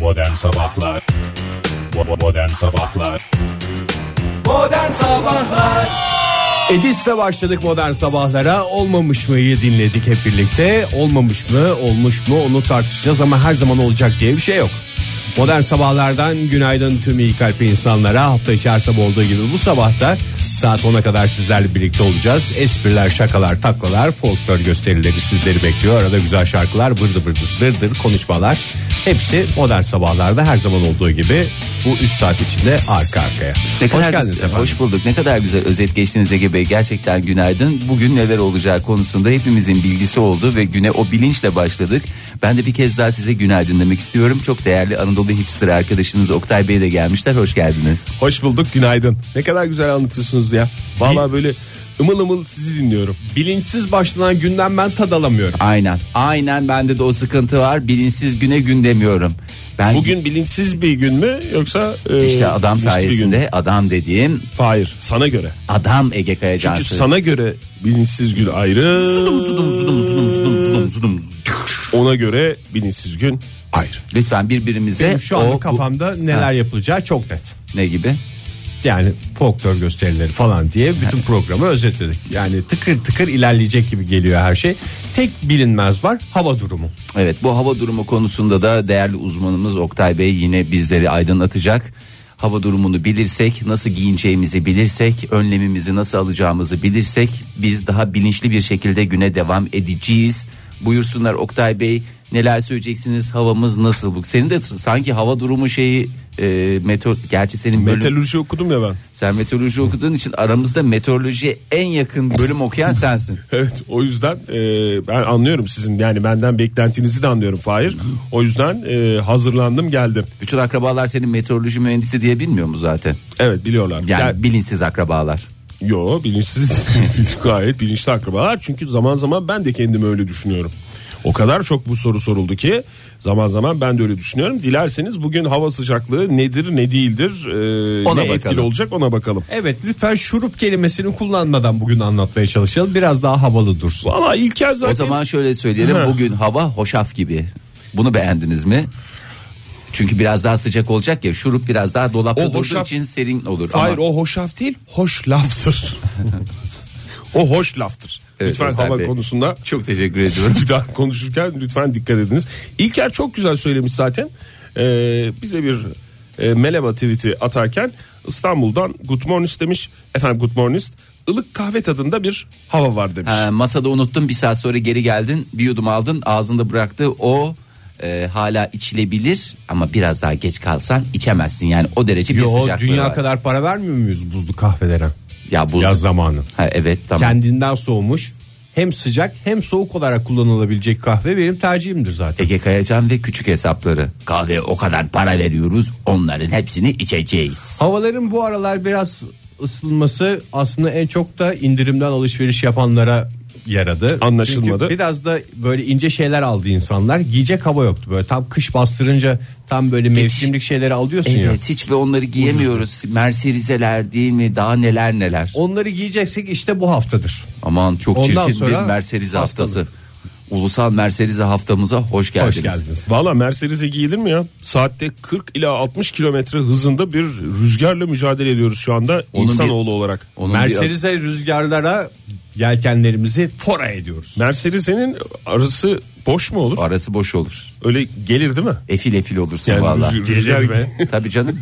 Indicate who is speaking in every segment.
Speaker 1: Modern Sabahlar Bo- Modern Sabahlar
Speaker 2: Modern Sabahlar
Speaker 3: Edis'le başladık modern sabahlara olmamış mıyı dinledik hep birlikte olmamış mı olmuş mu onu tartışacağız ama her zaman olacak diye bir şey yok. Modern sabahlardan günaydın tüm iyi kalpli insanlara hafta içi her sabah olduğu gibi bu sabahta saat 10'a kadar sizlerle birlikte olacağız. Espriler, şakalar, taklalar, folklor gösterileri sizleri bekliyor. Arada güzel şarkılar, bırdı bırdı dırdır konuşmalar. Hepsi modern sabahlarda her zaman olduğu gibi bu 3 saat içinde arka arkaya.
Speaker 4: Ne kadar
Speaker 3: Hoş geldiniz
Speaker 4: güzel,
Speaker 3: efendim.
Speaker 4: Hoş bulduk. Ne kadar güzel özet geçtiniz Ege Bey. Gerçekten günaydın. Bugün neler olacağı konusunda hepimizin bilgisi oldu ve güne o bilinçle başladık. Ben de bir kez daha size günaydın demek istiyorum. Çok değerli Anadolu hipster arkadaşınız Oktay Bey de gelmişler. Hoş geldiniz.
Speaker 5: Hoş bulduk günaydın. Ne kadar güzel anlatıyorsunuz ya. Vallahi böyle ımıl ımıl sizi dinliyorum.
Speaker 3: Bilinçsiz başlanan günden ben tad alamıyorum.
Speaker 4: Aynen. Aynen bende de o sıkıntı var. Bilinçsiz güne gün demiyorum. Ben
Speaker 5: Bugün bilinçsiz bir gün mü yoksa e,
Speaker 4: işte adam
Speaker 5: bilinçli bir gün mü?
Speaker 4: sayesinde adam dediğim
Speaker 5: Hayır sana göre.
Speaker 4: adam Ege Kayacan.
Speaker 5: Çünkü sana göre bilinçsiz gün ayrı.
Speaker 4: Zudum, zudum, zudum, zudum, zudum, zudum, zudum.
Speaker 5: Ona göre bilinçsiz gün ayrı.
Speaker 4: Lütfen birbirimize
Speaker 3: Benim şu anda
Speaker 4: o- bu-
Speaker 3: kafamda neler yapılacağı çok net.
Speaker 4: ne gibi?
Speaker 3: Yani folklor gösterileri falan diye bütün programı özetledik. Yani tıkır tıkır ilerleyecek gibi geliyor her şey. Tek bilinmez var hava durumu.
Speaker 4: Evet bu hava durumu konusunda da değerli uzmanımız Oktay Bey yine bizleri aydınlatacak. Hava durumunu bilirsek, nasıl giyineceğimizi bilirsek, önlemimizi nasıl alacağımızı bilirsek biz daha bilinçli bir şekilde güne devam edeceğiz. Buyursunlar Oktay Bey neler söyleyeceksiniz havamız nasıl bu? Senin de sanki hava durumu şeyi e, meteor gerçi senin bölüm,
Speaker 5: Metalürji okudum ya ben.
Speaker 4: sen meteoroloji okuduğun için aramızda meteorolojiye en yakın bölüm okuyan sensin.
Speaker 5: Evet o yüzden e, ben anlıyorum sizin yani benden beklentinizi de anlıyorum Fahir. O yüzden e, hazırlandım geldim.
Speaker 4: Bütün akrabalar senin meteoroloji mühendisi diye bilmiyor mu zaten?
Speaker 5: Evet biliyorlar.
Speaker 4: Yani
Speaker 5: Gel-
Speaker 4: bilinçsiz akrabalar.
Speaker 5: Yo bilinçsiz gayet bilinçli akrabalar çünkü zaman zaman ben de kendimi öyle düşünüyorum. O kadar çok bu soru soruldu ki zaman zaman ben de öyle düşünüyorum. Dilerseniz bugün hava sıcaklığı nedir ne değildir e,
Speaker 4: Ona
Speaker 5: ne etkili
Speaker 4: bakalım.
Speaker 5: olacak ona bakalım.
Speaker 3: Evet lütfen şurup kelimesini kullanmadan bugün anlatmaya çalışalım. Biraz daha havalı dursun.
Speaker 5: Valla İlker zaten
Speaker 4: O zaman şöyle söyleyelim
Speaker 5: Hı.
Speaker 4: bugün hava hoşaf gibi. Bunu beğendiniz mi? Çünkü biraz daha sıcak olacak ya şurup biraz daha dolapta
Speaker 5: O
Speaker 4: durduğu
Speaker 5: hoşaf-
Speaker 4: için serin olur.
Speaker 5: hayır
Speaker 4: Ama
Speaker 5: o hoşaf değil hoş laftır. o hoş laftır.
Speaker 4: Evet,
Speaker 5: Lütfen
Speaker 4: Oktay
Speaker 5: hava
Speaker 4: Bey.
Speaker 5: konusunda
Speaker 4: Çok teşekkür ediyorum.
Speaker 5: bir daha konuşurken lütfen dikkat ediniz. İlker çok güzel söylemiş zaten. Ee, bize bir e, Meleba tweet'i atarken İstanbul'dan Good Morning demiş. Efendim Good Morning. ılık kahve tadında bir hava var demiş.
Speaker 4: Ha, masada unuttun bir saat sonra geri geldin bir yudum aldın ağzında bıraktı o e, hala içilebilir ama biraz daha geç kalsan içemezsin yani o derece bir
Speaker 3: Yo
Speaker 4: sıcaklığı
Speaker 3: dünya
Speaker 4: var.
Speaker 3: kadar para vermiyor muyuz buzlu kahvelere?
Speaker 4: ya bu
Speaker 3: Yaz zamanı.
Speaker 4: ha, evet tamam
Speaker 3: Kendinden soğumuş hem sıcak hem soğuk olarak kullanılabilecek kahve benim tercihimdir zaten.
Speaker 4: Ege Kayacan ve küçük hesapları kahveye o kadar para veriyoruz onların hepsini içeceğiz
Speaker 3: Havaların bu aralar biraz ısınması aslında en çok da indirimden alışveriş yapanlara yaradı.
Speaker 5: Anlaşılmadı.
Speaker 3: Çünkü biraz da böyle ince şeyler aldı insanlar. Giyecek hava yoktu böyle tam kış bastırınca tam böyle mevsimlik şeyleri alıyorsun ya.
Speaker 4: Evet hiç ve onları giyemiyoruz. Merserizeler değil mi? Daha neler neler.
Speaker 3: Onları giyeceksek işte bu haftadır.
Speaker 4: Aman çok
Speaker 3: Ondan
Speaker 4: çirkin bir
Speaker 3: sonra
Speaker 4: Merserize
Speaker 3: hastalık.
Speaker 4: haftası. Ulusal Merserize haftamıza hoş geldiniz.
Speaker 3: Hoş geldiniz.
Speaker 5: Valla Mercedes'e giyilir mi ya? Saatte 40 ila 60 kilometre hızında bir rüzgarla mücadele ediyoruz şu anda
Speaker 4: Onun
Speaker 5: insanoğlu olarak.
Speaker 4: Onun bir-
Speaker 3: Merserize rüzgarlara yelkenlerimizi fora ediyoruz.
Speaker 5: Mercedes'in arası boş mu olur?
Speaker 4: arası boş olur.
Speaker 5: Öyle gelir değil mi?
Speaker 4: Efil efil olursun
Speaker 5: Yani
Speaker 4: valla.
Speaker 5: rüz- rüzgar gibi.
Speaker 4: Tabii canım.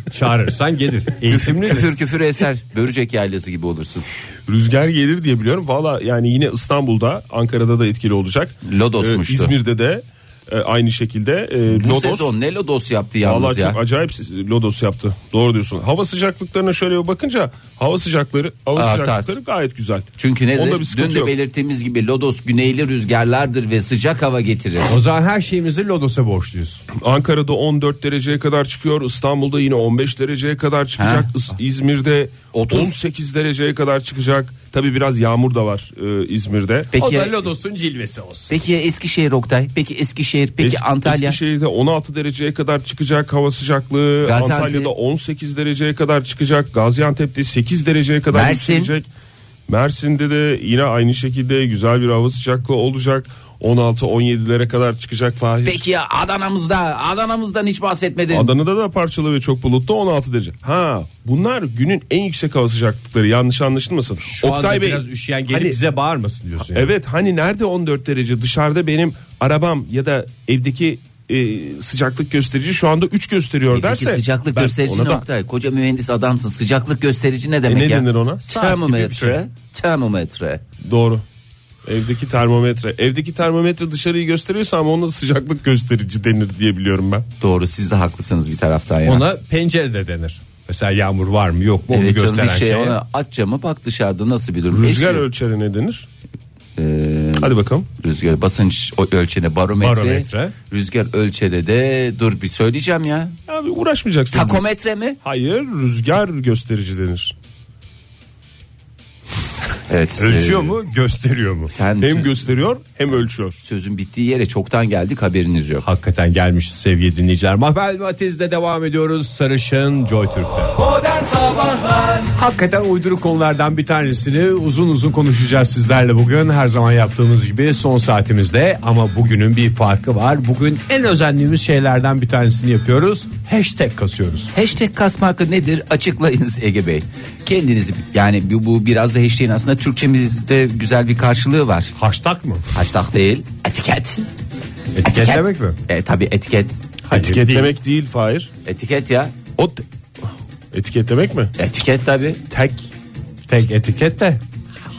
Speaker 3: Çağırırsan gelir.
Speaker 4: küfür,
Speaker 3: Eğitimli mi?
Speaker 4: küfür küfür eser. Börücek yaylası gibi olursun.
Speaker 5: Rüzgar gelir diye biliyorum. Valla yani yine İstanbul'da, Ankara'da da etkili olacak.
Speaker 4: Lodos'muştu.
Speaker 5: Ee, İzmir'de de e, aynı şekilde e,
Speaker 4: Bu
Speaker 5: Lodos.
Speaker 4: sezon ne lodos yaptı
Speaker 5: Valla
Speaker 4: yalnız ya.
Speaker 5: çok acayip Lodos yaptı. Doğru diyorsun. Hava sıcaklıklarına şöyle bir bakınca hava sıcakları, hava
Speaker 4: Artar.
Speaker 5: sıcaklıkları gayet güzel.
Speaker 4: Çünkü
Speaker 5: Onda bir
Speaker 4: nedir? Dün
Speaker 5: sıkıntı
Speaker 4: de
Speaker 5: yok.
Speaker 4: belirttiğimiz gibi lodos güneyli rüzgarlardır ve sıcak hava getirir.
Speaker 3: O zaman her şeyimizi Lodos'a borçluyuz.
Speaker 5: Ankara'da 14 dereceye kadar çıkıyor. İstanbul'da yine 15 dereceye kadar çıkacak. İs- İzmir'de
Speaker 4: 30.
Speaker 5: 18 dereceye kadar çıkacak. Tabi biraz yağmur da var e, İzmir'de.
Speaker 3: O
Speaker 4: Peki
Speaker 3: da Lodos'un cilvesi olsun.
Speaker 4: Peki ya Eskişehir Oktay? Peki Eskişehir? Peki
Speaker 5: Es-
Speaker 4: Antalya?
Speaker 5: Eskişehir'de 16 dereceye kadar çıkacak hava sıcaklığı.
Speaker 4: Gaziantep.
Speaker 5: Antalya'da 18 dereceye kadar çıkacak. Gaziantep'te 8 dereceye kadar
Speaker 4: Mersin.
Speaker 5: yükselecek. Mersin'de de yine aynı şekilde güzel bir hava sıcaklığı olacak. 16-17'lere kadar çıkacak Fahir.
Speaker 4: Peki ya Adana'mızda Adana'mızdan hiç bahsetmedin.
Speaker 5: Adana'da da parçalı ve çok bulutlu 16 derece. Ha bunlar günün en yüksek hava sıcaklıkları yanlış anlaşılmasın.
Speaker 3: Şu anda biraz üşüyen gelip
Speaker 5: hani-
Speaker 3: bize bağırmasın diyorsun. yani.
Speaker 5: Evet hani nerede 14 derece dışarıda benim arabam ya da evdeki e, sıcaklık gösterici şu anda 3 gösteriyor
Speaker 4: Peki
Speaker 5: derse.
Speaker 4: sıcaklık
Speaker 5: ben
Speaker 4: gösterici
Speaker 5: ona
Speaker 4: ne
Speaker 5: da- E
Speaker 4: Oktay? Koca mühendis adamsın. Sıcaklık gösterici ne demek
Speaker 5: ne
Speaker 4: ya?
Speaker 5: denir ona? Saat gibi bir şey.
Speaker 4: Termometre. Termometre.
Speaker 5: Doğru. Evdeki termometre. Evdeki termometre dışarıyı gösteriyorsa ama ona sıcaklık gösterici denir diye biliyorum ben.
Speaker 4: Doğru siz de haklısınız bir taraftan ya.
Speaker 3: Ona pencere de denir. Mesela yağmur var mı yok mu onu
Speaker 4: evet canım
Speaker 3: gösteren
Speaker 4: bir şey
Speaker 3: şeye.
Speaker 4: ona aç camı bak dışarıda nasıl bir durum.
Speaker 5: Rüzgar
Speaker 4: Esiyor.
Speaker 5: ölçeri ne denir?
Speaker 4: Ee,
Speaker 5: Hadi bakalım.
Speaker 4: rüzgar basınç o- ölçene barometre,
Speaker 3: Barometre.
Speaker 4: Rüzgar ölçene de dur bir söyleyeceğim ya.
Speaker 5: Abi uğraşmayacaksın.
Speaker 4: Takometre mi?
Speaker 5: Hayır rüzgar gösterici denir.
Speaker 4: Evet.
Speaker 3: Ölçüyor
Speaker 4: e,
Speaker 3: mu gösteriyor mu?
Speaker 4: Sen
Speaker 5: Hem gösteriyor hem ölçüyor.
Speaker 4: sözün bittiği yere çoktan geldik haberiniz yok.
Speaker 3: Hakikaten gelmiş sevgili dinleyiciler. Mahvel Matiz'de devam ediyoruz. Sarışın Joy Türk'te.
Speaker 2: Modern Sabahlar
Speaker 3: Hakikaten uyduruk konulardan bir tanesini uzun uzun konuşacağız sizlerle bugün. Her zaman yaptığımız gibi son saatimizde ama bugünün bir farkı var. Bugün en özendiğimiz şeylerden bir tanesini yapıyoruz. Hashtag kasıyoruz.
Speaker 4: Hashtag kasma hakkı nedir? Açıklayınız Ege Bey. Kendinizi yani bu, bu biraz da hashtag'in aslında Türkçemizde güzel bir karşılığı var.
Speaker 3: Hashtag mı?
Speaker 4: Hashtag değil. Etiket.
Speaker 3: Etiketlemek mi?
Speaker 4: E, tabii etiket.
Speaker 5: Etiketlemek değil Fahir.
Speaker 4: Etiket ya.
Speaker 5: O te- etiketlemek mi?
Speaker 4: Etiket tabii.
Speaker 5: Tek
Speaker 3: Tek etiket de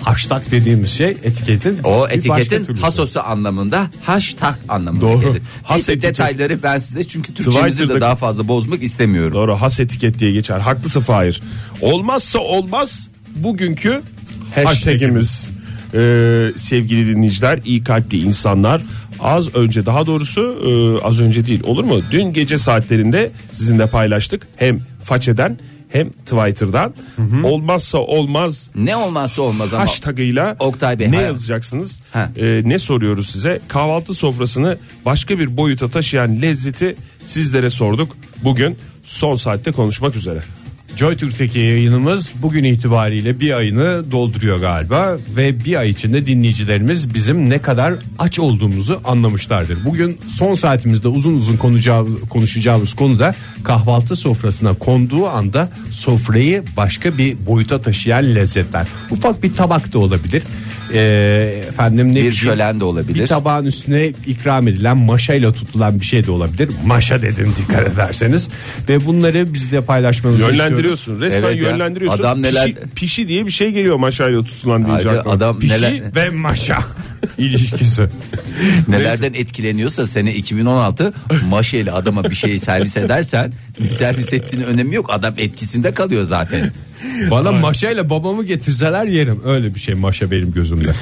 Speaker 3: hashtag dediğimiz şey etiketin
Speaker 4: O
Speaker 3: bir başka
Speaker 4: etiketin
Speaker 3: türlüsü.
Speaker 4: hasosu anlamında hashtag anlamında
Speaker 5: Doğru.
Speaker 4: gelir.
Speaker 5: Has
Speaker 4: Neyse,
Speaker 5: etiket.
Speaker 4: detayları ben size çünkü Türkçemizi de
Speaker 5: Twitter'da-
Speaker 4: daha fazla bozmak istemiyorum.
Speaker 5: Doğru has etiket diye geçer. Haklısın Fahir. Olmazsa olmaz bugünkü hashtagimiz. Ee, sevgili dinleyiciler, iyi kalpli insanlar. Az önce daha doğrusu e, az önce değil olur mu? Dün gece saatlerinde sizinle paylaştık. Hem façeden hem Twitter'dan. Olmazsa olmaz
Speaker 4: Ne olmazsa olmaz ama.
Speaker 5: hashtagıyla
Speaker 4: Oktay Bey,
Speaker 5: ne
Speaker 4: hayır.
Speaker 5: yazacaksınız?
Speaker 4: Ha.
Speaker 5: Ee, ne soruyoruz size? Kahvaltı sofrasını başka bir boyuta taşıyan lezzeti sizlere sorduk. Bugün son saatte konuşmak üzere.
Speaker 3: Joy Türk'teki yayınımız bugün itibariyle bir ayını dolduruyor galiba ve bir ay içinde dinleyicilerimiz bizim ne kadar aç olduğumuzu anlamışlardır. Bugün son saatimizde uzun uzun konuşacağımız, konuşacağımız konu da kahvaltı sofrasına konduğu anda sofrayı başka bir boyuta taşıyan lezzetler. Ufak bir tabak da olabilir. Ee, efendim ne
Speaker 4: Bir
Speaker 3: bileyim,
Speaker 4: şölen de olabilir.
Speaker 3: Bir tabağın üstüne ikram edilen maşayla tutulan bir şey de olabilir. Maşa dedim dikkat ederseniz ve bunları bizle paylaşmanızı istiyoruz.
Speaker 5: Yönlendiriyorsun. Resmen
Speaker 4: Evet ya.
Speaker 5: yönlendiriyorsun.
Speaker 4: Adam neler-
Speaker 5: Pişi, pişi diye bir şey geliyor maşayla tutulan deyince.
Speaker 4: Ayrıca
Speaker 5: aklıma.
Speaker 4: adam
Speaker 5: pişi
Speaker 4: neler-
Speaker 5: ve maşa ilişkisi.
Speaker 4: Nelerden etkileniyorsa sene 2016 maşeli adama bir şey servis edersen servis ettiğinin önemi yok. Adam etkisinde kalıyor zaten.
Speaker 3: Bana maşayla babamı getirseler yerim. Öyle bir şey maşa benim gözümde.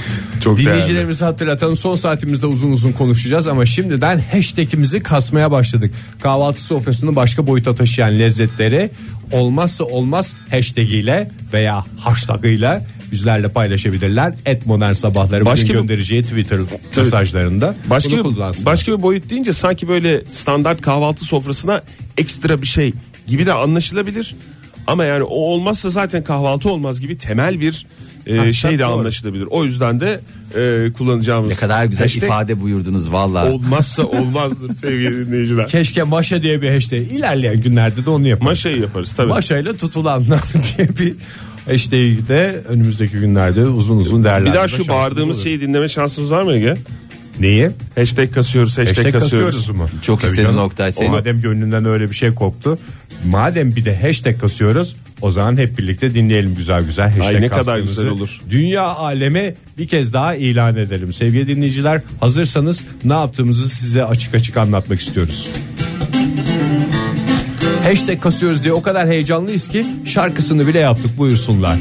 Speaker 3: Çok Dinleyicilerimizi hatırlatalım. Son saatimizde uzun uzun konuşacağız ama şimdiden hashtag'imizi kasmaya başladık. Kahvaltı sofrasını başka boyuta taşıyan lezzetleri olmazsa olmaz hashtag'iyle veya hashtag'ıyla bizlerle paylaşabilirler. Et modern sabahları
Speaker 5: Başka
Speaker 3: bugün
Speaker 5: bir-
Speaker 3: göndereceği Twitter mesajlarında.
Speaker 5: Başka
Speaker 3: bunu
Speaker 5: bir,
Speaker 3: kullansın.
Speaker 5: başka bir boyut deyince sanki böyle standart kahvaltı sofrasına ekstra bir şey gibi de anlaşılabilir. Ama yani o olmazsa zaten kahvaltı olmaz gibi temel bir e,
Speaker 3: Ha,
Speaker 5: şey de
Speaker 3: tabii, doğru.
Speaker 5: anlaşılabilir. O yüzden de e, kullanacağımız
Speaker 4: Ne kadar güzel
Speaker 5: hashtag
Speaker 4: ifade buyurdunuz valla.
Speaker 5: olmazsa olmazdır sevgili dinleyiciler.
Speaker 3: Keşke maşa diye bir hashtag. İlerleyen günlerde de onu yaparız.
Speaker 5: Maşayı yaparız tabii.
Speaker 3: Maşayla tutulanlar diye bir hashtag'i de önümüzdeki günlerde uzun uzun değerlendirme
Speaker 5: bir daha şu
Speaker 3: şansımız
Speaker 5: bağırdığımız şey-
Speaker 3: olur.
Speaker 5: şeyi dinleme şansımız var mı Ege?
Speaker 3: Neyi?
Speaker 5: Hashtag kasıyoruz, hashtag,
Speaker 3: Hashtag
Speaker 5: kasıyoruz.
Speaker 3: kasıyoruz mu?
Speaker 4: Çok istedim
Speaker 3: canım.
Speaker 4: Oktay, seni.
Speaker 3: O Madem gönlünden öyle bir şey koptu. Madem bir de hashtag kasıyoruz o zaman hep birlikte dinleyelim güzel güzel hashtag
Speaker 5: Ay ne kadar
Speaker 3: kastığımızı.
Speaker 5: güzel olur.
Speaker 3: Dünya aleme bir kez daha ilan edelim. Sevgili dinleyiciler hazırsanız ne yaptığımızı size açık açık anlatmak istiyoruz. Hashtag kasıyoruz diye o kadar heyecanlıyız ki şarkısını bile yaptık buyursunlar.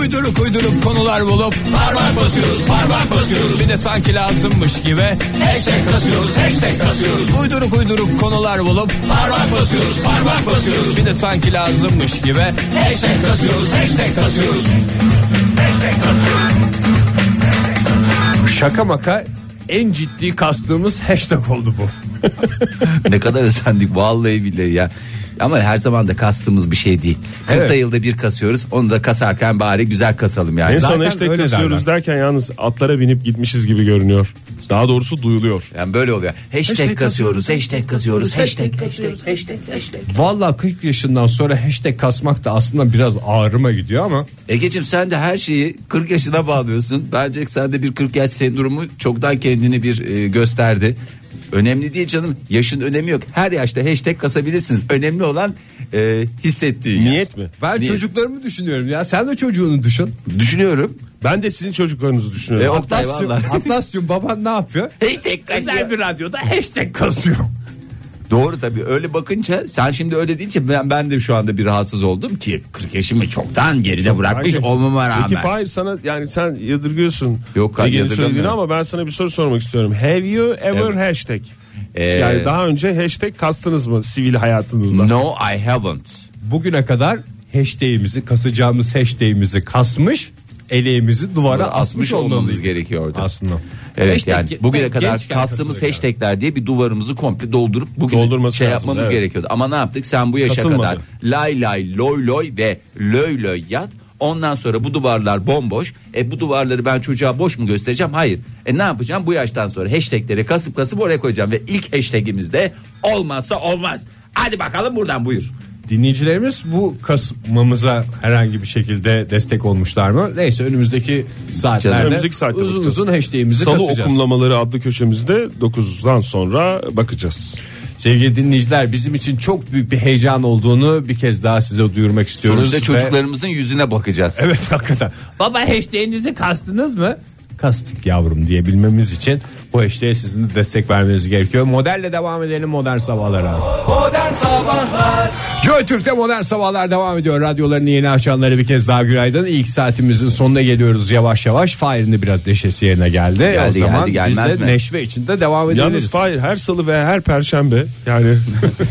Speaker 6: Uyduruk uydurup konular bulup Parmak basıyoruz parmak basıyoruz Bir de sanki lazımmış gibi Hashtag kasıyoruz hashtag kasıyoruz Uyduruk uyduruk konular bulup Parmak basıyoruz parmak basıyoruz Bir de sanki lazımmış gibi Hashtag kasıyoruz hashtag kasıyoruz
Speaker 3: Şaka maka en ciddi kastığımız hashtag oldu bu.
Speaker 4: ne kadar özendik vallahi billahi ya. Ama her zaman da kastığımız bir şey değil. 40
Speaker 3: Evet.
Speaker 4: yılda bir kasıyoruz. Onu da kasarken bari güzel kasalım yani.
Speaker 5: En son
Speaker 3: Zaten
Speaker 5: hashtag
Speaker 3: öyle
Speaker 5: kasıyoruz derken yalnız atlara binip gitmişiz gibi görünüyor. Daha doğrusu duyuluyor.
Speaker 4: Yani böyle oluyor. Hashtag, kasıyoruz, hashtag kasıyoruz, hashtag.
Speaker 3: Valla 40 yaşından sonra hashtag kasmak da aslında biraz ağrıma gidiyor ama
Speaker 4: Egeciğim sen de her şeyi 40 yaşına bağlıyorsun. Bence sende bir 40 yaş sendromu çoktan kendini bir e, gösterdi. Önemli değil canım. Yaşın önemi yok. Her yaşta hashtag kasabilirsiniz. Önemli olan e, hissettiğin. yer.
Speaker 5: Niyet mi?
Speaker 3: ben
Speaker 4: Niye?
Speaker 3: çocuklarımı düşünüyorum ya. Sen de çocuğunu düşün.
Speaker 4: Düşünüyorum.
Speaker 5: Ben de sizin çocuklarınızı düşünüyorum.
Speaker 4: E, o- Oktay,
Speaker 3: Atlas'cığım,
Speaker 4: vallahi.
Speaker 3: Atlas'cığım baban ne yapıyor?
Speaker 4: Hashtag kasıyor.
Speaker 3: bir radyoda hashtag kasıyor.
Speaker 4: Doğru tabii öyle bakınca sen şimdi öyle deyince ben, ben de şu anda bir rahatsız oldum ki 40 yaşımı çoktan geride bırakmış
Speaker 5: Peki.
Speaker 4: olmama rağmen.
Speaker 5: Peki Fahir sana yani sen yadırgıyorsun.
Speaker 4: Yok, hayır,
Speaker 5: Ege'nin
Speaker 4: yadırgamıyorum.
Speaker 5: söylediğini ama ben sana bir soru sormak istiyorum. Have you ever hashtag?
Speaker 4: Ee,
Speaker 5: Yani daha önce hashtag kastınız mı sivil hayatınızda?
Speaker 4: No I haven't.
Speaker 3: Bugüne kadar hashtag'imizi kasacağımız hashtag'imizi kasmış eleğimizi duvara
Speaker 4: Asmış,
Speaker 3: asmış
Speaker 4: olmamız
Speaker 3: olmalıyız.
Speaker 4: gerekiyordu.
Speaker 3: Aslında.
Speaker 4: Evet
Speaker 3: Hashtag-
Speaker 4: yani bugüne
Speaker 3: ben
Speaker 4: kadar
Speaker 3: gençken
Speaker 4: kastığımız
Speaker 3: kasılıyor
Speaker 4: hashtagler diye bir duvarımızı komple doldurup bugün
Speaker 5: Doldurması
Speaker 4: şey
Speaker 5: lazım,
Speaker 4: yapmamız
Speaker 5: evet.
Speaker 4: gerekiyordu. Ama ne yaptık? Sen bu yaşa
Speaker 5: Kasılmadı.
Speaker 4: kadar lay lay loy loy ve löy löy yat. Ondan sonra bu duvarlar bomboş. E bu duvarları ben çocuğa boş mu göstereceğim? Hayır. E ne yapacağım? Bu yaştan sonra hashtagleri kasıp kasıp oraya koyacağım. Ve ilk hashtagimiz de olmazsa olmaz. Hadi bakalım buradan buyur.
Speaker 3: Dinleyicilerimiz bu kasmamıza herhangi bir şekilde destek olmuşlar mı? Neyse önümüzdeki saatlerde
Speaker 5: Önümüzdeki saatte
Speaker 3: uzun
Speaker 5: bakacağız.
Speaker 3: uzun hashtag'imizi
Speaker 5: Salı
Speaker 3: kasacağız.
Speaker 5: okumlamaları adlı köşemizde 9'dan sonra bakacağız.
Speaker 3: Sevgili dinleyiciler bizim için çok büyük bir heyecan olduğunu bir kez daha size duyurmak istiyoruz.
Speaker 4: Sonuçta
Speaker 3: ve-
Speaker 4: çocuklarımızın yüzüne bakacağız.
Speaker 3: Evet hakikaten. Baba hashtag'inizi kastınız mı? Kastık yavrum diyebilmemiz için bu hashtag'e sizin de destek vermeniz gerekiyor. Modelle devam edelim modern sabahlara.
Speaker 2: Modern Sabahlar
Speaker 3: Joy Türk'te modern sabahlar devam ediyor. Radyolarını yeni açanlara bir kez daha günaydın. İlk saatimizin sonuna geliyoruz yavaş yavaş. Fahir'in de biraz neşesi yerine geldi. o
Speaker 4: geldi,
Speaker 3: zaman
Speaker 4: gelmez
Speaker 3: biz de
Speaker 4: mi?
Speaker 3: neşve içinde devam ederiz.
Speaker 5: Yalnız Fahir her salı ve her perşembe yani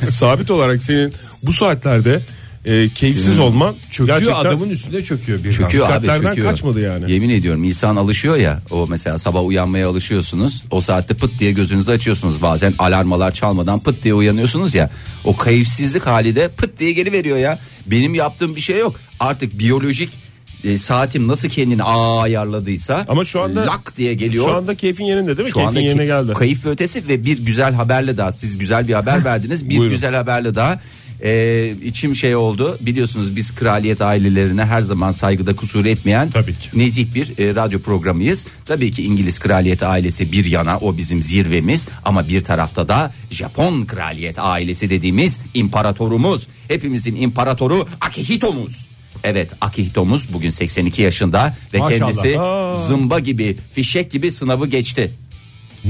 Speaker 5: sabit olarak senin bu saatlerde e, keyifsiz olman
Speaker 3: Çöküyor
Speaker 5: gerçekten
Speaker 3: adamın üstüne çöküyor bir
Speaker 4: Çöküyor abi
Speaker 5: Dikkatlerden
Speaker 4: çöküyor.
Speaker 5: kaçmadı yani.
Speaker 4: Yemin ediyorum insan alışıyor ya o mesela sabah uyanmaya alışıyorsunuz. O saatte pıt diye gözünüzü açıyorsunuz bazen alarmalar çalmadan pıt diye uyanıyorsunuz ya. O kayıpsizlik hali de pıt diye geri veriyor ya. Benim yaptığım bir şey yok. Artık biyolojik e, saatim nasıl kendini aa ayarladıysa
Speaker 5: Ama şu anda
Speaker 4: lak diye geliyor.
Speaker 5: Şu anda keyfin yerinde değil mi?
Speaker 4: Şu
Speaker 5: keyfin
Speaker 4: andaki
Speaker 5: yerine geldi.
Speaker 4: Kayıf ve ötesi ve bir güzel haberle daha siz güzel bir haber verdiniz. Bir
Speaker 5: Buyurun.
Speaker 4: güzel haberle daha Ee, içim şey oldu. Biliyorsunuz biz kraliyet ailelerine her zaman saygıda kusur etmeyen
Speaker 5: Tabii ki.
Speaker 4: nezih bir e, radyo programıyız. Tabii ki İngiliz kraliyet ailesi bir yana o bizim zirvemiz ama bir tarafta da Japon kraliyet ailesi dediğimiz imparatorumuz. Hepimizin imparatoru Akihito'muz. Evet Akihito'muz bugün 82 yaşında ve
Speaker 3: Maşallah.
Speaker 4: kendisi zımba gibi fişek gibi sınavı geçti.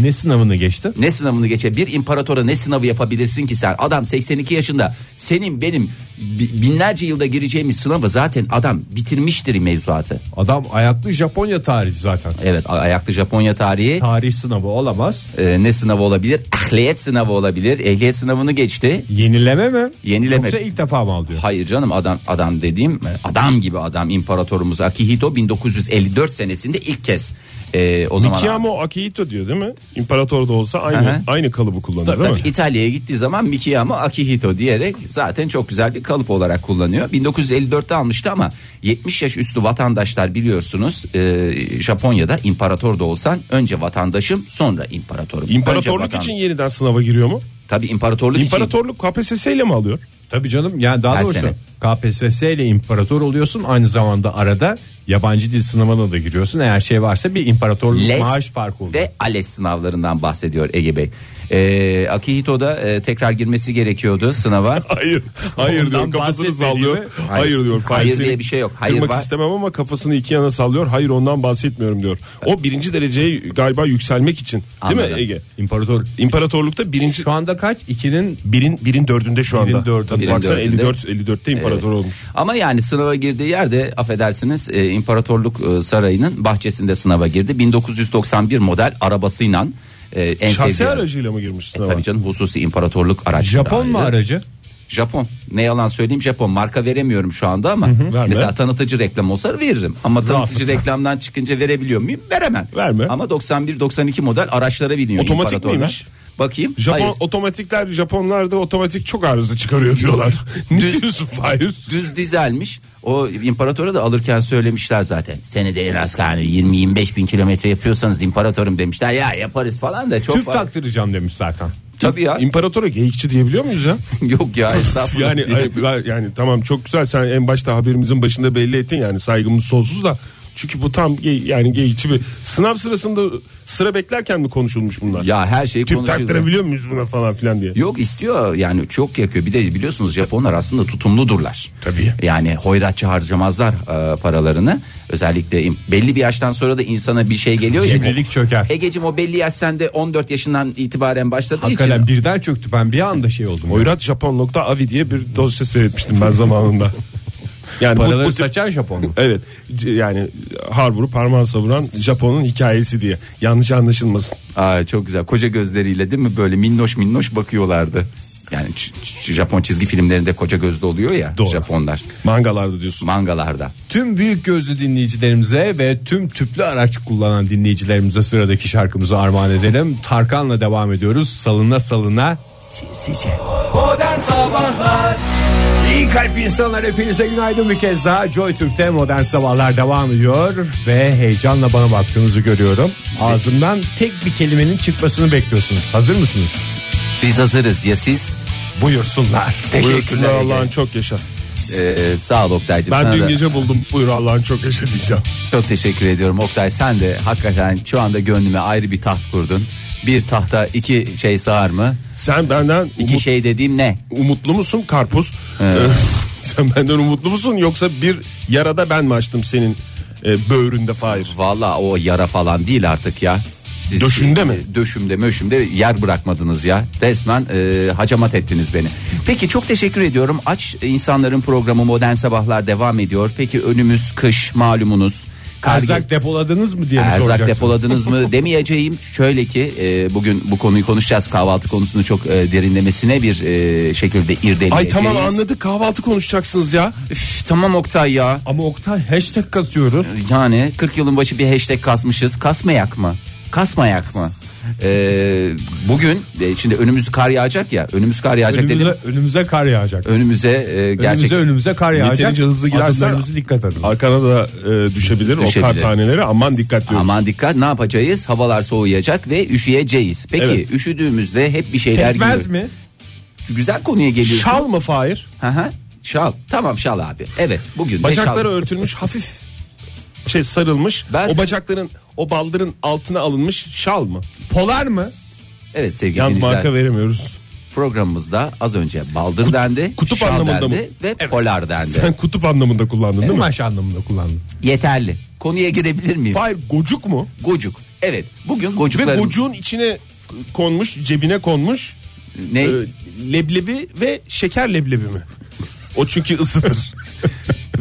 Speaker 3: Ne sınavını geçti?
Speaker 4: Ne sınavını geçe bir imparatora ne sınavı yapabilirsin ki sen? Adam 82 yaşında. Senin benim bi- binlerce yılda gireceğimiz sınavı zaten adam bitirmiştir mevzuatı.
Speaker 3: Adam ayaklı Japonya tarihi zaten.
Speaker 4: Evet a- ayaklı Japonya tarihi
Speaker 3: Tarih sınavı olamaz.
Speaker 4: e, ne sınavı olabilir? Ehliyet sınavı olabilir. Ehliyet sınavını geçti.
Speaker 3: Yenileme mi?
Speaker 4: Yenileme.
Speaker 3: Yoksa ilk defa mı alıyor?
Speaker 4: Hayır canım adam adam dediğim e, adam gibi adam imparatorumuz Akihito 1954 senesinde ilk kez e, o zaman
Speaker 5: Mikiyamo Akihito diyor değil mi? İmparator da olsa aynı
Speaker 4: Hı hı.
Speaker 5: aynı kalıbı kullanıyor değil
Speaker 4: Tabii
Speaker 5: mi?
Speaker 4: İtalya'ya gittiği zaman Mikiyama Akihito diyerek zaten çok güzel bir kalıp olarak kullanıyor. 1954'te almıştı ama 70 yaş üstü vatandaşlar biliyorsunuz e, Japonya'da imparator da olsan önce vatandaşım sonra imparatorum. Önce
Speaker 5: İmparatorluk
Speaker 4: vatan-
Speaker 5: için yeniden sınava giriyor mu?
Speaker 4: Tabii imparatorluk için.
Speaker 5: İmparatorluk KPSS ile mi alıyor?
Speaker 3: Tabii canım yani daha
Speaker 4: Her
Speaker 3: doğrusu
Speaker 4: sene.
Speaker 3: KPSS ile imparator oluyorsun aynı zamanda arada yabancı dil sınavına da giriyorsun eğer şey varsa bir imparatorluk
Speaker 4: Les
Speaker 3: maaş farkı oluyor.
Speaker 4: ve ALES sınavlarından bahsediyor Ege Bey. E, Akihito'da e, tekrar girmesi gerekiyordu sınava.
Speaker 5: Hayır. Hayır diyor
Speaker 3: Ondan
Speaker 5: kafasını
Speaker 3: bahsetmediğimi-
Speaker 5: sallıyor. Hayır, diyor. Fahir
Speaker 4: Hayır
Speaker 5: seni
Speaker 4: diye bir şey yok. Hayır
Speaker 5: kırmak
Speaker 4: var.
Speaker 5: istemem ama kafasını iki yana sallıyor. Hayır ondan bahsetmiyorum diyor. O birinci dereceye galiba yükselmek için. Değil
Speaker 4: Anladım.
Speaker 5: mi Ege?
Speaker 3: İmparator
Speaker 5: İmparatorlukta birinci
Speaker 3: şu anda kaç? İkinin
Speaker 5: birin birin dördünde şu anda.
Speaker 3: Birin dördünde.
Speaker 5: Tabii Baksana
Speaker 4: Birin dördünde.
Speaker 5: 54 54'te imparator olmuş.
Speaker 4: Ama yani sınava girdiği yerde affedersiniz e, İmparatorluk e, Sarayı'nın bahçesinde sınava girdi. 1991 model arabasıyla e, en
Speaker 5: Şahsi
Speaker 4: sevdiği-
Speaker 5: aracıyla mı girmiş sınava?
Speaker 4: E, Tabii canım hususi imparatorluk araçları.
Speaker 3: Japon mu
Speaker 4: ayrı.
Speaker 3: aracı?
Speaker 4: Japon. Ne yalan söyleyeyim Japon. Marka veremiyorum şu anda ama
Speaker 5: verme.
Speaker 4: mesela tanıtıcı reklam olsa veririm. Ama tanıtıcı reklamdan çıkınca verebiliyor muyum? Veremem.
Speaker 5: Verme.
Speaker 4: Ama 91 92 model araçlara biniyor
Speaker 5: Otomatik
Speaker 4: imparatorlar.
Speaker 5: miymiş?
Speaker 4: Bakayım.
Speaker 5: Japon
Speaker 4: Hayır.
Speaker 5: otomatikler Japonlarda otomatik çok arıza çıkarıyor diyorlar. ne diyorsun Fahir?
Speaker 4: Düz dizelmiş. O imparatora da alırken söylemişler zaten. Senede en az yani 20-25 bin kilometre yapıyorsanız imparatorum demişler. Ya yaparız falan da çok
Speaker 3: Tüp
Speaker 4: var.
Speaker 3: taktıracağım demiş zaten.
Speaker 4: Tabii ya.
Speaker 5: İmparatora geyikçi diyebiliyor muyuz ya?
Speaker 4: Yok ya estağfurullah.
Speaker 5: Yani ay- ben- yani tamam çok güzel sen en başta haberimizin başında belli ettin yani saygımız sonsuz da çünkü bu tam gey, yani geyikçi bir sınav sırasında sıra beklerken mi konuşulmuş bunlar?
Speaker 4: ya her şey
Speaker 5: Tüp
Speaker 4: konuşuyoruz.
Speaker 5: taktırabiliyor muyuz buna falan filan diye.
Speaker 4: Yok istiyor yani çok yakıyor. Bir de biliyorsunuz Japonlar aslında tutumludurlar.
Speaker 5: Tabii.
Speaker 4: Yani hoyratça harcamazlar e, paralarını. Özellikle im- belli bir yaştan sonra da insana bir şey geliyor ya.
Speaker 3: Cimrilik çöker.
Speaker 4: Egeciğim o belli yaş sende 14 yaşından itibaren başladığı için.
Speaker 3: Hakikaten birden çöktü ben bir anda şey oldum. ya.
Speaker 5: Oyrat Japon.avi diye bir dosya seyretmiştim ben zamanında. Yani bu- bu
Speaker 3: Paraları
Speaker 5: tip-
Speaker 3: saçan Japon mu?
Speaker 5: Evet c- yani har vurup parmağı savuran Japon'un hikayesi diye yanlış anlaşılmasın.
Speaker 4: Aa, çok güzel koca gözleriyle değil mi böyle minnoş minnoş bakıyorlardı. Yani ç- ç- Japon çizgi filmlerinde koca gözlü oluyor ya
Speaker 5: Doğru.
Speaker 4: Japonlar
Speaker 5: Mangalarda diyorsun.
Speaker 4: mangalarda.
Speaker 3: Tüm büyük gözlü dinleyicilerimize ve tüm tüplü araç kullanan dinleyicilerimize sıradaki şarkımızı armağan edelim. Tarkan'la devam ediyoruz. Salına salına
Speaker 2: Modern Sabahlar
Speaker 3: İyi kalp insanlar hepinize günaydın bir kez daha Joy Türk'te modern sabahlar devam ediyor Ve heyecanla bana baktığınızı görüyorum Ağzımdan tek bir kelimenin çıkmasını bekliyorsunuz Hazır mısınız?
Speaker 4: Biz hazırız ya siz?
Speaker 3: Buyursunlar
Speaker 5: Buyursunlar
Speaker 4: Teşekkürler.
Speaker 5: Allah'ın çok yaşa.
Speaker 4: Ee, sağ ol Oktay'cığım.
Speaker 5: Ben
Speaker 4: Sana
Speaker 5: dün
Speaker 4: da-
Speaker 5: gece buldum. Buyur Allah'ın çok yaşa diyeceğim.
Speaker 4: Çok teşekkür ediyorum Oktay. Sen de hakikaten şu anda gönlüme ayrı bir taht kurdun. Bir tahta iki şey sığar mı?
Speaker 5: Sen benden
Speaker 4: İki
Speaker 5: umut-
Speaker 4: şey dediğim ne?
Speaker 5: umutlu musun karpuz? Ee, Sen benden umutlu musun yoksa bir yarada ben mi açtım senin e, böğründe Fahir?
Speaker 4: Valla o yara falan değil artık ya. Siz,
Speaker 5: Döşünde mi?
Speaker 4: Döşümde möşümde yer bırakmadınız ya. Resmen e, hacamat ettiniz beni. Peki çok teşekkür ediyorum. Aç insanların programı Modern Sabahlar devam ediyor. Peki önümüz kış malumunuz. Kar
Speaker 3: Erzak depoladınız mı diye mi
Speaker 4: Erzak
Speaker 3: soracaksın?
Speaker 4: depoladınız mı demeyeceğim. Şöyle ki e, bugün bu konuyu konuşacağız. Kahvaltı konusunu çok e, derinlemesine bir e, şekilde irdeleyeceğiz.
Speaker 5: Ay tamam anladık kahvaltı konuşacaksınız ya.
Speaker 4: Üf, tamam Oktay ya.
Speaker 3: Ama Oktay hashtag kasıyoruz
Speaker 4: Yani 40 yılın başı bir hashtag kasmışız. Kasmayak mı? Kasmayak mı? E, bugün e, şimdi önümüz kar yağacak ya. Önümüz kar yağacak
Speaker 3: önümüze,
Speaker 4: dedim.
Speaker 3: önümüze kar yağacak
Speaker 4: Önümüze e, gerçek
Speaker 3: Önümüze önümüze kar yağacak
Speaker 5: Yeterince hızlı gidersen-
Speaker 3: Adımlarımıza dikkat edin
Speaker 5: Arkana da e, düşebilir, o kar
Speaker 4: Düşebilir.
Speaker 5: taneleri aman dikkatli olun.
Speaker 4: Aman dikkat ne yapacağız? Havalar soğuyacak ve üşüyeceğiz. Peki
Speaker 5: Evet.
Speaker 4: üşüdüğümüzde hep bir şeyler
Speaker 3: Pekmez
Speaker 4: yiyor-
Speaker 3: mi?
Speaker 4: Güzel konuya geliyorsun.
Speaker 5: Şal mı Fahir?
Speaker 4: Hı hı. Şal. Tamam şal abi. Evet bugün de
Speaker 5: Bacakları
Speaker 4: şal.
Speaker 5: örtülmüş hafif şey sarılmış.
Speaker 4: Ben-
Speaker 5: o bacakların o baldırın altına alınmış şal mı?
Speaker 3: Polar mı?
Speaker 4: Evet sevgili
Speaker 5: Yalnız
Speaker 4: dinleyiciler.
Speaker 5: marka veremiyoruz.
Speaker 4: Programımızda az önce baldır dendi.
Speaker 5: kutup
Speaker 4: şal
Speaker 5: anlamında
Speaker 4: dendi
Speaker 5: mı?
Speaker 4: Ve polar dendi.
Speaker 5: Sen kutup anlamında kullandın değil mi?
Speaker 3: Kumaş anlamında kullandım
Speaker 4: Yeterli. Konuya girebilir miyim?
Speaker 5: Fahir gocuk mu?
Speaker 4: Gocuk. Evet bugün
Speaker 5: Ve
Speaker 4: gocuklarım.
Speaker 5: gocuğun içine konmuş, cebine konmuş
Speaker 4: Ne?
Speaker 5: e, leblebi ve şeker leblebi mi? O çünkü ısıtır.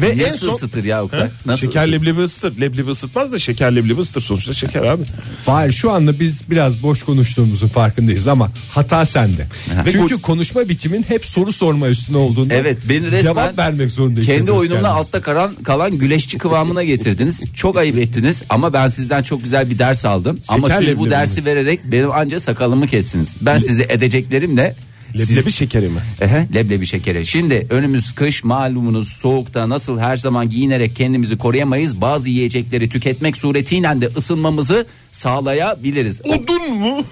Speaker 5: ve en
Speaker 4: Nasıl
Speaker 5: son
Speaker 4: ısıtır ya o kadar? Nasıl
Speaker 5: şeker
Speaker 4: ısıtır?
Speaker 5: leblebi ısıtır. Leblebi ısıtmaz da şeker leblebi ısıtır sonuçta şeker abi.
Speaker 3: Hayır şu anda biz biraz boş konuştuğumuzun farkındayız ama hata sende. Ve Çünkü konuşma biçimin hep soru sorma üstüne olduğunda
Speaker 4: Evet beni resmen
Speaker 3: cevap vermek zorunda
Speaker 4: kendi
Speaker 3: hissediyoruz
Speaker 4: oyunumla
Speaker 3: kendimizi.
Speaker 4: altta kalan, kalan güleşçi kıvamına getirdiniz. çok ayıp ettiniz ama ben sizden çok güzel bir ders aldım. ama
Speaker 5: Şeker
Speaker 4: siz
Speaker 5: leblebi
Speaker 4: bu dersi vererek benim anca sakalımı kestiniz. Ben sizi edeceklerimle siz-
Speaker 5: Leblebi şekeri mi?
Speaker 4: Ehe, leblebi şekeri. Şimdi önümüz kış malumunuz soğukta nasıl her zaman giyinerek kendimizi koruyamayız. Bazı yiyecekleri tüketmek suretiyle de ısınmamızı sağlayabiliriz.
Speaker 5: Odun mu?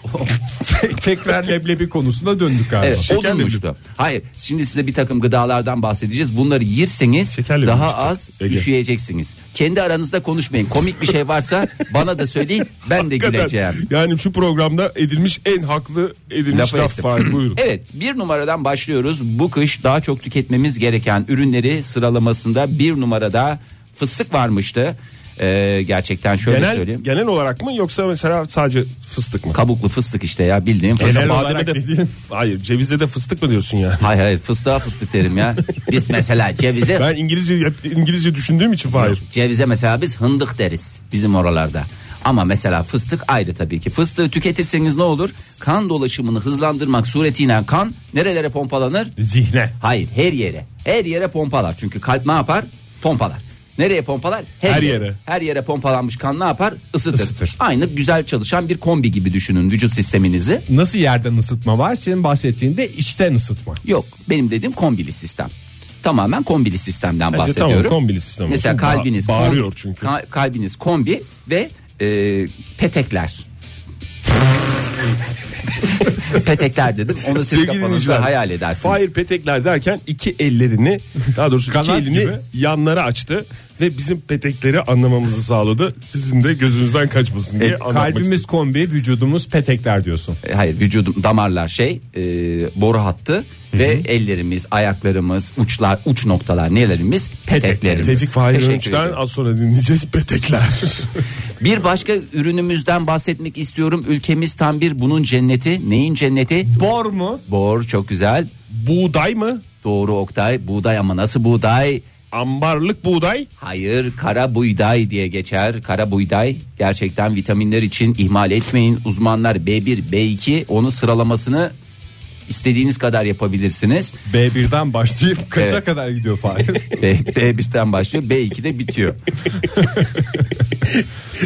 Speaker 3: tekrar leblebi konusuna döndük abi.
Speaker 4: Evet,
Speaker 5: Şeker
Speaker 4: odunmuştu. Hayır, şimdi size bir takım gıdalardan bahsedeceğiz. Bunları yerseniz
Speaker 5: Şekerli
Speaker 4: daha
Speaker 5: bulmuştu.
Speaker 4: az
Speaker 5: Ege.
Speaker 4: üşüyeceksiniz. Kendi aranızda konuşmayın. Komik bir şey varsa bana da söyleyin. Ben de güleceğim.
Speaker 5: Yani şu programda edilmiş en haklı edilmiş
Speaker 4: Lafı
Speaker 5: laf
Speaker 4: ettim.
Speaker 5: Fahir buyurun.
Speaker 4: Evet bir numaradan başlıyoruz. Bu kış daha çok tüketmemiz gereken ürünleri sıralamasında bir numarada fıstık varmıştı. Ee, gerçekten şöyle
Speaker 5: genel
Speaker 4: söyleyeyim.
Speaker 5: genel olarak mı yoksa mesela sadece fıstık mı?
Speaker 4: Kabuklu fıstık işte ya bildiğin fıstık.
Speaker 5: Mesela
Speaker 3: olarak
Speaker 5: bademe de-
Speaker 3: dediğin-
Speaker 5: Hayır cevize de fıstık mı diyorsun yani?
Speaker 4: Hayır hayır fıstığa fıstık derim ya. Biz mesela cevize
Speaker 5: Ben İngilizce hep İngilizce düşündüğüm için Fahir.
Speaker 4: Cevize mesela biz hındık deriz bizim oralarda. Ama mesela fıstık ayrı tabii ki. Fıstığı tüketirseniz ne olur? Kan dolaşımını hızlandırmak suretiyle kan nerelere pompalanır?
Speaker 3: Zihne.
Speaker 4: Hayır her yere. Her yere pompalar. Çünkü kalp ne yapar? Pompalar. Nereye pompalar?
Speaker 5: Her yere.
Speaker 4: Her yere pompalanmış kan ne yapar? Isıtır.
Speaker 3: Isıtır.
Speaker 4: Aynı güzel çalışan bir kombi gibi düşünün vücut sisteminizi.
Speaker 3: Nasıl yerden ısıtma var? Senin bahsettiğinde içten ısıtma.
Speaker 4: Yok benim dediğim kombili sistem. Tamamen kombili sistemden
Speaker 5: Bence tamam,
Speaker 4: bahsediyorum.
Speaker 5: kombili sistem olsun.
Speaker 4: Mesela
Speaker 5: Ba-
Speaker 4: kalbiniz
Speaker 5: bağırıyor çünkü.
Speaker 4: ka- kalbiniz kombi ve e, petekler. petekler dedim. Onu siz
Speaker 5: Sevgili
Speaker 4: kafanızda
Speaker 5: dinleyiciler.
Speaker 4: hayal edersiniz.
Speaker 5: Fahir Petekler derken iki ellerini daha doğrusu iki
Speaker 3: Kanat
Speaker 5: elini
Speaker 3: gibi.
Speaker 5: yanlara açtı ve bizim petekleri anlamamızı sağladı. Sizin de gözünüzden kaçmasın diye anlatmak istedim.
Speaker 3: E, Kalbimiz kombi, vücudumuz petekler diyorsun.
Speaker 4: E, hayır vücudum damarlar şey e, boru hattı ve ellerimiz, ayaklarımız, uçlar, uç noktalar nelerimiz peteklerimiz.
Speaker 5: Tevfik Fahir
Speaker 4: Teşekkür
Speaker 5: Önç'ten
Speaker 4: ederim.
Speaker 5: az sonra dinleyeceğiz petekler.
Speaker 4: Bir başka ürünümüzden bahsetmek istiyorum. Ülkemiz tam bir bunun cenneti. Neyin cenneti?
Speaker 3: Bor mu?
Speaker 4: Bor çok güzel.
Speaker 5: buğday mı?
Speaker 4: Doğru Oktay. Buğday ama nasıl buğday?
Speaker 5: Ambarlık buğday.
Speaker 4: Hayır kara buğday diye geçer. Kara buğday gerçekten vitaminler için ihmal etmeyin. Uzmanlar B1, B2 onu sıralamasını istediğiniz kadar yapabilirsiniz.
Speaker 3: B1'den başlayıp kaça
Speaker 4: Evet.
Speaker 3: kadar gidiyor Fahir?
Speaker 4: B, B1'den başlıyor B2'de bitiyor.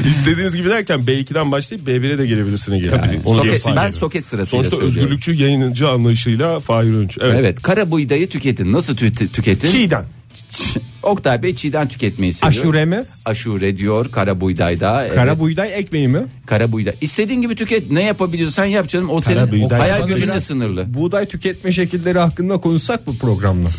Speaker 5: İstediğiniz gibi derken B2'den başlayıp B1'e de gelebilirsiniz. Yani. Onu
Speaker 4: Soket-
Speaker 5: yapayım.
Speaker 4: ben soket sırasıyla
Speaker 5: Sonuçta
Speaker 4: söylüyorum.
Speaker 5: özgürlükçü yayıncı anlayışıyla Fahir Önç. Evet.
Speaker 4: Evet kara buğdayı tüketin. Nasıl tü- tüketin?
Speaker 5: Çiğden.
Speaker 4: Ç- Oktay Bey çiğden tüketmeyi seviyor.
Speaker 3: Aşure mi?
Speaker 4: Aşure diyor kara buğdayda. Evet,
Speaker 3: Kara buğday ekmeği mi?
Speaker 4: kara buğday. İstediğin gibi tüket. Ne yapabiliyorsan yap canım. O senin o
Speaker 5: buğday.
Speaker 4: hayal
Speaker 3: Bana
Speaker 4: gücünle
Speaker 3: biraz
Speaker 4: sınırlı.
Speaker 3: Buğday tüketme şekilleri hakkında konuşsak bu programla.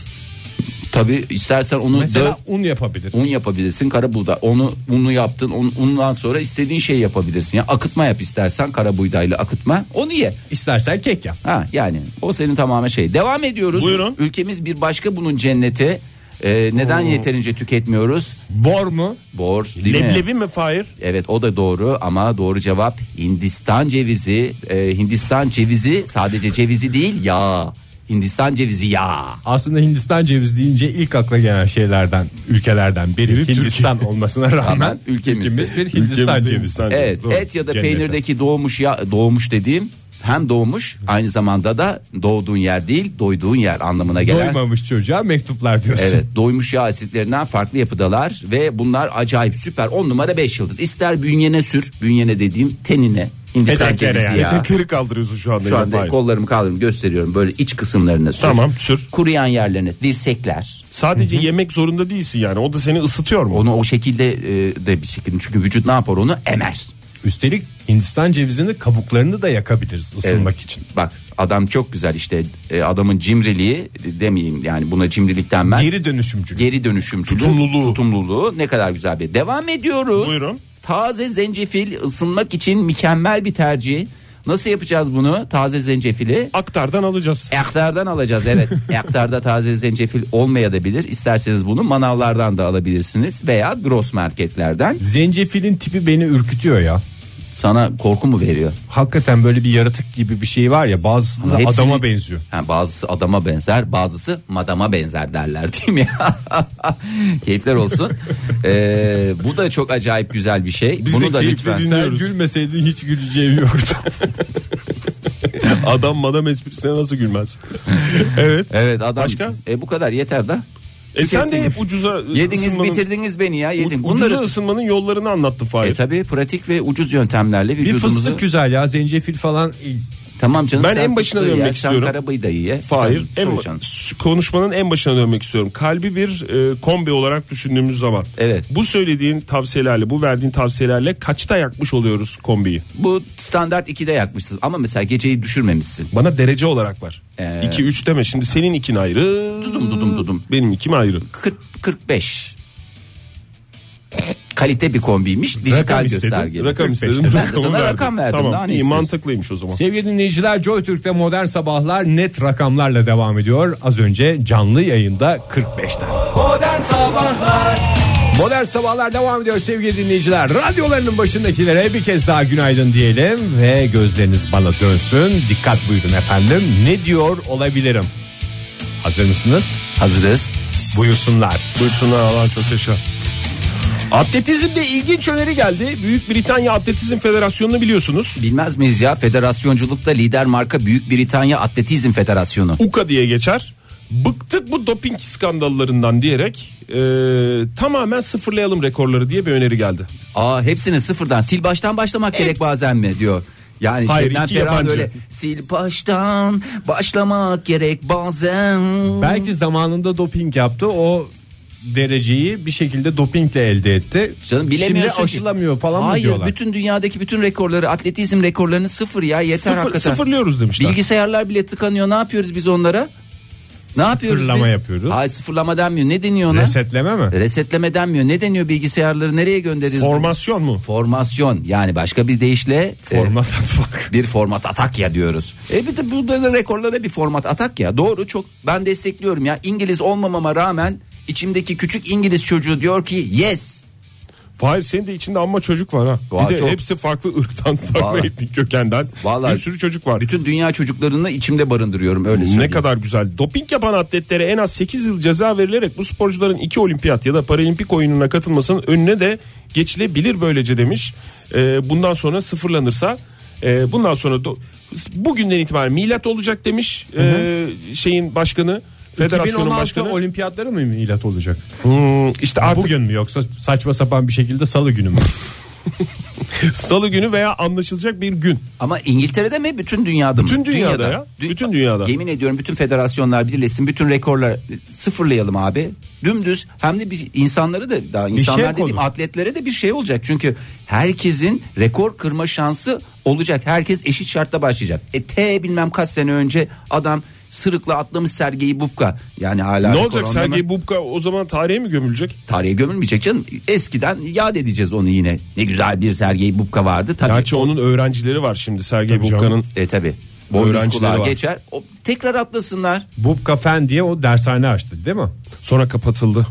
Speaker 4: Tabii istersen onu dö-
Speaker 3: Mesela un yapabiliriz.
Speaker 4: Un yapabilirsin kara buğday. Onu unu yaptın. un- undan sonra istediğin şeyi yapabilirsin. Ya akıtma yap istersen kara buğdaylı akıtma. Onu ye.
Speaker 3: İstersen kek yap.
Speaker 4: Ha yani o senin tamamen şey. Devam ediyoruz.
Speaker 5: Buyurun.
Speaker 4: Ülkemiz bir başka bunun cenneti. Ee, neden yeterince tüketmiyoruz?
Speaker 3: Bor mu?
Speaker 4: Borç değil mi?
Speaker 5: Leblebi mi Fahir?
Speaker 4: Evet o da doğru ama doğru cevap Hindistan cevizi. Ee, Hindistan cevizi sadece cevizi değil ya. Hindistan cevizi ya.
Speaker 3: Aslında Hindistan cevizi deyince ilk akla gelen şeylerden, ülkelerden biri Hindistan olmasına rağmen
Speaker 4: Rağmen ülkemiz.
Speaker 3: ülkemiz bir Hindistan
Speaker 5: Ülkemizde
Speaker 3: cevizi.
Speaker 5: Hindistan
Speaker 4: Evet
Speaker 5: Doğru.
Speaker 4: et ya da
Speaker 3: Cennete.
Speaker 4: peynirdeki doğmuş ya doğmuş dediğim hem doğmuş aynı zamanda da doğduğun yer değil doyduğun yer anlamına gelen.
Speaker 3: Doymamış çocuğa mektuplar diyorsun.
Speaker 4: Evet doymuş yağ asitlerinden farklı yapıdalar ve bunlar acayip süper 10 numara 5 yıldız. İster bünyene sür bünyene dediğim tenine Hindistan
Speaker 3: Peteklere
Speaker 4: cevizi
Speaker 3: yani.
Speaker 4: yağı.
Speaker 5: Petekleri kaldırıyorsun şu anda.
Speaker 4: Şu
Speaker 5: yine
Speaker 4: anda
Speaker 5: Fahir.
Speaker 4: kollarımı kaldırım gösteriyorum böyle iç kısımlarını sür.
Speaker 5: Tamam, sür.
Speaker 4: Kuruyan yerlerine dirsekler.
Speaker 5: Sadece yemek zorunda değilsin yani. O da seni ısıtıyor mu?
Speaker 4: Onu o şekilde e, de bir şekilde çünkü vücut ne yapar onu emer.
Speaker 3: Üstelik Hindistan cevizinin kabuklarını da yakabiliriz ısınmak
Speaker 4: Evet.
Speaker 3: için.
Speaker 4: Bak adam çok güzel işte e, adamın cimriliği e, demeyeyim yani buna cimrilik denmez. Geri,
Speaker 3: Geri dönüşümcülük.
Speaker 4: dönüşümcülüğü.
Speaker 5: Tutumluluğu.
Speaker 4: tutumluluğu ne kadar güzel bir. Devam ediyoruz.
Speaker 5: Buyurun.
Speaker 4: Taze zencefil ısınmak için mükemmel bir tercih. Nasıl yapacağız bunu? Taze zencefili
Speaker 5: Aktardan alacağız.
Speaker 4: Ektardan alacağız evet. Ektarda taze zencefil olmayabilir. İsterseniz bunu manavlardan da alabilirsiniz veya gross marketlerden.
Speaker 3: Zencefilin tipi beni ürkütüyor ya.
Speaker 4: Sana korku mu veriyor?
Speaker 3: Hakikaten böyle bir yaratık gibi bir şey var ya bazısında
Speaker 4: Ama hepsini-
Speaker 3: adama benziyor.
Speaker 4: Ha, bazısı adama benzer bazısı madama benzer derler değil mi? Keyifler olsun. Ee, bu da çok acayip güzel bir şey.
Speaker 5: Biz
Speaker 4: Bunu
Speaker 5: de
Speaker 4: da
Speaker 5: keyifle
Speaker 4: lütfen.
Speaker 5: dinliyoruz.
Speaker 3: Sen gülmeseydin hiç güleceğim yoktu.
Speaker 5: Adam madam esprisine nasıl gülmez? evet.
Speaker 4: Evet adam.
Speaker 5: Başka?
Speaker 4: E, bu kadar yeter da.
Speaker 5: E sen de hep ucuza
Speaker 4: Yediniz
Speaker 5: ısınmanın,
Speaker 4: bitirdiniz beni ya yedim.
Speaker 5: ucuza
Speaker 4: Bunları
Speaker 5: ısınmanın yollarını anlattı Fahir.
Speaker 4: e tabii pratik ve ucuz yöntemlerle
Speaker 3: bir
Speaker 4: vücudumuzu
Speaker 3: fıstık güzel ya zencefil falan.
Speaker 4: Tamam canım
Speaker 5: Ben
Speaker 4: sen
Speaker 5: en başına
Speaker 4: fıstığı
Speaker 5: dönmek
Speaker 4: ye,
Speaker 5: istiyorum.
Speaker 4: Sen karabayı da ye.
Speaker 5: Fahir
Speaker 4: Efendim,
Speaker 5: en,
Speaker 4: solucan.
Speaker 5: konuşmanın en başına dönmek istiyorum. Kalbi bir e, kombi olarak düşündüğümüz zaman.
Speaker 4: Evet.
Speaker 5: Bu söylediğin tavsiyelerle, bu verdiğin tavsiyelerle kaçta yakmış oluyoruz kombiyi?
Speaker 4: Bu standart 2'de yakmışsın ama mesela geceyi düşürmemişsin.
Speaker 5: Bana derece olarak var. 2 3 deme. Şimdi senin ikin ayrı.
Speaker 4: Dudum dudum dudum.
Speaker 5: Benim ikim ayrı.
Speaker 4: 40 45. Kalite bir kombiymiş. Dijital gösterge.
Speaker 5: Rakam istedim.
Speaker 4: Ben de
Speaker 5: rakamı
Speaker 4: sana rakam verdim.
Speaker 5: Tamam.
Speaker 4: Daha ne
Speaker 5: iyi,
Speaker 4: istiyorsun?
Speaker 5: mantıklıymış o zaman.
Speaker 3: Sevgili dinleyiciler Joy Türk'te modern sabahlar net rakamlarla devam ediyor. Az önce canlı yayında 45'ten.
Speaker 2: Modern Sabahlar
Speaker 3: Modern Sabahlar devam ediyor sevgili dinleyiciler. Radyolarının başındakilere bir kez daha günaydın diyelim ve gözleriniz bana dönsün. Dikkat buyurun efendim. Ne diyor olabilirim? Hazır mısınız?
Speaker 4: Hazırız.
Speaker 3: Buyursunlar.
Speaker 5: Buyursunlar Allah çok yaşa. Atletizmde ilginç öneri geldi. Büyük Britanya Atletizm Federasyonu'nu biliyorsunuz.
Speaker 4: Bilmez miyiz ya federasyonculukta lider marka Büyük Britanya Atletizm Federasyonu.
Speaker 5: UKA diye geçer. Bıktık bu doping skandallarından diyerek e, tamamen sıfırlayalım rekorları diye bir öneri geldi.
Speaker 4: Aa hepsini sıfırdan sil baştan başlamak gerek bazen mi diyor. Yani
Speaker 5: Hayır,
Speaker 4: Şebnem
Speaker 5: iki
Speaker 4: Ferah
Speaker 5: yabancı.
Speaker 4: böyle sil baştan başlamak gerek bazen.
Speaker 3: Belki zamanında doping yaptı. O dereceyi bir şekilde dopingle elde etti.
Speaker 4: Canım
Speaker 3: Şimdi
Speaker 4: bilemiyorsun ki.
Speaker 3: aşılamıyor falan
Speaker 4: Hayır,
Speaker 3: mı diyorlar?
Speaker 4: bütün dünyadaki bütün rekorları atletizm rekorlarını sıfır ya yeter
Speaker 5: Sıfır-
Speaker 4: hakikaten.
Speaker 5: sıfırlıyoruz demişler.
Speaker 4: Bilgisayarlar bile tıkanıyor ne yapıyoruz biz onlara? Ne yapıyoruz
Speaker 3: Sıfırlama
Speaker 4: biz?
Speaker 3: yapıyoruz.
Speaker 4: Hayır sıfırlama denmiyor ne deniyor ona?
Speaker 3: Resetleme mi?
Speaker 5: Ee,
Speaker 4: Resetleme denmiyor ne deniyor bilgisayarları nereye gönderiyoruz?
Speaker 5: Formasyon mu?
Speaker 4: Formasyon yani başka bir deyişle e,
Speaker 3: Format atmak.
Speaker 4: bir format atak ya diyoruz. E bir de burada da rekorlara bir format atak ya. Doğru çok ben destekliyorum ya. İngiliz olmamama rağmen içimdeki küçük İngiliz çocuğu diyor ki yes.
Speaker 5: Fahir senin de içinde amma çocuk var ha.
Speaker 4: Vay,
Speaker 5: bir de
Speaker 4: çok.
Speaker 5: hepsi farklı ırktan, farklı
Speaker 4: Vallahi.
Speaker 5: etnik kökenden.
Speaker 4: Vallahi.
Speaker 5: Bir sürü çocuk var.
Speaker 4: Bütün dünya çocuklarını içimde barındırıyorum öyle söyleyeyim.
Speaker 5: Ne kadar güzel. Doping yapan atletlere en az 8 yıl ceza verilerek bu sporcuların iki olimpiyat ya da paralimpik oyununa katılmasının önüne de geçilebilir böylece demiş. Ee, bundan sonra sıfırlanırsa e, bundan sonra do- bugünden itibaren milat olacak demiş Ee, şeyin başkanı. Federasyonun
Speaker 3: 2016
Speaker 5: başkanı.
Speaker 3: olimpiyatları mı milat olacak?
Speaker 5: Hmm, işte artık
Speaker 3: Bugün mü yoksa saçma sapan bir şekilde salı günü mü?
Speaker 5: salı günü veya anlaşılacak bir gün.
Speaker 4: Ama İngiltere'de mi bütün dünyada mı?
Speaker 5: Bütün dünyada ya. Bütün dünyada.
Speaker 4: Yemin ediyorum bütün federasyonlar birleşsin bütün rekorlar e, sıfırlayalım abi. Dümdüz hem de bir insanları da daha insanlar
Speaker 3: şey
Speaker 4: dediğim
Speaker 3: konu.
Speaker 4: atletlere de bir şey olacak. Çünkü herkesin rekor kırma şansı olacak. Herkes eşit şartta başlayacak. E te bilmem kaç sene önce adam sırıkla atlamış Sergey Bubka. Yani hala
Speaker 5: ne
Speaker 4: rekor
Speaker 5: olacak
Speaker 4: onunla mı?
Speaker 5: Sergey Bubka o zaman tarihe mi gömülecek?
Speaker 4: Tarihe gömülmeyecek canım. Eskiden yad edeceğiz onu yine. Ne güzel bir Sergey Bubka vardı. Tabii
Speaker 5: Gerçi onun öğrencileri var şimdi Sergey
Speaker 3: Tabii canım.
Speaker 5: Bubka'nın.
Speaker 4: E tabi.
Speaker 5: Öğrencileri
Speaker 4: Boynuz kulağa
Speaker 5: var.
Speaker 4: geçer. O, tekrar atlasınlar.
Speaker 3: Bubka Fen diye o dershane açtı değil mi?
Speaker 5: Sonra kapatıldı.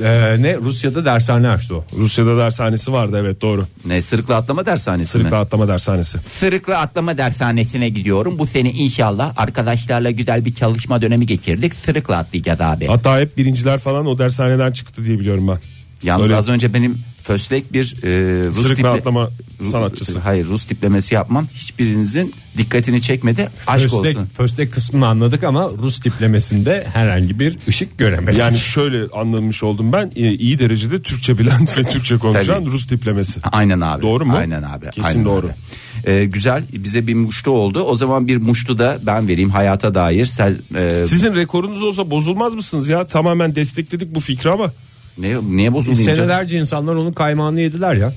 Speaker 3: Ee, ne Rusya'da dershane açtı o.
Speaker 5: Rusya'da dershanesi vardı evet doğru.
Speaker 4: Ne sırıkla atlama dershanesi mi?
Speaker 5: Sırıkla atlama dershanesi.
Speaker 4: Sırıkla atlama dershanesine gidiyorum. Bu sene inşallah arkadaşlarla güzel bir çalışma dönemi geçirdik. Sırıkla atlayacağız abi.
Speaker 5: Hatta hep birinciler falan o dershaneden çıktı diye biliyorum ben.
Speaker 4: Yalnız
Speaker 5: Öyle-
Speaker 4: az önce benim föslek bir e, Rus
Speaker 5: Sırıkla
Speaker 4: tiple-
Speaker 5: atlama
Speaker 4: Ru-
Speaker 5: sanatçısı.
Speaker 4: Hayır Rus tiplemesi yapmam. Hiçbirinizin dikkatini çekmedi. Aşk
Speaker 3: Föstek,
Speaker 4: olsun.
Speaker 3: föstek kısmını anladık ama Rus tiplemesinde herhangi bir ışık göremedik.
Speaker 5: Yani şöyle anlamış oldum ben e, iyi derecede Türkçe bilen ve Türkçe konuşan
Speaker 4: Tabii.
Speaker 5: Rus diplemesi.
Speaker 4: Aynen abi.
Speaker 5: Doğru mu?
Speaker 4: Aynen abi.
Speaker 5: Kesin
Speaker 4: aynen
Speaker 5: doğru.
Speaker 4: abi. E, güzel bize bir muştu oldu. O zaman bir muştu da ben vereyim hayata dair. Sen, e,
Speaker 5: Sizin rekorunuz olsa bozulmaz mısınız ya? Tamamen destekledik bu fikri ama
Speaker 4: ne, niye bozulayım canım?
Speaker 3: Senelerce insanlar onun kaymağını yediler ya.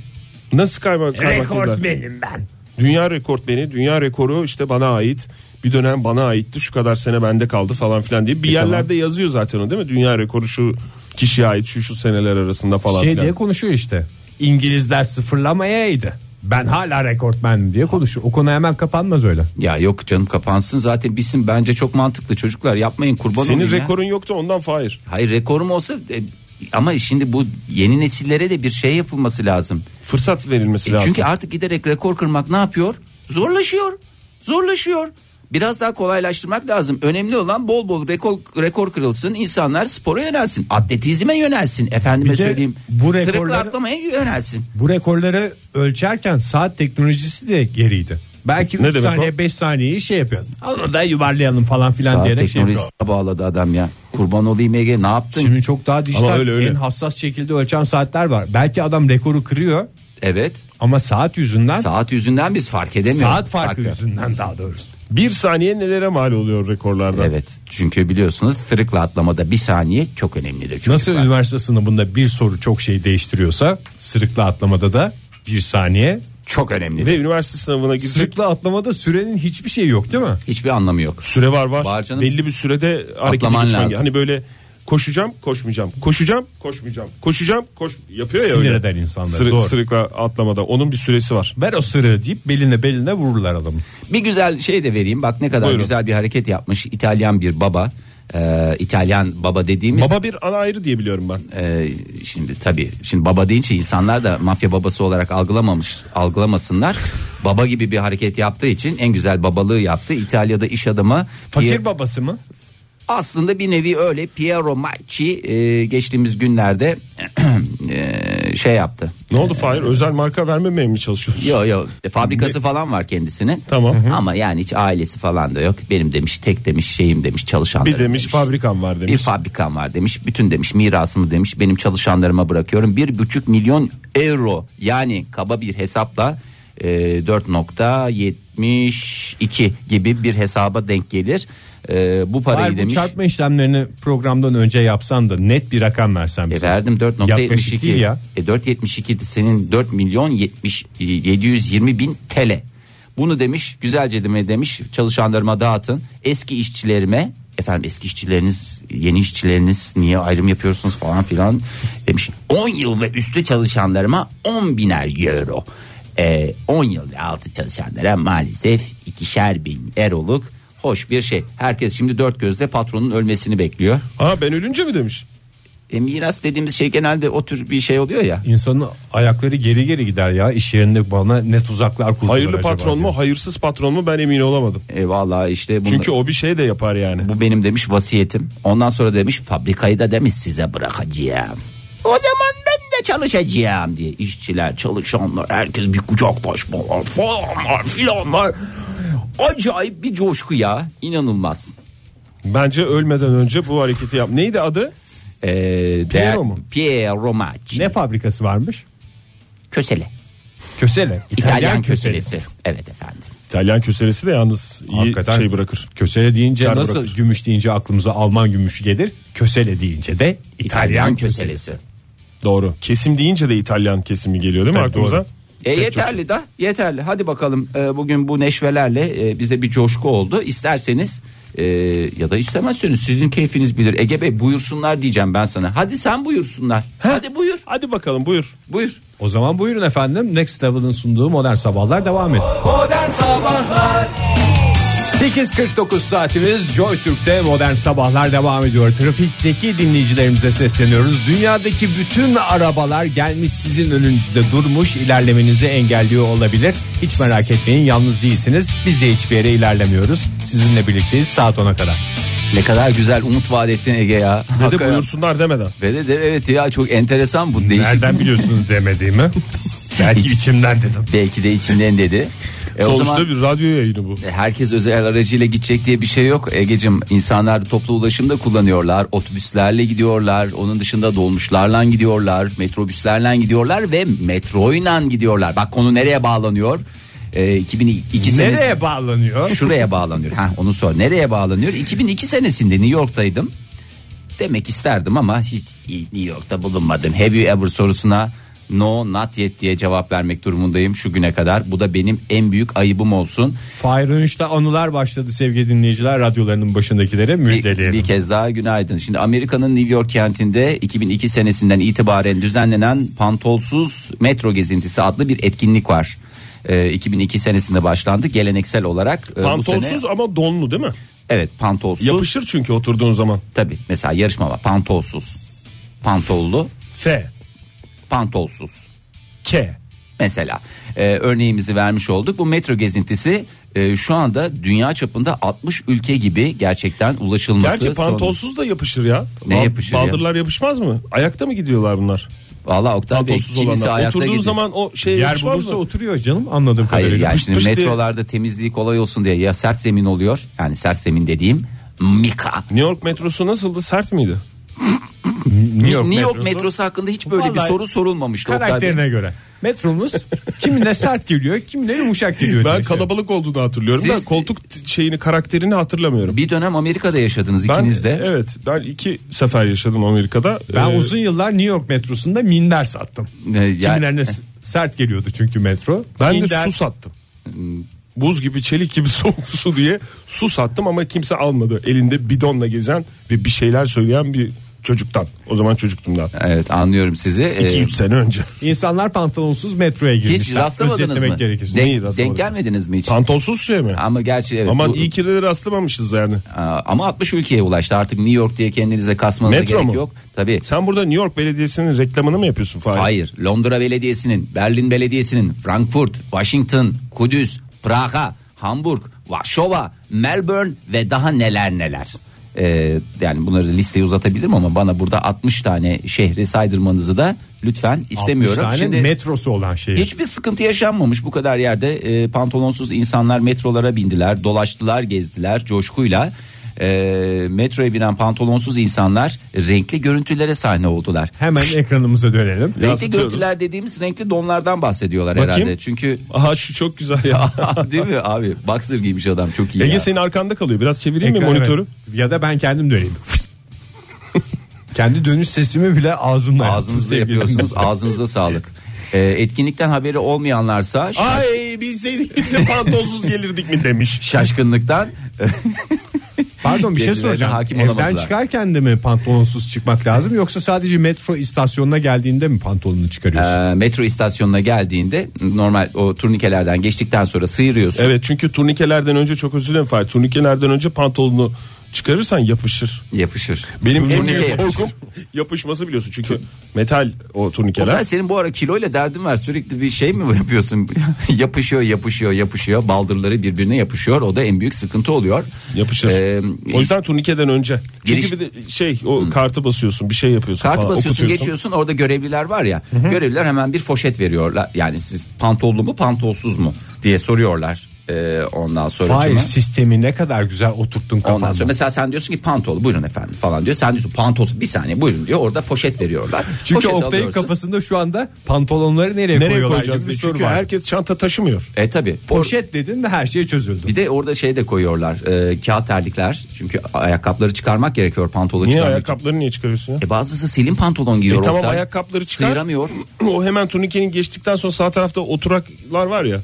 Speaker 5: nasıl kaymak kaymak dediler?
Speaker 3: benim ben.
Speaker 5: Dünya rekortmeni, dünya rekoru işte bana ait. Bir dönem bana aitti. Şu kadar sene bende kaldı falan filan diye.
Speaker 4: E,
Speaker 5: Bir yerlerde yazıyor zaten o değil mi? Dünya rekoru şu kişiye ait şu şu seneler arasında falan
Speaker 3: Şey
Speaker 5: filan.
Speaker 3: diye konuşuyor işte. İngilizler sıfırlamayaydı. Ben hala rekortmenim diye konuşuyor. O konu hemen kapanmaz öyle.
Speaker 4: Ya yok canım kapansın zaten bizim bence çok mantıklı çocuklar yapmayın kurban
Speaker 5: Senin
Speaker 4: olayım ya.
Speaker 5: rekorun yoktu ondan Fahir.
Speaker 4: Hayır rekorum olsa e, ama şimdi bu yeni nesillere de bir şey yapılması lazım.
Speaker 5: Fırsat verilmesi
Speaker 4: E,
Speaker 5: lazım.
Speaker 4: çünkü artık giderek rekor kırmak ne yapıyor? Zorlaşıyor. Zorlaşıyor. Biraz daha kolaylaştırmak lazım. Önemli olan bol bol rekor, rekor kırılsın. insanlar spora yönelsin. Atletizme yönelsin. Efendime
Speaker 3: Bir de
Speaker 4: söyleyeyim.
Speaker 3: bu
Speaker 4: Sırıkla
Speaker 3: rekorları-
Speaker 4: atlamaya yönelsin.
Speaker 3: Bu rekorları ölçerken saat teknolojisi de geriydi. Belki
Speaker 5: Ne
Speaker 3: 3
Speaker 5: demek o?
Speaker 3: saniye 5 saniyeyi şey yapıyor. Onu da yuvarlayalım falan filan
Speaker 4: Saat
Speaker 3: diyerek şey
Speaker 4: teknolojisine
Speaker 3: yapıyor.
Speaker 4: bağladı adam ya. Kurban olayım Ege ne yaptın?
Speaker 3: Şimdi çok daha dijital
Speaker 5: öyle, öyle.
Speaker 3: en hassas şekilde ölçen saatler var. Belki adam rekoru kırıyor
Speaker 4: Evet.
Speaker 3: ama saat yüzünden saat,
Speaker 4: Saat yüzünden biz fark edemiyoruz.
Speaker 3: farkı
Speaker 4: Farkı.
Speaker 3: yüzünden daha doğrusu.
Speaker 5: Bir saniye nelere mal oluyor rekorlarda?
Speaker 4: Evet çünkü biliyorsunuz tırıkla atlamada bir saniye çok önemlidir. Çünkü
Speaker 3: Nasıl üniversite sınavında bir soru çok şey değiştiriyorsa sırıkla atlamada da bir saniye.
Speaker 4: Çok önemlidir.
Speaker 5: Ve üniversite sınavına girecek
Speaker 3: Sırıkla atlamada sürenin hiçbir şeyi yok değil mi?
Speaker 4: Hiçbir anlamı yok.
Speaker 5: süre var var.
Speaker 4: Var canım.
Speaker 5: Belli bir sürede harekete
Speaker 4: Atlaman
Speaker 5: geçmen
Speaker 4: lazım.
Speaker 5: lazım. Hani böyle koşacağım, koşmayacağım. Koşacağım, koşmayacağım. Koşacağım, koş yapıyor ya
Speaker 3: Sinir
Speaker 5: öyle.
Speaker 3: eder insanları,
Speaker 5: Sırı-
Speaker 3: doğru.
Speaker 5: Sırıkla atlamada onun bir süresi var.
Speaker 3: Ver o sırığı deyip beline beline vururlar adamı.
Speaker 4: Bir güzel şey de vereyim. Bak ne kadar
Speaker 5: Buyurun.
Speaker 4: güzel bir hareket yapmış İtalyan bir baba. Ee, İtalyan baba dediğimiz
Speaker 5: Baba bir ana ayrı diye biliyorum ben.
Speaker 4: Ee, şimdi tabii şimdi baba deyince insanlar da mafya babası olarak algılamamış algılamasınlar. baba gibi bir hareket yaptığı için en güzel babalığı yaptı. İtalya'da iş adamı
Speaker 3: Fakir
Speaker 4: Pier-
Speaker 3: babası mı?
Speaker 4: aslında bir nevi öyle Piero Macchi e, geçtiğimiz günlerde e, şey yaptı.
Speaker 5: Ne oldu Fahir? Özel marka vermemeye mi çalışıyorsun?
Speaker 4: Yo yo E, fabrikası falan var kendisinin.
Speaker 5: Tamam. Hı hı.
Speaker 4: Ama yani hiç ailesi falan da yok. Benim demiş tek demiş şeyim demiş çalışanlarım.
Speaker 5: Bir demiş fabrikam var
Speaker 4: Bir
Speaker 5: demiş.
Speaker 4: fabrikam var demiş. Bütün demiş mirasımı demiş benim çalışanlarıma bırakıyorum. Bir buçuk milyon euro yani kaba bir hesapla e, 4.72 gibi bir hesaba denk gelir. E, bu parayı
Speaker 3: Hayır, bu
Speaker 4: demiş.
Speaker 3: çarpma işlemlerini programdan önce yapsan da net bir rakam versen
Speaker 4: E
Speaker 3: bize.
Speaker 4: verdim
Speaker 3: Yaklaşık değil
Speaker 4: 4.72.
Speaker 3: ya.
Speaker 4: E 4.72 di senin 4 milyon 70 e, 720 bin TL. Bunu demiş güzelce deme demiş çalışanlarıma dağıtın. Eski işçilerime efendim eski işçileriniz yeni işçileriniz niye ayrım yapıyorsunuz falan filan demiş. 10 yıl ve üstü çalışanlarıma 10 biner euro. E, 10 yıl ve altı çalışanlara maalesef ikişer bin euroluk hoş bir şey. Herkes şimdi dört gözle patronun ölmesini bekliyor.
Speaker 5: Ha ben ölünce mi demiş?
Speaker 4: E, miras dediğimiz şey genelde o tür bir şey oluyor ya.
Speaker 3: İnsanın ayakları geri geri gider ya iş yerinde bana ne tuzaklar kurdular
Speaker 5: Hayırlı
Speaker 3: acaba
Speaker 5: patron
Speaker 3: diye.
Speaker 5: mu, hayırsız patron mu ben emin olamadım.
Speaker 4: E, vallahi işte bunu,
Speaker 5: Çünkü o bir şey de yapar yani.
Speaker 4: bu benim demiş vasiyetim. Ondan sonra demiş fabrikayı da demiş size bırakacağım. O zaman ben de çalışacağım diye işçiler, çalışanlar, herkes bir kucaklaşmalar falanlar filanlar. Acayip bir coşku ya. inanılmaz.
Speaker 5: Bence ölmeden önce bu hareketi yap. Neydi adı?
Speaker 4: E,
Speaker 5: Piero mu?
Speaker 4: Piero Macchi.
Speaker 3: Ne fabrikası varmış?
Speaker 4: Kösele.
Speaker 3: Kösele.
Speaker 4: İtalyan, köselesi. Evet efendim.
Speaker 5: İtalyan köselesi de yalnız iyi
Speaker 3: Hakikaten
Speaker 5: şey bırakır.
Speaker 3: Kösele deyince
Speaker 5: Kar
Speaker 3: nasıl
Speaker 5: bırakır.
Speaker 3: gümüş deyince aklımıza Alman gümüşü gelir. Kösele deyince de İtalyan, köselesi.
Speaker 5: Doğru. Kesim deyince de İtalyan kesimi geliyor değil mi
Speaker 3: Evet,
Speaker 5: aklımıza?
Speaker 3: doğru.
Speaker 4: E yeterli da yeterli. Hadi bakalım e, bugün bu neşvelerle e, bize bir coşku oldu. İsterseniz e, ya da istemezseniz sizin keyfiniz bilir. Ege Bey buyursunlar diyeceğim ben sana. Hadi sen buyursunlar. Hadi buyur.
Speaker 5: Hadi bakalım buyur.
Speaker 4: Buyur.
Speaker 3: O zaman buyurun efendim Next Level'ın sunduğu Modern Sabahlar devam etsin.
Speaker 2: Modern Sabahlar
Speaker 3: 8.49 saatimiz Joy Türk'te modern sabahlar devam ediyor. Trafikteki dinleyicilerimize sesleniyoruz. Dünyadaki bütün arabalar gelmiş sizin önünüzde durmuş ilerlemenizi engelliyor olabilir. Hiç merak etmeyin yalnız değilsiniz. Biz de hiçbir yere ilerlemiyoruz. Sizinle birlikteyiz saat 10'a kadar.
Speaker 4: Ne kadar güzel umut vaat ettin Ege ya.
Speaker 5: Ve de
Speaker 4: Hakikaten.
Speaker 5: buyursunlar demeden.
Speaker 4: Ve de, de evet ya çok enteresan bu değişik.
Speaker 3: biliyorsunuz demediğimi? Belki
Speaker 4: Hiç.
Speaker 3: içimden dedim.
Speaker 4: Belki de içinden dedi. E, o
Speaker 5: Sonuçta
Speaker 4: zaman
Speaker 5: bir radyo yayını bu.
Speaker 4: E, herkes özel aracıyla gidecek diye bir şey yok. Egecim insanlar toplu ulaşımda kullanıyorlar. Otobüslerle gidiyorlar. Onun dışında dolmuşlarla gidiyorlar. Metrobüslerle gidiyorlar ve metroyla gidiyorlar. Bak konu nereye bağlanıyor? Ee, 2002 sene-
Speaker 3: Nereye bağlanıyor?
Speaker 4: Şuraya bağlanıyor. Ha onu sor. Nereye bağlanıyor? 2002 senesinde New York'taydım. Demek isterdim ama hiç New York'ta bulunmadım. Have you ever sorusuna no not yet diye cevap vermek durumundayım şu güne kadar. Bu da benim en büyük ayıbım olsun.
Speaker 3: Fahir Önüş'te anılar başladı sevgili dinleyiciler radyolarının başındakilere
Speaker 4: Bir,
Speaker 3: müjdeleyelim.
Speaker 4: bir kez daha günaydın. Şimdi Amerika'nın New York kentinde 2002 senesinden itibaren düzenlenen pantolsuz metro gezintisi adlı bir etkinlik var. Ee, 2002 senesinde başlandı. Geleneksel olarak e, bu
Speaker 5: Pantolsuz
Speaker 4: sene
Speaker 5: ama donlu değil mi?
Speaker 4: evet pantolsuz.
Speaker 5: Yapışır çünkü oturduğun zaman.
Speaker 4: Tabii mesela yarışma var. Pantolsuz. Pantollu,
Speaker 5: F,
Speaker 4: pantolsuz.
Speaker 5: K.
Speaker 4: Mesela e, örneğimizi vermiş olduk. Bu metro gezintisi e, şu anda dünya çapında 60 ülke gibi gerçekten ulaşılması.
Speaker 5: Gerçi
Speaker 4: pantolsuz
Speaker 5: pantolsuz da yapışır ya.
Speaker 4: Ne
Speaker 5: Ba-
Speaker 4: yapışır ya?
Speaker 5: Baldırlar yapışmaz mı? Ayakta mı gidiyorlar bunlar?
Speaker 4: Valla Oktay Bey
Speaker 5: Pantolsuz
Speaker 4: kimisi
Speaker 5: olanlar.
Speaker 4: ayakta
Speaker 5: Oturduğun
Speaker 4: gidiyor.
Speaker 5: zaman o şey
Speaker 3: Yer
Speaker 5: yapışmaz
Speaker 3: bulursa
Speaker 5: mı?
Speaker 3: oturuyor canım anladığım
Speaker 4: Hayır
Speaker 3: kadarıyla.
Speaker 4: yani
Speaker 5: Pış
Speaker 4: şimdi
Speaker 5: pış diye.
Speaker 4: metrolarda temizliği kolay olsun diye ya sert zemin oluyor. Yani sert zemin dediğim mika.
Speaker 5: New York metrosu nasıldı? Sert miydi?
Speaker 3: New York,
Speaker 4: New York
Speaker 3: metrosu.
Speaker 4: metrosu, hakkında hiç böyle bir
Speaker 3: Vallahi
Speaker 4: soru sorulmamıştı Oktay Bey.
Speaker 3: Karakterine göre. Metromuz kimine sert geliyor, kimine yumuşak geliyor.
Speaker 5: Ben
Speaker 3: diye şey.
Speaker 5: kalabalık olduğunu hatırlıyorum da
Speaker 4: Siz-
Speaker 5: koltuk t- şeyini karakterini hatırlamıyorum.
Speaker 4: Bir dönem Amerika'da yaşadınız
Speaker 5: Ben
Speaker 4: ikiniz de.
Speaker 5: evet ben iki sefer yaşadım Amerika'da.
Speaker 3: Ben
Speaker 5: Ee,
Speaker 3: uzun yıllar New York metrosunda minder sattım.
Speaker 4: Ee, ya-
Speaker 3: Kimilerine s- sert geliyordu çünkü metro.
Speaker 5: ben
Speaker 3: Minder-
Speaker 5: de su sattım. Buz gibi çelik gibi soğuk su diye su sattım ama kimse almadı. Elinde bidonla gezen ve bir şeyler söyleyen bir çocuktan. O zaman çocuktum daha.
Speaker 4: Evet anlıyorum sizi. Ee,
Speaker 5: 2-3 sene önce.
Speaker 3: İnsanlar pantalonsuz metroya girmişler.
Speaker 4: hiç rastlamadınız
Speaker 3: Özetlemek
Speaker 4: mı?
Speaker 3: gerekirse.
Speaker 4: Denk-
Speaker 5: Neyi
Speaker 4: denk
Speaker 5: rastlamadık?
Speaker 4: gelmediniz mi hiç?
Speaker 5: Pantolsuz şey mi?
Speaker 4: Ama gerçi evet.
Speaker 5: Aman
Speaker 4: bu-
Speaker 5: iyi ki de rastlamamışız yani.
Speaker 4: Aa, ama 60 ülkeye ulaştı. Artık New York diye kendinize kasmanıza
Speaker 5: Metro
Speaker 4: gerek
Speaker 5: mu?
Speaker 4: yok. Tabii.
Speaker 5: Sen burada New York Belediyesi'nin reklamını mı yapıyorsun Fahir?
Speaker 4: Hayır. Londra Belediyesi'nin, Berlin Belediyesi'nin, Frankfurt, Washington, Kudüs, Praga, Hamburg, Varşova, Melbourne ve daha neler neler. Ee, yani bunları da listeye uzatabilirim ama bana burada 60 tane şehri saydırmanızı da lütfen istemiyorum.
Speaker 3: Üç tane
Speaker 4: Şimdi-
Speaker 3: metrosu olan şehir.
Speaker 4: Hiçbir sıkıntı yaşanmamış bu kadar yerde e, pantolonsuz insanlar metrolara bindiler, dolaştılar, gezdiler coşkuyla. E, metroya binen pantolonsuz insanlar renkli görüntülere sahne oldular.
Speaker 3: Hemen ekranımıza dönelim.
Speaker 4: Renkli
Speaker 5: Yansıtıyoruz.
Speaker 4: görüntüler dediğimiz renkli donlardan bahsediyorlar
Speaker 5: Bakayım.
Speaker 4: herhalde. Çünkü
Speaker 5: Aha şu çok güzel ya.
Speaker 4: değil mi abi? Boxer giymiş adam çok iyi.
Speaker 5: Ege
Speaker 4: ya.
Speaker 5: senin arkanda kalıyor. Biraz çevireyim mi
Speaker 3: Ekran,
Speaker 5: monitörü?
Speaker 3: evet. Ya da ben kendim döneyim. Kendi dönüş sesimi bile ağzımla yaptım
Speaker 4: Ağzınızda
Speaker 3: sevgili
Speaker 4: yapıyorsunuz.
Speaker 3: dinleyiciler.
Speaker 4: Ağzınıza sağlık. E, etkinlikten haberi olmayanlarsa şa-
Speaker 5: Ay bilseydik biz de pantolsuz gelirdik mi demiş.
Speaker 4: şaşkınlıktan
Speaker 3: Pardon bir şey
Speaker 4: Kendilerine
Speaker 3: soracağım.
Speaker 4: hakim
Speaker 3: Evden
Speaker 4: olamadılar.
Speaker 3: çıkarken de mi pantolonsuz çıkmak lazım yoksa sadece metro istasyonuna geldiğinde mi pantolonunu çıkarıyorsun?
Speaker 4: e, metro istasyonuna geldiğinde normal o turnikelerden geçtikten sonra sıyırıyorsun.
Speaker 5: Evet çünkü turnikelerden önce çok özür dilerim Fahir. Turnikelerden önce pantolonu çıkarırsan yapışır.
Speaker 4: Yapışır.
Speaker 5: Benim en
Speaker 4: Turnike
Speaker 5: büyük
Speaker 4: yapışır.
Speaker 5: korkum yapışması biliyorsun çünkü metal o
Speaker 4: Oktay,
Speaker 5: turnikeler.
Speaker 4: senin bu ara kiloyla derdin var sürekli bir şey mi yapıyorsun yapışıyor yapışıyor yapışıyor baldırları birbirine yapışıyor o da en büyük sıkıntı oluyor
Speaker 5: Yapışır.
Speaker 4: Ee,
Speaker 5: o yüzden turnikeden önce. Çünkü
Speaker 4: Giriş-
Speaker 5: bir de şey o kartı basıyorsun bir şey yapıyorsun
Speaker 4: Kart
Speaker 5: falan,
Speaker 4: basıyorsun
Speaker 5: okutuyorsun.
Speaker 4: geçiyorsun orada görevliler var ya görevliler hemen bir foşet veriyorlar yani siz pantollu mu pantolsuz mu diye soruyorlar Ee, ondan sonra
Speaker 3: Hayır sistemi ne kadar güzel oturttun
Speaker 4: Ondan sonra
Speaker 3: kafanda.
Speaker 4: mesela sen diyorsun ki pantolu buyurun efendim falan diyor. Sen diyorsun pantolsuz bir saniye buyurun diyor. Orada foşet veriyorlar.
Speaker 3: Çünkü
Speaker 4: Foşeti
Speaker 3: Oktay'ın
Speaker 4: alıyorsun.
Speaker 3: kafasında şu anda pantolonları nereye,
Speaker 5: Nereye
Speaker 3: koyuyorlar
Speaker 5: koyacağız
Speaker 3: gibi
Speaker 5: diye.
Speaker 3: bir soru
Speaker 5: Çünkü
Speaker 3: var.
Speaker 5: herkes çanta taşımıyor.
Speaker 4: E tabi.
Speaker 3: Poşet dedin de her şey çözüldü.
Speaker 4: Bir de orada şey de koyuyorlar e, kağıt terlikler çünkü ayakkabıları çıkarmak gerekiyor pantolonu
Speaker 5: Niye
Speaker 4: çıkarmak için.
Speaker 5: ayakkabılarını niye çıkarıyorsun ya?
Speaker 4: E bazısı silin pantolon giyiyor
Speaker 5: E tamam
Speaker 4: Oktay.
Speaker 5: ayakkabıları çıkar.
Speaker 4: Sıyıramıyor.
Speaker 5: o hemen turnikenin geçtikten sonra sağ tarafta oturaklar var ya.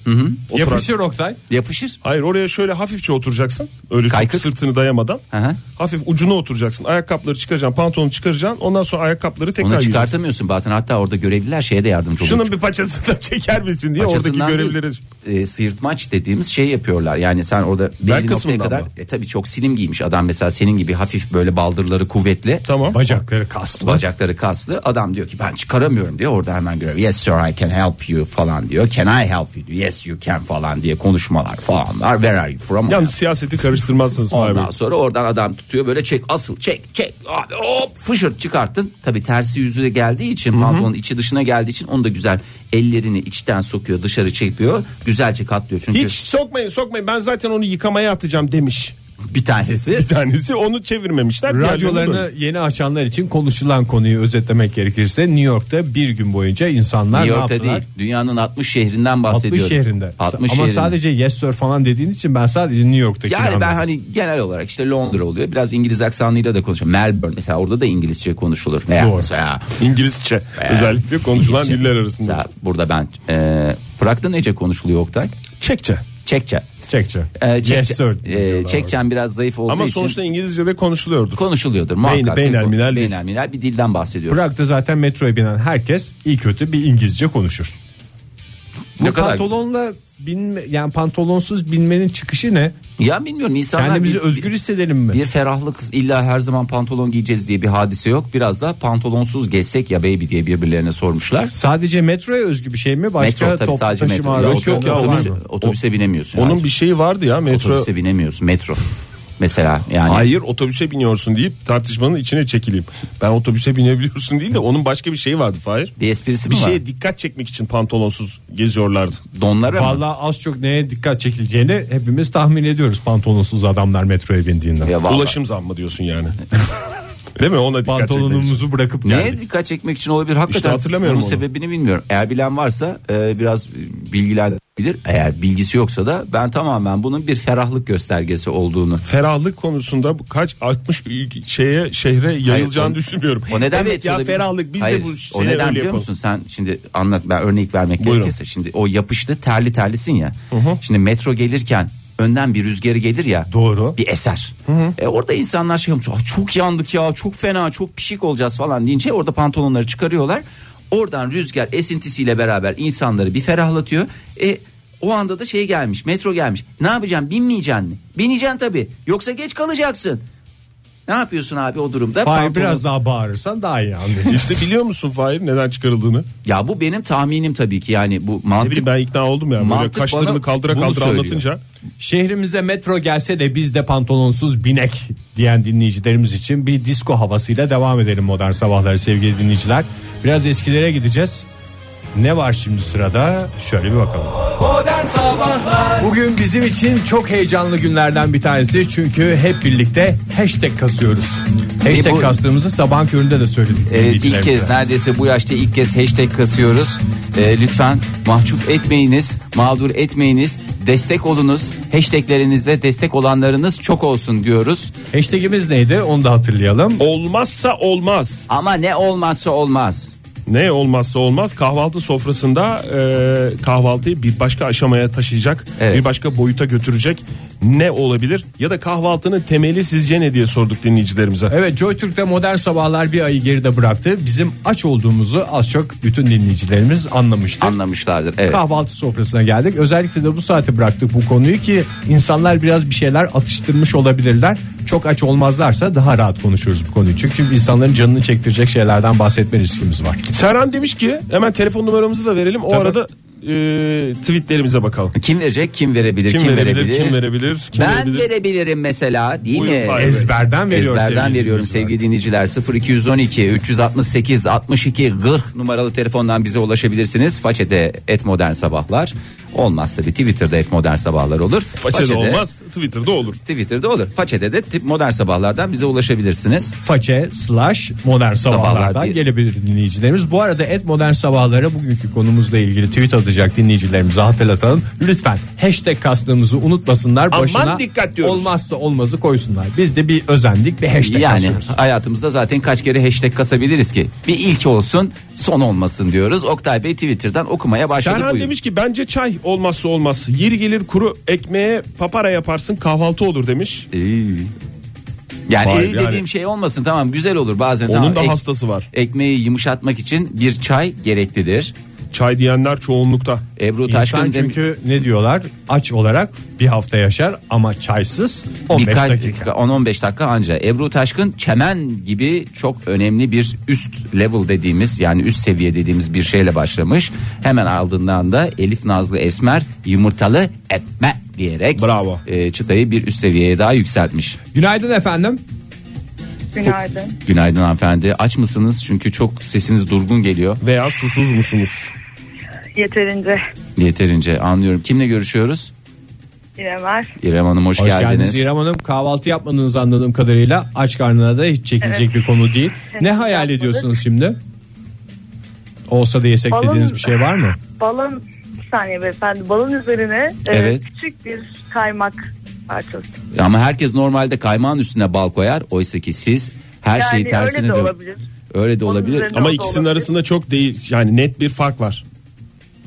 Speaker 5: Oturak.
Speaker 3: Yapışır Oktay.
Speaker 4: Yapışır.
Speaker 5: Hayır oraya şöyle hafifçe oturacaksın. Öyle çok
Speaker 4: Kaykık.
Speaker 5: sırtını dayamadan.
Speaker 4: Hı hı.
Speaker 5: Hafif ucuna oturacaksın. Ayakkabıları çıkaracaksın. Pantolonu çıkaracaksın. Ondan sonra ayakkabıları tekrar
Speaker 4: Onu
Speaker 5: giyeceksin.
Speaker 4: çıkartamıyorsun bazen hatta orada görevliler şeye de yardımcı oluyor.
Speaker 5: Şunun bir paçasından çeker misin diye
Speaker 4: Paçasından
Speaker 5: oradaki görevlileri.
Speaker 4: değil, e, sıyırtmaç dediğimiz şey yapıyorlar. Yani sen orada belli noktaya
Speaker 5: kısmından
Speaker 4: kadar
Speaker 5: mı?
Speaker 4: e, tabii çok slim giymiş adam mesela senin gibi hafif böyle baldırları kuvvetli.
Speaker 5: Tamam.
Speaker 3: Bacakları kaslı.
Speaker 4: Bacakları kaslı adam diyor ki ben çıkaramıyorum diyor orada hemen görüyor yes sir I can help you falan diyor can I help you diyor yes you can falan diye konuşmalar falan var where are you from
Speaker 5: Yalnız siyaseti karıştırmazsınız Fahir Bey.
Speaker 4: Ondan sonra oradan adam tutuyor böyle çek asıl çek çek abi hop fışırt çıkarttın. Tabi tersi yüzüne geldiği için pantolonun içi dışına geldiği için onu da güzel ellerini içten sokuyor dışarı çekiyor. Güzelce katlıyor çünkü
Speaker 5: Hiç sokmayın sokmayın ben zaten onu yıkamaya atacağım demiş.
Speaker 4: bir tanesi
Speaker 5: Bir tanesi onu çevirmemişler. Diğerlerini
Speaker 3: Radyolarını
Speaker 5: böyle.
Speaker 3: yeni açanlar için konuşulan konuyu özetlemek gerekirse New York'ta bir gün boyunca insanlar
Speaker 4: New
Speaker 3: ne
Speaker 4: York'ta
Speaker 3: yaptılar?
Speaker 4: değil dünyanın 60 şehrinden
Speaker 3: 60
Speaker 4: bahsediyorum.
Speaker 3: şehrinde.
Speaker 4: 60
Speaker 3: Ama
Speaker 4: şehrinde.
Speaker 3: sadece yes sir falan dediğin için ben sadece New York'taki
Speaker 4: Yani ben hani genel olarak işte Londra oluyor. Biraz İngiliz aksanıyla da konuşuyor. Melbourne mesela orada da İngilizce konuşulur. Veya
Speaker 3: Doğru.
Speaker 4: Mesela,
Speaker 5: İngilizce özellikle konuşulan
Speaker 4: İngilizce.
Speaker 5: diller arasında.
Speaker 4: Mesela burada ben e, Prag'da nece konuşuluyor Oktay?
Speaker 3: Çekçe.
Speaker 4: Çekçe.
Speaker 3: Çekçe.
Speaker 4: E,
Speaker 3: yes
Speaker 4: Çekçe-
Speaker 3: sir.
Speaker 4: e,
Speaker 3: diyorlar orada.
Speaker 4: Çekçen biraz zayıf olduğu
Speaker 5: Ama
Speaker 4: için
Speaker 5: sonuçta İngilizce de konuşuluyordur.
Speaker 4: konuşuluyordur. Muhakkak
Speaker 5: beynelminel değil.
Speaker 4: Beynelminel bir dilden bahsediyoruz.
Speaker 3: Prag'da zaten metroya binen herkes iyi kötü bir İngilizce konuşur.
Speaker 4: Ne
Speaker 3: Bu
Speaker 4: kadar-
Speaker 3: pantolonla binme, yani pantolonsuz binmenin çıkışı ne?
Speaker 4: Ya bilmiyorum insanlar
Speaker 3: Kendimizi
Speaker 4: bir-
Speaker 3: özgür hissedelim mi?
Speaker 4: Bir ferahlık illa her zaman pantolon giyeceğiz diye bir hadise yok. Biraz da pantolonsuz gezsek ya baby diye birbirlerine sormuşlar.
Speaker 3: Sadece metroya özgü bir şey mi? Başka
Speaker 4: metro tabii
Speaker 3: toplu
Speaker 4: sadece
Speaker 3: taşıma
Speaker 4: metro. Ya
Speaker 3: araçları
Speaker 5: Yok, yok
Speaker 4: otobüse,
Speaker 5: ya,
Speaker 3: da var
Speaker 5: otobüs-
Speaker 3: mı?
Speaker 4: otobüse binemiyorsun.
Speaker 5: Onun
Speaker 4: Hayır.
Speaker 5: bir şeyi vardı ya metro.
Speaker 4: otobüse binemiyorsun metro. Mesela yani
Speaker 5: Hayır otobüse biniyorsun deyip tartışmanın içine çekileyim. Ben otobüse binebiliyorsun değil de onun başka bir şeyi vardı Fahir.
Speaker 4: bir esprisi
Speaker 5: Bir
Speaker 4: mi
Speaker 3: şey
Speaker 5: şeye dikkat çekmek için pantolonsuz geziyorlardı.
Speaker 4: var? Donlara mı?
Speaker 3: Vallahi az çok neye dikkat çekileceğini hepimiz tahmin ediyoruz pantolonsuz adamlar metroya bindiğinde.
Speaker 4: Ya vallahi.
Speaker 5: Ulaşım zammı diyorsun yani. Değil mi? Ona dikkat çekmek için.
Speaker 3: Pantolonumuzu bırakıp
Speaker 4: Neye
Speaker 3: geldik.
Speaker 4: dikkat çekmek için olabilir? Hakikaten
Speaker 5: İşte hatırlamıyorum
Speaker 4: bunun
Speaker 5: onu.
Speaker 4: sebebini bilmiyorum. Eğer bilen varsa e, biraz bilgilendirebilir. Eğer bilgisi yoksa da ben tamamen bunun bir ferahlık göstergesi olduğunu.
Speaker 5: Ferahlık konusunda bu kaç 60 şeye şehre yayılacağını
Speaker 4: Hayır, o-
Speaker 5: düşünmüyorum.
Speaker 4: O neden mi
Speaker 5: evet
Speaker 4: etkiliyor
Speaker 5: ya
Speaker 4: bilmiyorum.
Speaker 5: ferahlık biz
Speaker 4: Hayır,
Speaker 5: de bu
Speaker 4: O
Speaker 5: şeyleri
Speaker 4: neden
Speaker 5: öyle
Speaker 4: biliyor
Speaker 5: yapalım.
Speaker 4: musun? Sen şimdi anlat ben örnek vermek
Speaker 5: Buyurun.
Speaker 4: gerekirse şimdi o yapıştı terli terlisin ya. Şimdi metro gelirken önden bir rüzgarı gelir ya.
Speaker 3: Doğru.
Speaker 4: Bir eser. E orada insanlar şey yapmış. "Ah, Çok yandık ya çok fena çok pişik olacağız falan deyince orada pantolonları çıkarıyorlar. Oradan rüzgar esintisiyle beraber insanları bir ferahlatıyor. E o anda da şey gelmiş metro gelmiş. Ne yapacaksın binmeyeceksin mi? Bineceksin tabii yoksa geç kalacaksın. Ne yapıyorsun abi o durumda?
Speaker 3: Hayır
Speaker 4: Pantolon-
Speaker 3: biraz daha bağırırsan daha iyi anlayacağım.
Speaker 5: İşte biliyor musun Fahir neden çıkarıldığını?
Speaker 4: Ya bu benim tahminim tabii ki yani bu
Speaker 5: Ne
Speaker 4: mantık
Speaker 5: bileyim ben ikna oldum ya. Böyle
Speaker 4: Mantık bana
Speaker 5: kaşlarını kaldıra
Speaker 4: bunu
Speaker 5: kaldıra
Speaker 4: söylüyor.
Speaker 5: anlatınca.
Speaker 3: Şehrimize metro gelse de biz de pantolonsuz binek diyen dinleyicilerimiz için bir disco havasıyla devam edelim modern sabahlar sevgili dinleyiciler. Biraz eskilere gideceğiz. Ne var şimdi sırada? Şöyle bir bakalım.
Speaker 2: Modern Sabahlar
Speaker 3: Bugün bizim için çok heyecanlı günlerden bir tanesi çünkü hep birlikte hashtag kasıyoruz. Hashtag
Speaker 4: E bu-
Speaker 3: kastığımızı sabah köründe de söyledik.
Speaker 4: Evet, e, ilk
Speaker 3: dinleyicilerimize.
Speaker 4: kez neredeyse bu yaşta ilk kez hashtag kasıyoruz. Ee, lütfen mahcup etmeyiniz, mağdur etmeyiniz, destek olunuz. Hashtaglerinizde destek olanlarınız çok olsun diyoruz.
Speaker 3: Hashtagimiz neydi onu da hatırlayalım.
Speaker 5: Olmazsa olmaz.
Speaker 4: Ama ne olmazsa olmaz.
Speaker 5: Ne olmazsa olmaz kahvaltı sofrasında e, kahvaltıyı bir başka aşamaya taşıyacak,
Speaker 4: Evet.
Speaker 5: bir başka boyuta götürecek ne olabilir? Ya da kahvaltının temeli sizce ne diye sorduk dinleyicilerimize.
Speaker 3: Evet JoyTürk'te modern sabahlar bir ayı geride bıraktı. Bizim aç olduğumuzu az çok bütün dinleyicilerimiz anlamıştır.
Speaker 4: Anlamışlardır. Evet.
Speaker 3: Kahvaltı sofrasına geldik. Özellikle de bu saate bıraktık bu konuyu ki insanlar biraz bir şeyler atıştırmış olabilirler. Çok aç olmazlarsa daha rahat konuşuruz bu konuyu. Çünkü insanların canını çektirecek şeylerden bahsetme riskimiz var.
Speaker 5: Serhan demiş ki hemen telefon numaramızı da verelim. O arada e, tweetlerimize bakalım.
Speaker 4: Kim verecek, kim verebilir, kim,
Speaker 5: Kim, verebilir,
Speaker 4: verebilir?
Speaker 5: Kim verebilir? Kim
Speaker 4: ben
Speaker 5: verebilir?
Speaker 4: verebilirim mesela, değil
Speaker 5: Buyurun
Speaker 4: mi?
Speaker 5: Fahir.
Speaker 3: Ezberden veriyor.
Speaker 4: Ezberden
Speaker 3: sevgili
Speaker 4: veriyorum
Speaker 3: dinleyiciler.
Speaker 4: sevgili dinleyiciler 0212 368 62 40 numaralı telefondan bize ulaşabilirsiniz. Façede et modern sabahlar olmaz tabi Twitter'da et modern sabahlar olur.
Speaker 5: Façede olmaz, Twitter'da olur.
Speaker 4: Twitter'da olur. Façede de tip modern sabahlardan bize ulaşabilirsiniz.
Speaker 3: façe slash modern
Speaker 4: Sabahlar
Speaker 3: sabahlardan
Speaker 4: bir.
Speaker 3: gelebilir dinleyicilerimiz. Bu arada et modern sabahlara bugünkü konumuzla ilgili tweet atacak dinleyicilerimize hatırlatalım. Lütfen hashtag kastığımızı unutmasınlar.
Speaker 5: Aman
Speaker 3: Başına
Speaker 5: dikkat diyoruz.
Speaker 3: olmazsa olmazı koysunlar. Biz de bir özendik bir hashtag
Speaker 4: yani
Speaker 3: kasıyoruz.
Speaker 4: hayatımızda zaten kaç kere hashtag kasabiliriz ki? Bir ilk olsun son olmasın diyoruz. Oktay Bey Twitter'dan okumaya başladı.
Speaker 5: Serhan
Speaker 4: buyurun.
Speaker 5: demiş ki bence çay olmazsa olmaz. Yeri gelir kuru ekmeğe papara yaparsın kahvaltı olur demiş.
Speaker 4: E, Yani
Speaker 5: Vay
Speaker 4: iyi
Speaker 5: be,
Speaker 4: dediğim
Speaker 5: yani.
Speaker 4: şey olmasın tamam güzel olur bazen.
Speaker 5: Onun
Speaker 4: tamam,
Speaker 5: da
Speaker 4: ek-
Speaker 5: hastası var.
Speaker 4: Ekmeği yumuşatmak için bir çay gereklidir.
Speaker 5: Çay diyenler çoğunlukta.
Speaker 4: Ebru
Speaker 3: İnsan
Speaker 4: Taşkın dem-
Speaker 3: çünkü ne diyorlar aç olarak bir hafta yaşar ama çaysız 15
Speaker 4: birkaç
Speaker 3: dakika.
Speaker 4: 10-15 dakika anca. Ebru Taşkın çemen gibi çok önemli bir üst level dediğimiz yani üst seviye dediğimiz bir şeyle başlamış. Hemen ardından da Elif Nazlı Esmer yumurtalı etme diyerek
Speaker 5: Bravo.
Speaker 4: e, çıtayı bir üst seviyeye daha yükseltmiş.
Speaker 3: Günaydın efendim.
Speaker 7: Günaydın.
Speaker 4: Günaydın hanımefendi. Aç mısınız? Çünkü çok sesiniz durgun geliyor.
Speaker 5: Veya susuz musunuz?
Speaker 7: Yeterince
Speaker 4: Yeterince anlıyorum. Kimle görüşüyoruz?
Speaker 7: yine var.
Speaker 4: İrem Hanım hoş,
Speaker 3: Hoş geldiniz.
Speaker 4: geldiniz.
Speaker 3: İrem Hanım. Kahvaltı yapmadığınızı anladığım kadarıyla aç karnına da hiç çekilecek bir konu değil. Ne hayal
Speaker 7: yapmadık.
Speaker 3: ediyorsunuz şimdi? Olsa da yesek
Speaker 7: Balon-
Speaker 3: dediğiniz bir şey var mı?
Speaker 7: Balon bir saniye beyefendi. Balon üzerine e,
Speaker 4: Evet.
Speaker 7: küçük bir kaymak parçası.
Speaker 4: Ama herkes normalde kaymağın üstüne bal koyar. Oysa ki siz her
Speaker 7: yani
Speaker 4: şeyi tersine
Speaker 7: öyle de
Speaker 4: dö-
Speaker 7: olabilir.
Speaker 4: Öyle de
Speaker 7: Onun
Speaker 4: olabilir.
Speaker 7: üzerine
Speaker 5: Ama
Speaker 7: o da
Speaker 5: ikisinin
Speaker 7: olabilir.
Speaker 5: arasında çok değil yani net bir fark var.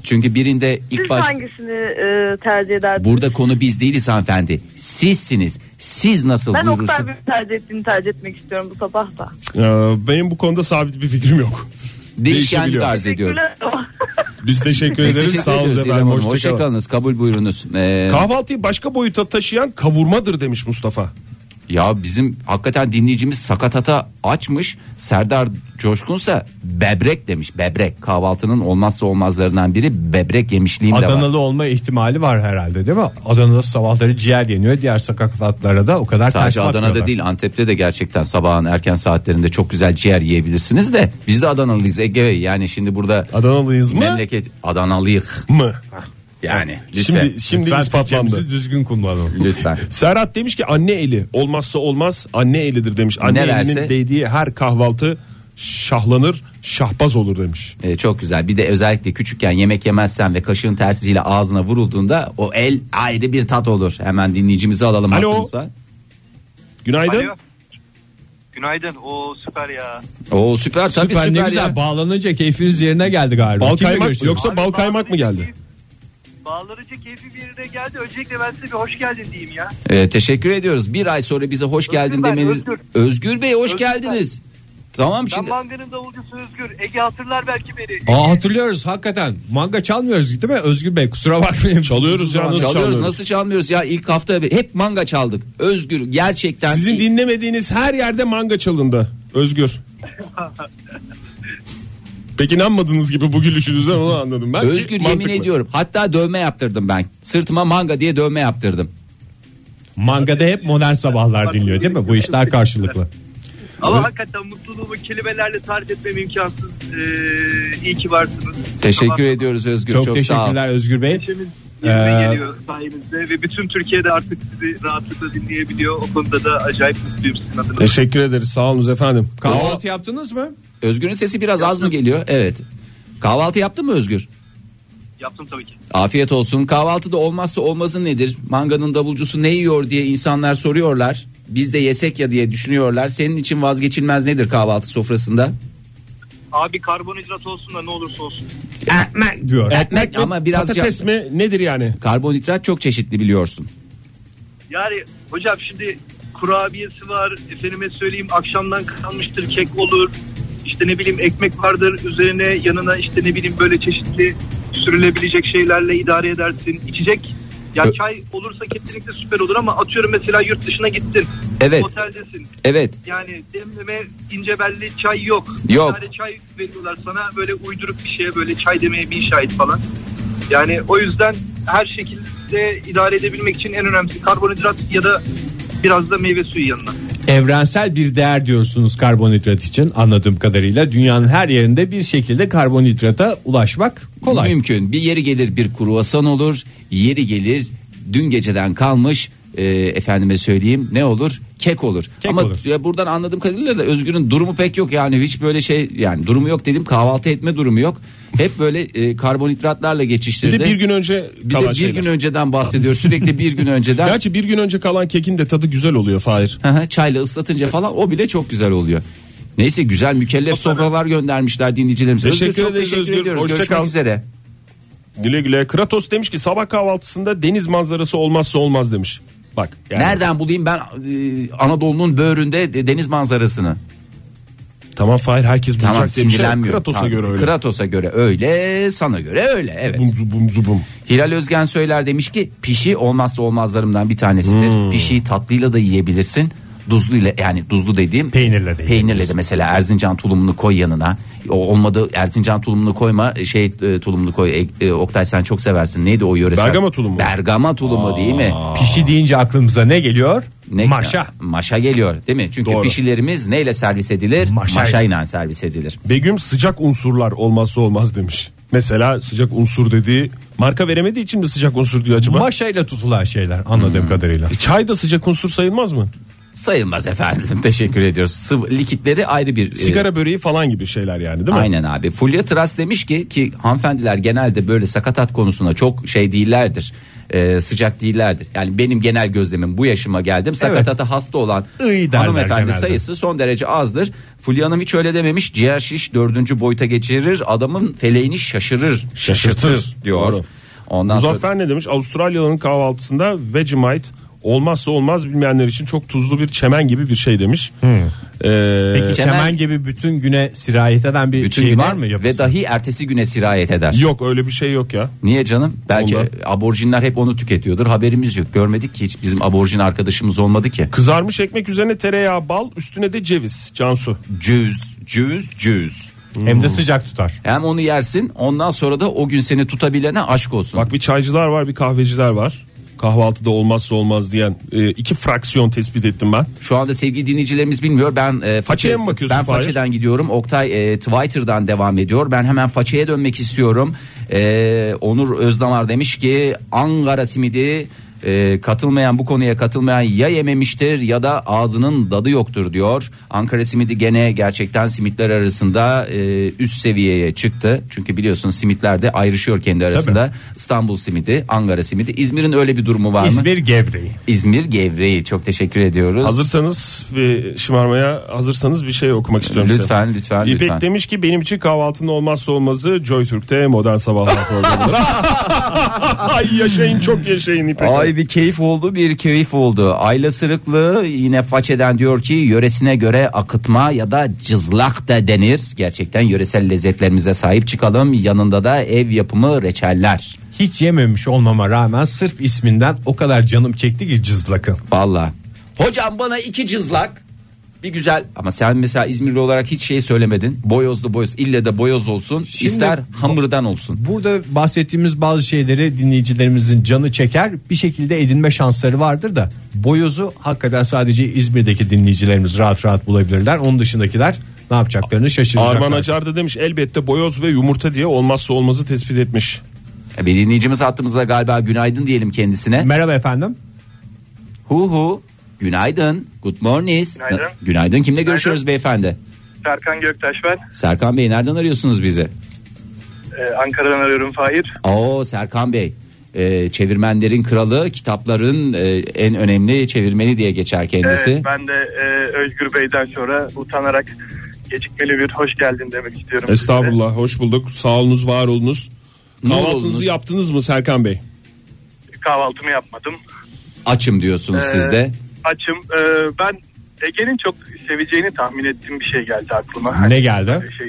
Speaker 4: Çünkü birinde ilk
Speaker 7: Siz
Speaker 4: baş
Speaker 7: hangisini e, tercih edersiniz?
Speaker 4: burada konu biz değiliz hanımefendi. Sizsiniz. Siz nasıl
Speaker 7: ben
Speaker 4: buyurursun?
Speaker 7: Oktay Bey'in tercih ettiğini tercih etmek istiyorum bu sabah da.
Speaker 5: Ee, benim bu konuda sabit bir fikrim yok.
Speaker 4: Değişkenlik
Speaker 5: değişebiliyor.
Speaker 4: arz ediyorum.
Speaker 5: Biz teşekkür
Speaker 4: Biz
Speaker 5: ederiz.
Speaker 4: teşekkür
Speaker 5: Sağ olun
Speaker 4: ederiz İrem
Speaker 5: efendim.
Speaker 4: Hanım.
Speaker 5: Hoşça kalın.
Speaker 4: Hoşçakalınız. Kabul buyurunuz. Ee,
Speaker 5: Kahvaltıyı başka boyuta taşıyan kavurmadır demiş Mustafa.
Speaker 4: ya bizim hakikaten dinleyicimiz sakatata açmış. Serdar Coşkunsa bebrek demiş. Bebrek kahvaltının olmazsa olmazlarından biri bebrek yemişliğim de var.
Speaker 3: Adanalı olma ihtimali var herhalde değil mi? Adana'da sabahları ciğer yeniyor. Diğer sokaklara da o kadar
Speaker 4: Sadece
Speaker 3: ters
Speaker 4: Adana'da
Speaker 3: bakmıyorlar.
Speaker 4: değil Antep'te de gerçekten sabahın erken saatlerinde çok güzel ciğer yiyebilirsiniz de biz de Adanalıyız Ege Bey. Yani şimdi burada
Speaker 5: Adanalıyız mı?
Speaker 4: memleket Adanalıyık
Speaker 5: Mı?
Speaker 4: yani. lütfen.
Speaker 5: Şimdi şimdi
Speaker 3: Ben
Speaker 5: ispatlandı.
Speaker 3: Türkçemizi düzgün kullanalım.
Speaker 4: Lütfen.
Speaker 5: Serhat demiş ki anne eli olmazsa olmaz anne elidir demiş. Anne
Speaker 4: Ne
Speaker 5: elinin
Speaker 4: verse?
Speaker 5: değdiği her kahvaltı şahlanır şahbaz olur demiş.
Speaker 4: Ee, çok güzel. Bir de özellikle küçükken yemek yemezsen ve kaşığın tersiyle ağzına vurulduğunda o el ayrı bir tat olur. Hemen dinleyicimizi alalım
Speaker 5: Alo.
Speaker 4: hattımıza.
Speaker 5: Günaydın.
Speaker 8: Alo. Günaydın. O süper ya.
Speaker 4: Oo süper tabii süper,
Speaker 3: süper, ne
Speaker 4: ya.
Speaker 3: güzel. Bağlanınca keyfiniz yerine geldi galiba.
Speaker 5: Bal
Speaker 3: Kimle
Speaker 5: kaymak
Speaker 3: görüşüyoruz?
Speaker 5: yoksa bal kaymak mı geldi?
Speaker 8: Bağlarıcı keyfi bir yere geldi. Öncelikle ben size bir hoş geldin diyeyim ya.
Speaker 4: Ee, teşekkür ediyoruz. Bir ay sonra bize hoş geldin
Speaker 8: ben,
Speaker 4: demeniz.
Speaker 8: Özgür.
Speaker 4: Özgür Bey hoş
Speaker 8: Özgür
Speaker 4: geldiniz. Tamam
Speaker 8: Ben
Speaker 4: şimdi
Speaker 8: Manga'nın davulcusu Özgür. Ege hatırlar belki beni.
Speaker 3: Aa, hatırlıyoruz hakikaten. Manga çalmıyoruz değil mi Özgür Bey? Kusura bakmayın.
Speaker 5: Çalıyoruz ya, nasıl
Speaker 4: çalıyoruz,
Speaker 5: çalmıyoruz?
Speaker 4: nasıl çalmıyoruz ya ilk hafta hep manga çaldık. Özgür gerçekten
Speaker 5: Sizin dinlemediğiniz her yerde manga çalındı. Özgür. Pek inanmadığınız gibi bu gülüşünüzden onu anladım ben. ki
Speaker 4: Özgür
Speaker 5: mantıklı.
Speaker 4: yemin ediyorum. Hatta dövme yaptırdım ben. Sırtıma manga diye dövme yaptırdım.
Speaker 3: Manga'da hep modern sabahlar dinliyor değil mi? Bu işler karşılıklı.
Speaker 8: Ama hakikaten mutluluğumu kelimelerle tarif etmem imkansız. Ee, iyi ki varsınız.
Speaker 4: Teşekkür
Speaker 8: Sabah-
Speaker 4: ediyoruz Özgür. Çok,
Speaker 3: Çok,
Speaker 4: sağ ol.
Speaker 3: teşekkürler Özgür Bey.
Speaker 8: Neşemiz
Speaker 3: Ee,
Speaker 8: yerine geliyor sayenizde ve bütün Türkiye'de artık sizi rahatlıkla dinleyebiliyor. O konuda da acayip mutluyum sizin adına.
Speaker 5: Teşekkür ederiz sağolunuz efendim.
Speaker 3: Kahvaltı yaptınız mı?
Speaker 4: Özgür'ün sesi biraz az mı geliyor? Evet. Kahvaltı yaptın mı Özgür?
Speaker 8: Yaptım tabii ki.
Speaker 4: Afiyet olsun. Kahvaltıda olmazsa olmazı nedir? Manganın davulcusu ne yiyor diye insanlar soruyorlar. Biz de yesek ya diye düşünüyorlar. Senin için vazgeçilmez nedir kahvaltı sofrasında?
Speaker 8: Abi karbonhidrat olsun da ne olursa olsun.
Speaker 3: Ekmek diyor.
Speaker 4: Ekmek ama biraz
Speaker 5: Patates mi nedir yani?
Speaker 4: karbonhidrat çok çeşitli biliyorsun.
Speaker 8: Yani hocam şimdi kurabiyesi var. Efendime söyleyeyim akşamdan kalmıştır kek olur. İşte ne bileyim ekmek vardır üzerine yanına işte ne bileyim böyle çeşitli sürülebilecek şeylerle idare edersin. İçecek ya
Speaker 4: Ö-
Speaker 8: çay olursa kesinlikle süper olur ama atıyorum mesela yurt dışına gittin.
Speaker 4: Evet.
Speaker 8: Oteldesin.
Speaker 4: Evet.
Speaker 8: Yani demleme ince belli çay yok.
Speaker 4: Yok.
Speaker 8: Bir tane çay veriyorlar sana böyle uydurup bir şeye böyle çay demeye bir şahit falan. Yani o yüzden her şekilde idare edebilmek için en önemlisi karbonhidrat ya da biraz da meyve suyu yanına.
Speaker 3: Evrensel bir değer diyorsunuz karbonhidrat için anladığım kadarıyla. Dünyanın her yerinde bir şekilde karbonhidrata ulaşmak kolay.
Speaker 4: Mümkün. Bir yeri gelir bir kruvasan olur. Yeri gelir dün geceden kalmış e, efendime söyleyeyim ne olur? Kek olur.
Speaker 3: Kek
Speaker 4: Ama
Speaker 3: olur.
Speaker 4: ya buradan anladığım kadarıyla da Özgür'ün durumu pek yok. Yani hiç böyle şey yani durumu yok dedim kahvaltı etme durumu yok. Hep böyle e, karbonhidratlarla
Speaker 5: Bir
Speaker 4: geçiştirdi.
Speaker 5: de bir gün önce
Speaker 4: Bir de
Speaker 5: kalan
Speaker 4: bir
Speaker 5: şeyler.
Speaker 4: gün önceden bahsediyor. Sürekli bir gün önceden.
Speaker 5: Gerçi bir gün önce kalan kekin de tadı güzel oluyor Fahir.
Speaker 4: Hı hı, Çayla ıslatınca falan o bile çok güzel oluyor. Neyse güzel mükellef sofralar göndermişler dinleyicilerimize.
Speaker 5: Teşekkür
Speaker 4: Özgür, çok
Speaker 5: ederiz
Speaker 4: teşekkür
Speaker 5: Özgür.
Speaker 4: ediyoruz.
Speaker 5: Hoşça
Speaker 4: Görüşmek
Speaker 5: kal.
Speaker 4: üzere.
Speaker 5: Güle güle. Kratos demiş ki sabah kahvaltısında deniz manzarası olmazsa olmaz demiş. Bak yani
Speaker 4: Nereden bulayım ben e, Anadolu'nun böğründe de- deniz manzarasını?
Speaker 5: tamam Fahir herkes bulacak
Speaker 4: Tamam
Speaker 5: demiş.
Speaker 4: sinirlenmiyorum.
Speaker 5: şey Kratos'a
Speaker 4: Tamam,
Speaker 5: göre öyle.
Speaker 4: Kratos'a göre öyle, sana göre öyle. Evet.
Speaker 5: Bum zubum zubum.
Speaker 4: Hilal Özgen söyler demiş ki pişi olmazsa olmazlarımdan bir tanesidir.
Speaker 5: Hmm.
Speaker 4: Pişiyi tatlıyla da yiyebilirsin. Duzluyla yani duzlu dediğim
Speaker 3: Peynirle de
Speaker 4: peynirle de mesela Erzincan tulumunu koy yanına. O olmadı Erzincan tulumunu koyma şey e, tulumunu koy. E, e, Oktay sen çok seversin. Neydi o yöresel?
Speaker 5: Bergama tulumu.
Speaker 4: Bergama tulumu değil mi?
Speaker 3: Pişi deyince aklımıza ne geliyor?
Speaker 4: Ne-
Speaker 3: Maşa.
Speaker 4: Maşa geliyor değil mi? Çünkü
Speaker 5: Doğru.
Speaker 4: pişilerimiz neyle servis edilir?
Speaker 3: Maşayla.
Speaker 4: Maşayla servis edilir.
Speaker 5: Begüm sıcak unsurlar olmazsa olmaz demiş. Mesela sıcak unsur dediği marka veremediği için mi sıcak unsur diyor acaba?
Speaker 3: Maşayla tutulan şeyler anladığım kadarıyla.
Speaker 5: E, Çay da sıcak unsur sayılmaz mı?
Speaker 4: Sayılmaz efendim. Teşekkür ediyoruz. Sıvı likitleri ayrı bir e,
Speaker 5: Sigara böreği falan gibi şeyler yani değil mi?
Speaker 4: Aynen abi. Fulya Tras demiş ki ki hanımefendiler genelde böyle sakatat konusunda çok şey değillerdir. Ee, sıcak değillerdir. Yani benim genel gözlemim bu yaşıma geldim. Sakatata hasta olan
Speaker 3: İyi derler
Speaker 4: hanımefendi
Speaker 3: genelde.
Speaker 4: sayısı son derece azdır. Fulya Hanım hiç öyle dememiş. Ciğer şiş dördüncü boyuta geçirir. Adamın feleğini şaşırır.
Speaker 5: Şaşırtır.
Speaker 4: diyor.
Speaker 5: Doğru.
Speaker 4: Ondan sonra
Speaker 5: Muzaffer ne demiş? Avustralyalı'nın kahvaltısında Vegemite olmazsa olmaz bilmeyenler için çok tuzlu bir çemen gibi bir şey demiş. Ee,
Speaker 4: Çemen-
Speaker 3: Peki çemen, gibi bütün güne sirayet eden bir
Speaker 4: bütün
Speaker 3: şey
Speaker 4: güne
Speaker 3: var mı? yapısı?
Speaker 4: ve dahi ertesi güne sirayet eder.
Speaker 5: yok öyle bir şey yok ya.
Speaker 4: Niye canım? Belki
Speaker 5: Ondan.
Speaker 4: aborjinler hep onu tüketiyordur. Haberimiz yok. Görmedik ki hiç bizim aborjin arkadaşımız olmadı ki.
Speaker 5: Kızarmış ekmek üzerine tereyağı, bal, üstüne de ceviz, Cansu.
Speaker 4: cüz cüz cüz.
Speaker 3: Hem de sıcak tutar.
Speaker 4: Hem onu yersin ondan sonra da o gün seni tutabilene aşk olsun.
Speaker 5: Bak bir çaycılar var, bir kahveciler var. Kahvaltıda olmazsa olmaz diyen e, iki fraksiyon tespit ettim ben.
Speaker 4: Şu anda sevgili dinleyicilerimiz bilmiyor. Ben e,
Speaker 5: Façeye mi bakıyorsun
Speaker 4: Ben
Speaker 5: Fahir?
Speaker 4: façeden gidiyorum. Oktay e, Twitter'dan devam ediyor. Ben hemen façeye dönmek istiyorum. E, Onur Özdamar demiş ki Ankara simidi e, katılmayan bu konuya katılmayan ya yememiştir ya da ağzının dadı yoktur diyor. Ankara simidi gene gerçekten simitler arasında e, üst seviyeye çıktı. Çünkü biliyorsun simitler de ayrışıyor kendi arasında. İstanbul simidi, Ankara simidi. İzmir'in öyle bir durumu var mı? İzmir,
Speaker 3: İzmir gevreği.
Speaker 4: gevreği. Çok teşekkür ediyoruz.
Speaker 5: Hazırsanız ve şımarmaya hazırsanız bir şey okumak istiyorum size.
Speaker 4: Lütfen lütfen
Speaker 5: İpek
Speaker 4: lütfen.
Speaker 5: demiş ki benim için kahvaltının olmazsa olmazı Joy Türk'te modern sabahlar programıdır. Ay yaşayın çok yaşayın İpek.
Speaker 4: Ay Ay bir keyif oldu bir keyif oldu. Ayla Sırıklı yine façeden diyor ki yöresine göre akıtma ya da cızlak da denir. Gerçekten yöresel lezzetlerimize sahip çıkalım. Yanında da ev yapımı reçeller.
Speaker 3: Hiç yememiş olmama rağmen sırf isminden o kadar canım çekti ki cızlakı.
Speaker 4: Valla. Hocam bana iki cızlak. Bir güzel ama sen mesela İzmirli olarak hiç şey söylemedin. Boyozlu boyoz ille de boyoz olsun
Speaker 3: Şimdi-
Speaker 4: ister hamırdan olsun.
Speaker 3: Burada bahsettiğimiz bazı şeyleri dinleyicilerimizin canı çeker bir şekilde edinme şansları vardır da boyozu hakikaten sadece İzmir'deki dinleyicilerimiz rahat rahat bulabilirler. Onun dışındakiler ne yapacaklarını şaşıracaklar.
Speaker 5: Arman Acar da demiş elbette boyoz ve yumurta diye olmazsa olmazı tespit etmiş.
Speaker 4: E, Bir dinleyicimiz hattımızda galiba günaydın diyelim kendisine.
Speaker 3: Merhaba efendim.
Speaker 4: Hu hu. Günaydın. Good morning.
Speaker 8: Günaydın.
Speaker 4: Na- Günaydın. Kimle görüşüyoruz beyefendi?
Speaker 8: Serkan Göktaş ben.
Speaker 4: Serkan Bey nereden arıyorsunuz bizi?
Speaker 8: Ee, Ankara'dan arıyorum Fahir.
Speaker 4: Oo Serkan Bey. Ee, çevirmenlerin kralı, kitapların e, en önemli çevirmeni diye geçer kendisi.
Speaker 8: Evet, Ee, ben de e, Özgür Bey'den sonra utanarak gecikmeli bir hoş geldin demek istiyorum.
Speaker 5: Estağfurullah hoş bulduk. Sağ olunuz var olunuz.
Speaker 4: Ne olunuz?
Speaker 5: Kahvaltınızı yaptınız mı Serkan Bey?
Speaker 8: Size. Ee, Kahvaltımı yapmadım.
Speaker 4: Açım diyorsunuz
Speaker 8: Ee,
Speaker 4: siz de.
Speaker 8: Açım. Ee, ben Ege'nin çok seveceğini tahmin ettiğim bir şey geldi aklıma. Hani
Speaker 3: Ne geldi?
Speaker 8: böyle Şey,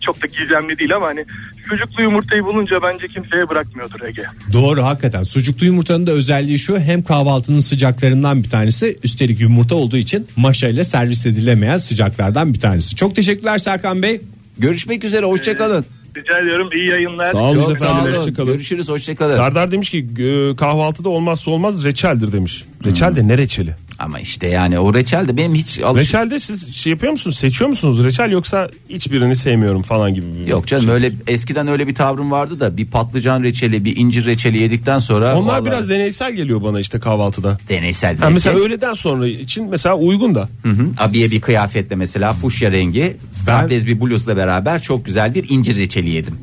Speaker 8: çok da gizemli değil ama hani sucuklu yumurtayı bulunca bence kimseye bırakmıyordur Ege.
Speaker 3: Doğru hakikaten. Sucuklu yumurtanın da özelliği şu hem kahvaltının sıcaklarından bir tanesi üstelik yumurta olduğu için maşayla servis edilemeyen sıcaklardan bir tanesi. Çok teşekkürler Serkan Bey.
Speaker 4: Görüşmek üzere hoşçakalın.
Speaker 8: Rica ediyorum iyi yayınlar.
Speaker 5: Sağ olun
Speaker 4: Çok sağ
Speaker 5: efendim.
Speaker 4: olun.
Speaker 5: hoşça kalın.
Speaker 4: Görüşürüz hoşçakalın.
Speaker 5: Serdar demiş ki e, kahvaltıda olmazsa olmaz reçeldir demiş.
Speaker 4: Hmm.
Speaker 5: Reçel de ne reçeli?
Speaker 4: Ama işte yani o reçel de benim hiç alış
Speaker 5: Reçelde siz şey yapıyor musunuz? Seçiyor musunuz reçel yoksa hiçbirini sevmiyorum falan gibi bir
Speaker 4: Yok canım öyle eskiden öyle bir tavrım vardı da bir patlıcan reçeli bir incir reçeli yedikten sonra
Speaker 5: Onlar
Speaker 4: vallahi
Speaker 5: biraz deneysel geliyor bana işte kahvaltıda.
Speaker 4: deneysel bir
Speaker 5: Ha, mesela
Speaker 4: reçel.
Speaker 5: öğleden sonra için mesela uygun da.
Speaker 4: Hı hı. Abiye bir kıyafetle mesela fuşya rengi strapless bir bluzla beraber çok güzel bir incir reçeli yedim.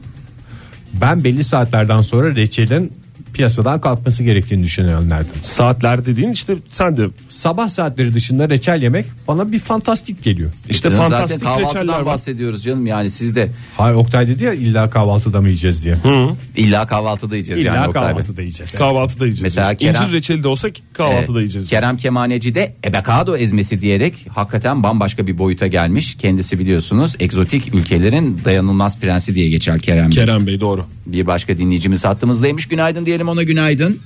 Speaker 3: Ben belli saatlerden sonra reçelin piyasadan kalkması gerektiğini düşünenlerden.
Speaker 5: Saatler dediğin işte sen de
Speaker 3: Sabah saatleri dışında reçel yemek bana bir fantastik geliyor.
Speaker 5: işte
Speaker 4: Canım
Speaker 5: fantastik
Speaker 4: Zaten
Speaker 5: reçeller
Speaker 4: kahvaltıdan
Speaker 5: var.
Speaker 4: bahsediyoruz canım yani siz de
Speaker 3: Hayır Oktay dedi ya illa kahvaltıda mı yiyeceğiz diye.
Speaker 4: illa kahvaltıda yiyeceğiz
Speaker 3: illa
Speaker 4: yani Oktay Bey.
Speaker 3: kahvaltıda yiyeceğiz.
Speaker 5: Kahvaltıda yiyeceğiz.
Speaker 4: Mesela
Speaker 5: İncir
Speaker 4: Kerem-
Speaker 5: reçeli de olsa
Speaker 4: Ee,
Speaker 5: kahvaltıda yiyeceğiz.
Speaker 4: Kerem Kemaneci de ebekado ezmesi diyerek hakikaten bambaşka bir boyuta gelmiş. Kendisi biliyorsunuz egzotik ülkelerin dayanılmaz prensi diye geçer Kerem Bey.
Speaker 5: Kerem Bey doğru.
Speaker 4: Bir başka dinleyicimiz hattımızdaymış. Günaydın diyelim ona günaydın.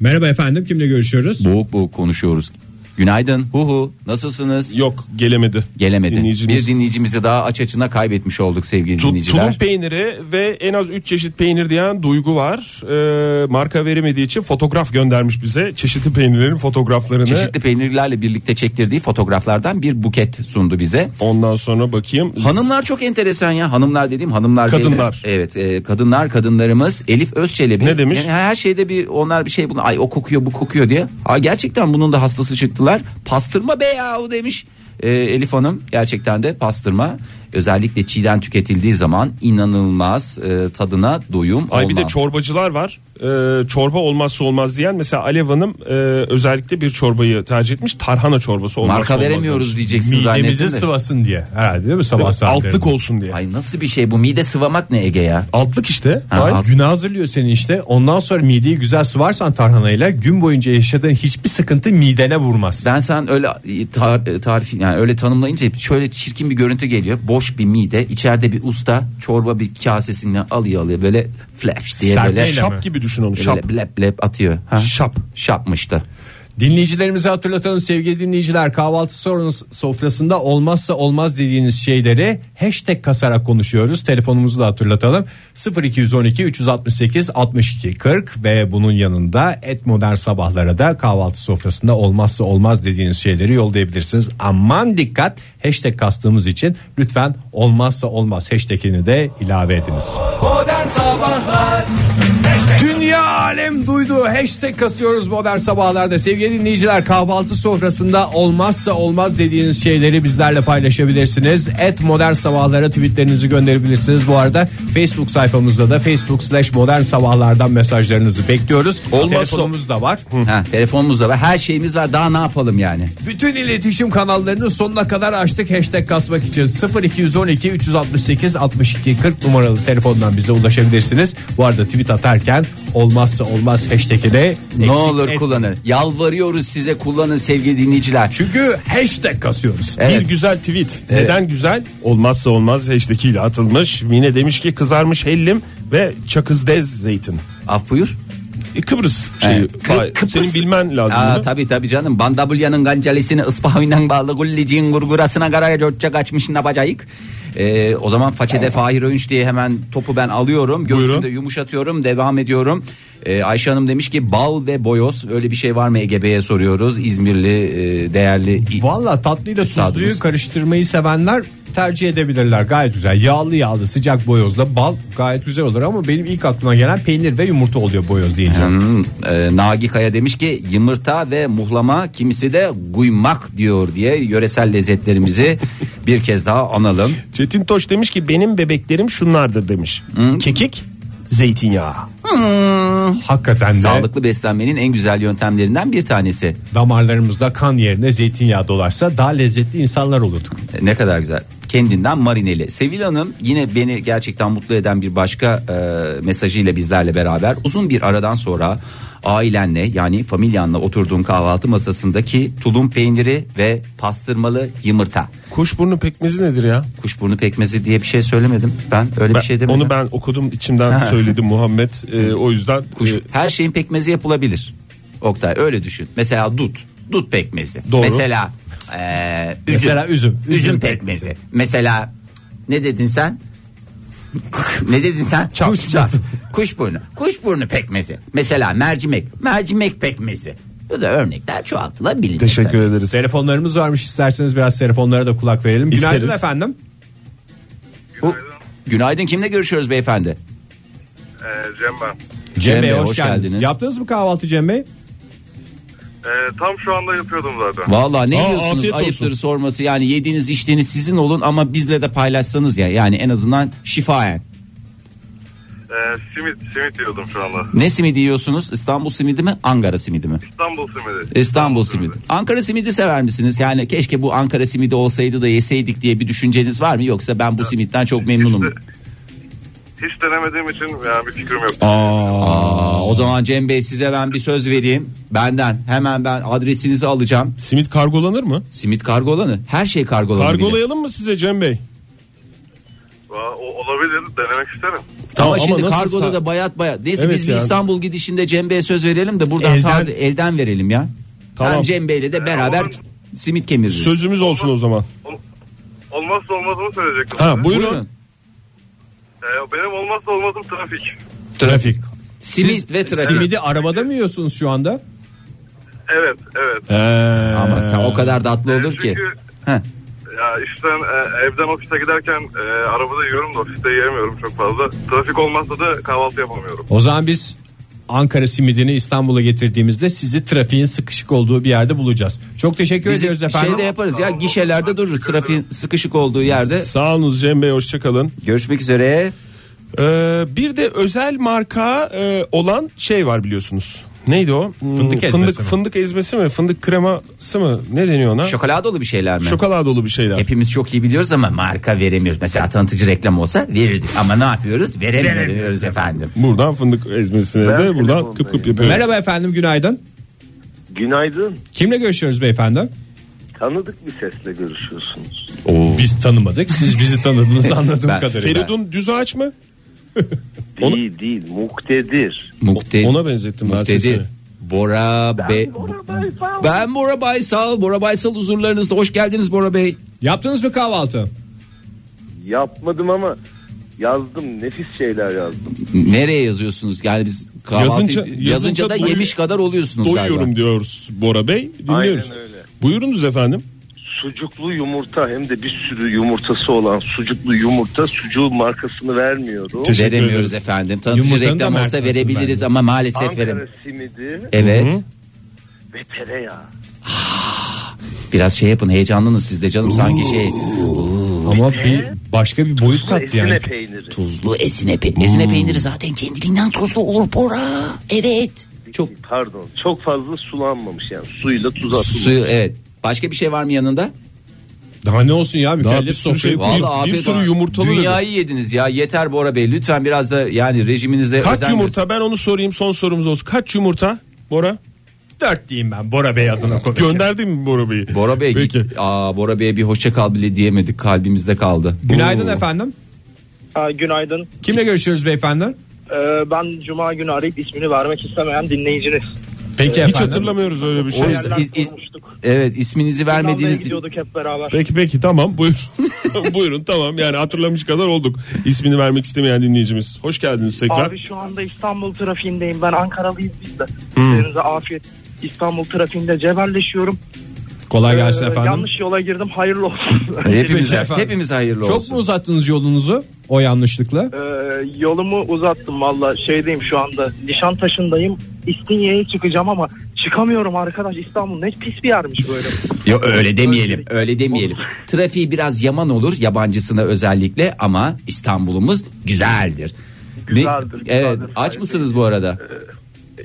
Speaker 3: Merhaba efendim kimle görüşüyoruz?
Speaker 4: Boğuk boğuk konuşuyoruz. Günaydın. Hu hu. Nasılsınız?
Speaker 5: Yok gelemedi.
Speaker 4: Gelemedi.
Speaker 5: Dinleyicimiz.
Speaker 4: Bir dinleyicimizi daha aç açına kaybetmiş olduk sevgili
Speaker 5: Tu- tulum
Speaker 4: dinleyiciler.
Speaker 5: peyniri ve en az 3 çeşit peynir diyen Duygu var. Ee, marka veremediği için fotoğraf göndermiş bize. Çeşitli peynirlerin fotoğraflarını.
Speaker 4: Çeşitli peynirlerle birlikte çektirdiği fotoğraflardan bir buket sundu bize.
Speaker 5: Ondan sonra bakayım.
Speaker 4: Hanımlar çok enteresan ya. Hanımlar dediğim hanımlar değil mi?
Speaker 5: Kadınlar.
Speaker 4: Evet, e, kadınlar kadınlarımız Elif Özçelebi.
Speaker 5: Ne demiş?
Speaker 4: Yani her şeyde bir onlar bir şey bunu ay o kokuyor bu kokuyor diye. Ha gerçekten bunun da hastası çıktılar. Pastırma be ya o demiş. E, Elif Hanım gerçekten de pastırma özellikle çiğden tüketildiği zaman inanılmaz e, tadına doyum
Speaker 5: Ay bir de
Speaker 4: olmaz.
Speaker 5: çorbacılar var. Ee, çorba olmazsa olmaz diyen mesela Alev Hanım e, özellikle bir çorbayı tercih etmiş. Tarhana çorbası olmazsa
Speaker 4: Marka
Speaker 5: olmaz
Speaker 4: veremiyoruz
Speaker 5: demiş.
Speaker 4: diyeceksin
Speaker 3: Midemizi
Speaker 4: zannettim de.
Speaker 3: sıvasın diye herhalde değil mi sabah
Speaker 5: Değil mi?
Speaker 3: saatlerinde?
Speaker 5: Altlık olsun diye.
Speaker 4: Ay nasıl bir şey bu mide sıvamak ne Ege ya?
Speaker 5: Altlık işte.
Speaker 4: Ha,
Speaker 5: Ay,
Speaker 4: alt-
Speaker 3: Güne hazırlıyor seni işte ondan sonra mideyi güzel sıvarsan tarhanayla gün boyunca yaşadığın hiçbir sıkıntı midene vurmaz.
Speaker 4: Ben sen öyle e, tar- e, tarif yani öyle tanımlayınca hep şöyle çirkin bir görüntü geliyor. Boş bir mide, içeride bir usta çorba bir kasesinden alıyor alıyor böyle flash diye
Speaker 3: Serpmeyle
Speaker 4: böyle
Speaker 5: şap gibi düşün onu şap.
Speaker 4: Şap. Lep lep atıyor. Ha?
Speaker 5: Şap.
Speaker 4: Şapmış da.
Speaker 3: Dinleyicilerimize hatırlatalım sevgili dinleyiciler kahvaltı sonrası sofrasında olmazsa olmaz dediğiniz şeyleri hashtag kasarak konuşuyoruz. Telefonumuzu da hatırlatalım 0212 368 62 40 ve bunun yanında et modern sabahlara da kahvaltı sofrasında olmazsa olmaz dediğiniz şeyleri yollayabilirsiniz. Aman dikkat hashtag kastığımız için lütfen olmazsa olmaz hashtagini de ilave ediniz.
Speaker 2: Modern Sabahlar
Speaker 3: Dünya alem duydu. Hashtag kasıyoruz modern sabahlarda. Sevgili dinleyiciler kahvaltı sofrasında olmazsa olmaz dediğiniz şeyleri bizlerle paylaşabilirsiniz. Et modern sabahlara tweetlerinizi gönderebilirsiniz. Bu arada Facebook sayfamızda da facebook slash modern sabahlardan mesajlarınızı bekliyoruz.
Speaker 4: Olmazsa-
Speaker 3: Telefonumuz da var.
Speaker 4: Ha, telefonumuz da var. Her şeyimiz var. Daha ne yapalım yani?
Speaker 3: Bütün iletişim kanallarını sonuna kadar açtık hashtag kasmak için 0212 368 62 40 numaralı telefondan bize ulaşabilirsiniz. Bu arada tweet atarken gereken olmazsa olmaz hashtag'ine
Speaker 4: Ne olur kullanın. Yalvarıyoruz size kullanın sevgili dinleyiciler.
Speaker 3: Çünkü hashtag kasıyoruz.
Speaker 4: Evet.
Speaker 5: Bir güzel tweet. Neden güzel? Olmazsa olmaz hashtag ile atılmış. Mine demiş ki kızarmış hellim ve çakızdez zeytin.
Speaker 4: Af buyur.
Speaker 5: E, Kıbrıs şeyi.
Speaker 4: Evet. Kı-
Speaker 5: Vay,
Speaker 4: Kıbrıs-
Speaker 5: Senin bilmen lazım.
Speaker 4: Aa,
Speaker 5: bunu.
Speaker 4: tabii tabii canım. Bandabulya'nın gancalesini ıspahıyla bağlı gulliciğin gurgurasına karar dörtçe kaçmış ne yapacağık? Ee, o zaman façede Fahir Öğünç diye hemen topu ben alıyorum. Göğsünde
Speaker 5: Buyurun.
Speaker 4: yumuşatıyorum. Devam ediyorum. Ee, Ayşe Hanım demiş ki bal ve boyoz. Öyle bir şey var mı Ege Bey'e soruyoruz. İzmirli e, değerli
Speaker 3: Valla tatlıyla
Speaker 4: Tadımız.
Speaker 3: tuzluyu karıştırmayı sevenler tercih edebilirler gayet güzel. Yağlı yağlı sıcak boyozla bal gayet güzel olur ama benim ilk aklıma gelen peynir ve yumurta oluyor boyoz deyince.
Speaker 4: Hmm, e, Nagi Kaya demiş ki yumurta ve muhlama kimisi de guymak diyor diye yöresel lezzetlerimizi bir kez daha analım.
Speaker 5: Çetin Toş demiş ki benim bebeklerim şunlardır demiş. Kekik, zeytinyağı.
Speaker 3: Hakikaten de
Speaker 4: Sağlıklı beslenmenin en güzel yöntemlerinden bir tanesi.
Speaker 3: damarlarımızda kan yerine zeytinyağı dolarsa daha lezzetli insanlar olurduk.
Speaker 4: E, Ne kadar güzel. Kendinden marineli. Sevil Hanım yine beni gerçekten mutlu eden bir başka e, mesajıyla bizlerle beraber uzun bir aradan sonra ailenle yani familyanla oturduğun kahvaltı masasındaki tulum peyniri ve pastırmalı yumurta.
Speaker 5: Kuşburnu pekmezi nedir ya?
Speaker 4: Kuşburnu pekmezi diye bir şey söylemedim. Ben öyle
Speaker 5: Ben-
Speaker 4: bir şey demedim.
Speaker 5: onu ben okudum içimden
Speaker 4: Ha.
Speaker 5: söyledim Muhammed. E, o yüzden
Speaker 4: Kuş-
Speaker 5: e,
Speaker 4: Ee, her şeyin pekmezi yapılabilir. Oktay öyle düşün. Mesela dut. Dut pekmezi.
Speaker 5: Doğru.
Speaker 4: Mesela eee, üzüm.
Speaker 3: Mesela üzüm.
Speaker 4: Üzüm,
Speaker 3: Üzüm
Speaker 4: pekmezi. Mesela ne dedin sen? ne dedin sen? Çat çat. Kuşburnu. Kuşburnu pekmezi. Mesela mercimek. Mercimek pekmezi. Bu da örnekler çoğaltılabilir.
Speaker 5: teşekkür ederiz.
Speaker 3: Telefonlarımız varmış isterseniz biraz telefonlara da kulak verelim. Günaydın
Speaker 5: İsteriz.
Speaker 3: efendim.
Speaker 4: Günaydın kimle görüşüyoruz beyefendi?
Speaker 8: E, Cem ben.
Speaker 3: Cem Bey hoş,
Speaker 4: hoş
Speaker 3: geldiniz.
Speaker 4: geldiniz.
Speaker 3: Yaptınız mı kahvaltı Cem Bey?
Speaker 8: E, tam şu anda yapıyordum zaten.
Speaker 4: Vallahi ne
Speaker 5: Aa,
Speaker 4: yiyorsunuz
Speaker 5: afiyet olsun.
Speaker 4: ayıptır sorması yani yediğiniz içtiğiniz sizin olun ama bizle de paylaşsanız ya yani en azından şifaen.
Speaker 8: E, simit, simit yiyordum şu anda.
Speaker 4: Ne simidi yiyorsunuz? İstanbul simidi mi? Ankara simidi mi?
Speaker 8: İstanbul simidi.
Speaker 4: İstanbul simidi. Ankara simidi sever misiniz? Yani keşke bu Ankara simidi olsaydı da yeseydik diye bir düşünceniz var mı? Yoksa ben bu simitten çok memnunum.
Speaker 8: Hiç denemediğim için yani bir fikrim yok.
Speaker 4: Aa, o zaman Cem Bey size ben bir söz vereyim. Benden hemen ben adresinizi alacağım.
Speaker 5: Simit kargolanır mı?
Speaker 4: Simit kargolanı. Her şey kargolanı. bile.
Speaker 5: Kargolayalım mı size Cem Bey?
Speaker 8: olabilir, denemek isterim.
Speaker 5: Tamam,
Speaker 4: ama şimdi
Speaker 5: nasıl
Speaker 4: kargoda
Speaker 5: sa-
Speaker 4: da bayat bayat. Neyse
Speaker 5: Evet
Speaker 4: biz bir
Speaker 5: ya.
Speaker 4: İstanbul gidişinde Cem Bey'e söz verelim de buradan
Speaker 3: Elden-
Speaker 4: taze elden verelim ya. Tamam.
Speaker 5: Tamam.
Speaker 4: Hem Cem Bey'le de beraber
Speaker 8: Ama-
Speaker 4: simit kemiririz.
Speaker 5: Sözümüz olsun o zaman.
Speaker 8: Olmazsa olmazımı söyleyecektim. E,
Speaker 5: Ha buyurun.
Speaker 8: benim olmazsa olmazım trafik.
Speaker 3: Trafik.
Speaker 4: Simit
Speaker 3: Siz
Speaker 4: ve trafik.
Speaker 3: Simidi arabada mı yiyorsunuz şu anda?
Speaker 8: Evet, evet.
Speaker 4: Ama tam
Speaker 5: Ee,
Speaker 4: o kadar tatlı olur ki.
Speaker 8: Çünkü
Speaker 4: Heh.
Speaker 8: ya işten e, evden ofise giderken e, arabada yiyorum da ofiste yiyemiyorum çok fazla. Trafik olmazsa da kahvaltı yapamıyorum.
Speaker 3: O zaman biz Ankara simidini İstanbul'a getirdiğimizde sizi trafiğin sıkışık olduğu bir yerde bulacağız. Çok teşekkür
Speaker 4: Biz
Speaker 3: ediyoruz
Speaker 4: bir
Speaker 3: efendim.
Speaker 4: şey de yaparız ya gişelerde dururuz trafiğin sıkışık olduğu yerde.
Speaker 5: Sağ olunuz Cem Bey hoşçakalın.
Speaker 4: Görüşmek üzere.
Speaker 5: Ee, bir de özel marka e, olan şey var biliyorsunuz. Neydi o? Hmm,
Speaker 3: Fındık ezmesi
Speaker 5: fındık,
Speaker 3: mi?
Speaker 5: fındık ezmesi mi? Fındık kreması mı? Ne deniyor ona?
Speaker 4: Şokoladolu bir şeyler mi?
Speaker 5: Şokoladolu bir şeyler.
Speaker 4: Hepimiz çok iyi biliyoruz ama marka veremiyoruz. Mesela tanıtıcı reklam olsa verirdik ama ne yapıyoruz? Veremiyoruz efendim.
Speaker 5: Buradan fındık ezmesine
Speaker 9: Ben
Speaker 5: de buradan
Speaker 9: telefondayım.
Speaker 5: kıp kıp yapıyoruz.
Speaker 3: Merhaba efendim günaydın.
Speaker 9: Günaydın.
Speaker 3: Kimle görüşüyoruz beyefendi?
Speaker 9: Tanıdık bir sesle görüşüyorsunuz.
Speaker 3: Biz tanımadık. Siz bizi tanıdınız anladığım
Speaker 4: Ben-
Speaker 3: kadarıyla.
Speaker 5: Feridun Düzağaç mı? Onu-
Speaker 9: Değil değil muktedir.
Speaker 4: Mukte-
Speaker 5: Ona benzettim ben
Speaker 4: Dedi,
Speaker 5: sesini.
Speaker 4: Bora Bey. Ben Bora Baysal. Bora Baysal huzurlarınızda. Hoş geldiniz Bora Bey.
Speaker 3: Yaptınız mı kahvaltı?
Speaker 9: Yapmadım ama yazdım nefis şeyler yazdım.
Speaker 4: Nereye yazıyorsunuz? Yani biz kahvaltı yazınca,
Speaker 5: Yazınca-
Speaker 4: da
Speaker 5: yazınca doyu-
Speaker 4: yemiş kadar oluyorsunuz
Speaker 5: Doyuyorum
Speaker 4: galiba.
Speaker 5: diyoruz Bora Bey. Dinliyoruz.
Speaker 9: Aynen öyle.
Speaker 5: Buyurunuz efendim.
Speaker 9: Sucuklu yumurta hem de bir sürü yumurtası olan sucuklu yumurta sucuğun markasını vermiyorum.
Speaker 5: Teşekkür
Speaker 4: Veremiyoruz
Speaker 5: ederiz.
Speaker 4: efendim. Tanıtıcı
Speaker 3: Yumurtanın da
Speaker 4: reklam olsa
Speaker 3: markası
Speaker 4: verebiliriz
Speaker 3: bence.
Speaker 4: ama maalesef
Speaker 9: Ankara
Speaker 4: veremiyoruz.
Speaker 9: simidi
Speaker 4: Evet.
Speaker 9: ve tereyağı.
Speaker 4: Biraz şey yapın heyecanlınız siz de canım sanki şey
Speaker 3: Ama bir başka bir boyut kattı
Speaker 9: Ezine
Speaker 3: yani.
Speaker 9: peyniri.
Speaker 4: tuzlu ezine peyniri. Ezine peyniri zaten kendiliğinden tuzlu olur Bora. Evet. Çok
Speaker 9: Pardon çok fazla sulanmamış yani suyla tuz atılmış.
Speaker 4: suyu evet. Başka bir şey var mı yanında?
Speaker 3: Daha ne olsun ya
Speaker 5: Daha
Speaker 3: mükellef
Speaker 5: bir sürü
Speaker 3: sofrayı
Speaker 5: şey-
Speaker 3: kuruyor.
Speaker 5: Bir-
Speaker 4: Vallahi
Speaker 5: bir
Speaker 4: afiyet
Speaker 5: sürü
Speaker 4: olsun.
Speaker 5: yumurtalı
Speaker 4: Dünyayı yediniz ya yeter Bora Bey lütfen biraz da yani rejiminize
Speaker 5: Kaç
Speaker 4: özen
Speaker 5: yumurta ben onu sorayım son sorumuz olsun. Kaç yumurta Bora?
Speaker 3: Dört diyeyim ben Bora Bey adına konuşayım.
Speaker 5: Gönderdin mi Bora Bey'i?
Speaker 4: gösterin. Bora Bey
Speaker 5: Peki.
Speaker 4: git. Aa, Bora Bey'e bir hoşça kal bile diyemedik kalbimizde kaldı.
Speaker 3: Günaydın
Speaker 4: Oo.
Speaker 3: efendim.
Speaker 10: Ha, günaydın.
Speaker 3: Kimle görüşüyoruz beyefendi?
Speaker 10: Ee, ben Cuma günü arayıp ismini vermek istemeyen dinleyiciniz.
Speaker 3: Peki
Speaker 5: Hiç hatırlamıyoruz öyle bir şey.
Speaker 4: şey O yüzden-
Speaker 10: Yerler
Speaker 4: İz- iz-
Speaker 10: sormuştuk.
Speaker 4: Evet isminizi
Speaker 10: Hollanda'ya
Speaker 4: vermediğiniz
Speaker 10: gidiyorduk hep beraber.
Speaker 5: Peki peki tamam buyur. Buyurun tamam yani hatırlamış kadar olduk. İsmini vermek istemeyen dinleyicimiz. Hoş geldiniz tekrar.
Speaker 10: Abi şu anda İstanbul trafiğindeyim. Ben Ankaralıyız biz de. Üzerinize afiyet. İstanbul trafiğinde cebelleşiyorum.
Speaker 3: Kolay gelsin
Speaker 10: Ee,
Speaker 3: efendim.
Speaker 10: yanlış yola girdim. Hayırlı olsun.
Speaker 4: hepimiz,
Speaker 3: Peki efendim.
Speaker 4: hepimiz hayırlı
Speaker 3: Çok
Speaker 4: olsun.
Speaker 3: mu uzattınız yolunuzu o yanlışlıkla?
Speaker 10: Ee, yolumu uzattım valla. Şeydeyim şu anda. Nişantaşı'ndayım. İstinye'ye çıkacağım ama çıkamıyorum arkadaş. İstanbul ne pis bir yermiş böyle.
Speaker 4: Yo, öyle demeyelim. Öyle demeyelim. Trafiği biraz yaman olur yabancısına özellikle ama İstanbul'umuz güzeldir. Ne-
Speaker 10: Güzeldir, güzeldir.
Speaker 4: Evet, aç mısınız bu arada?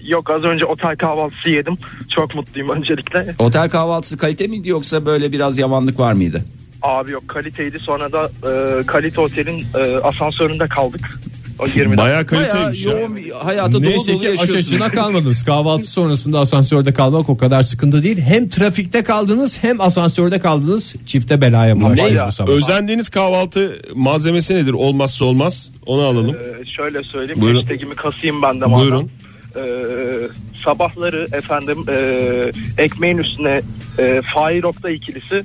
Speaker 10: Yok az önce otel kahvaltısı yedim. Çok mutluyum öncelikle.
Speaker 4: Otel kahvaltısı kalite miydi yoksa böyle biraz yamanlık var mıydı?
Speaker 10: Abi yok kaliteydi. Sonra da e, kalite otelin e, asansöründe kaldık. O 20
Speaker 5: Bayağı şey.
Speaker 4: Bayağı
Speaker 5: kaliteymiş. ya.
Speaker 4: yoğun bir hayata dolu
Speaker 3: Neyse
Speaker 4: dolu
Speaker 3: ki aç
Speaker 4: yaşıyorsunuz.
Speaker 3: açına kalmadınız. Kahvaltı sonrasında asansörde kalmak o kadar sıkıntı değil. Hem trafikte kaldınız hem asansörde kaldınız. Çifte belaya bulaştınız
Speaker 10: Bayağı.
Speaker 3: bu sabah.
Speaker 5: Özendiğiniz kahvaltı malzemesi nedir? Olmazsa olmaz. Onu alalım.
Speaker 10: Ee, şöyle söyleyeyim.
Speaker 5: Buyurun.
Speaker 10: Hashtag'imi kasayım ben de madem.
Speaker 5: Buyurun.
Speaker 10: Ee, sabahları efendim e, ekmeğin üstüne e, Fahir Oktay ikilisi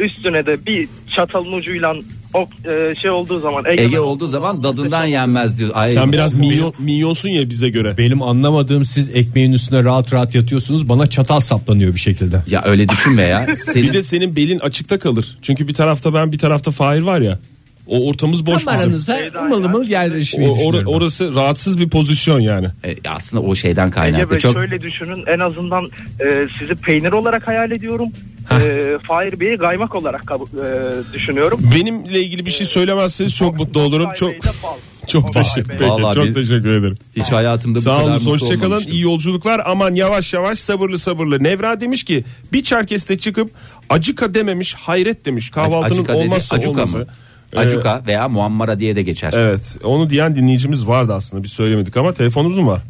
Speaker 10: üstüne de bir çatalın ucuyla ok, e, şey olduğu zaman
Speaker 4: Ege olduğu zaman dadından yenmez diyor. Ay,
Speaker 5: Sen biraz minyon, minyonsun ya bize göre.
Speaker 3: Benim anlamadığım siz ekmeğin üstüne rahat rahat yatıyorsunuz. Bana çatal saplanıyor bir şekilde.
Speaker 4: Ya öyle düşünme ya.
Speaker 5: Bir
Speaker 4: Senin
Speaker 5: de senin belin açıkta kalır. Çünkü bir tarafta ben bir tarafta Fahir var ya. O ortamız boş bizim.
Speaker 3: Kameranıza ımıl ımıl yerleşmeyi
Speaker 5: O- or-
Speaker 3: düşünüyorum.
Speaker 5: orası rahatsız bir pozisyon yani.
Speaker 4: E, aslında o şeyden
Speaker 10: Ege
Speaker 4: kaynaklı.
Speaker 10: Bey
Speaker 4: Çok
Speaker 10: şöyle düşünün en azından e, sizi peynir olarak hayal ediyorum. E, Fahir Bey'i gaymak olarak kab- e, düşünüyorum.
Speaker 5: Benimle ilgili bir şey söylemezseniz çok mutlu olurum.
Speaker 10: Oktay
Speaker 5: Çok
Speaker 10: Bey de bal.
Speaker 5: çok
Speaker 10: Oktay
Speaker 5: teşekkür
Speaker 10: Bey.
Speaker 5: peki,
Speaker 4: Vallahi
Speaker 5: Çok
Speaker 4: biz-
Speaker 5: teşekkür ederim.
Speaker 4: hiç hayatımda bu
Speaker 5: Sağ
Speaker 4: kadar
Speaker 5: olun.
Speaker 4: mutlu
Speaker 5: Hoşçakalın.
Speaker 4: olmamıştım.
Speaker 5: İyi yolculuklar. Aman yavaş yavaş sabırlı sabırlı. Nevra demiş ki bir Çerkes'te çıkıp acıka dememiş hayret demiş. Kahvaltının
Speaker 4: Acuka dedi,
Speaker 5: olmazsa
Speaker 4: acuka
Speaker 5: olmazı.
Speaker 4: mı?
Speaker 5: Ee,
Speaker 4: Acuka veya muammara diye de geçer.
Speaker 5: Evet onu diyen dinleyicimiz vardı aslında biz söylemedik ama telefonumuz mu var?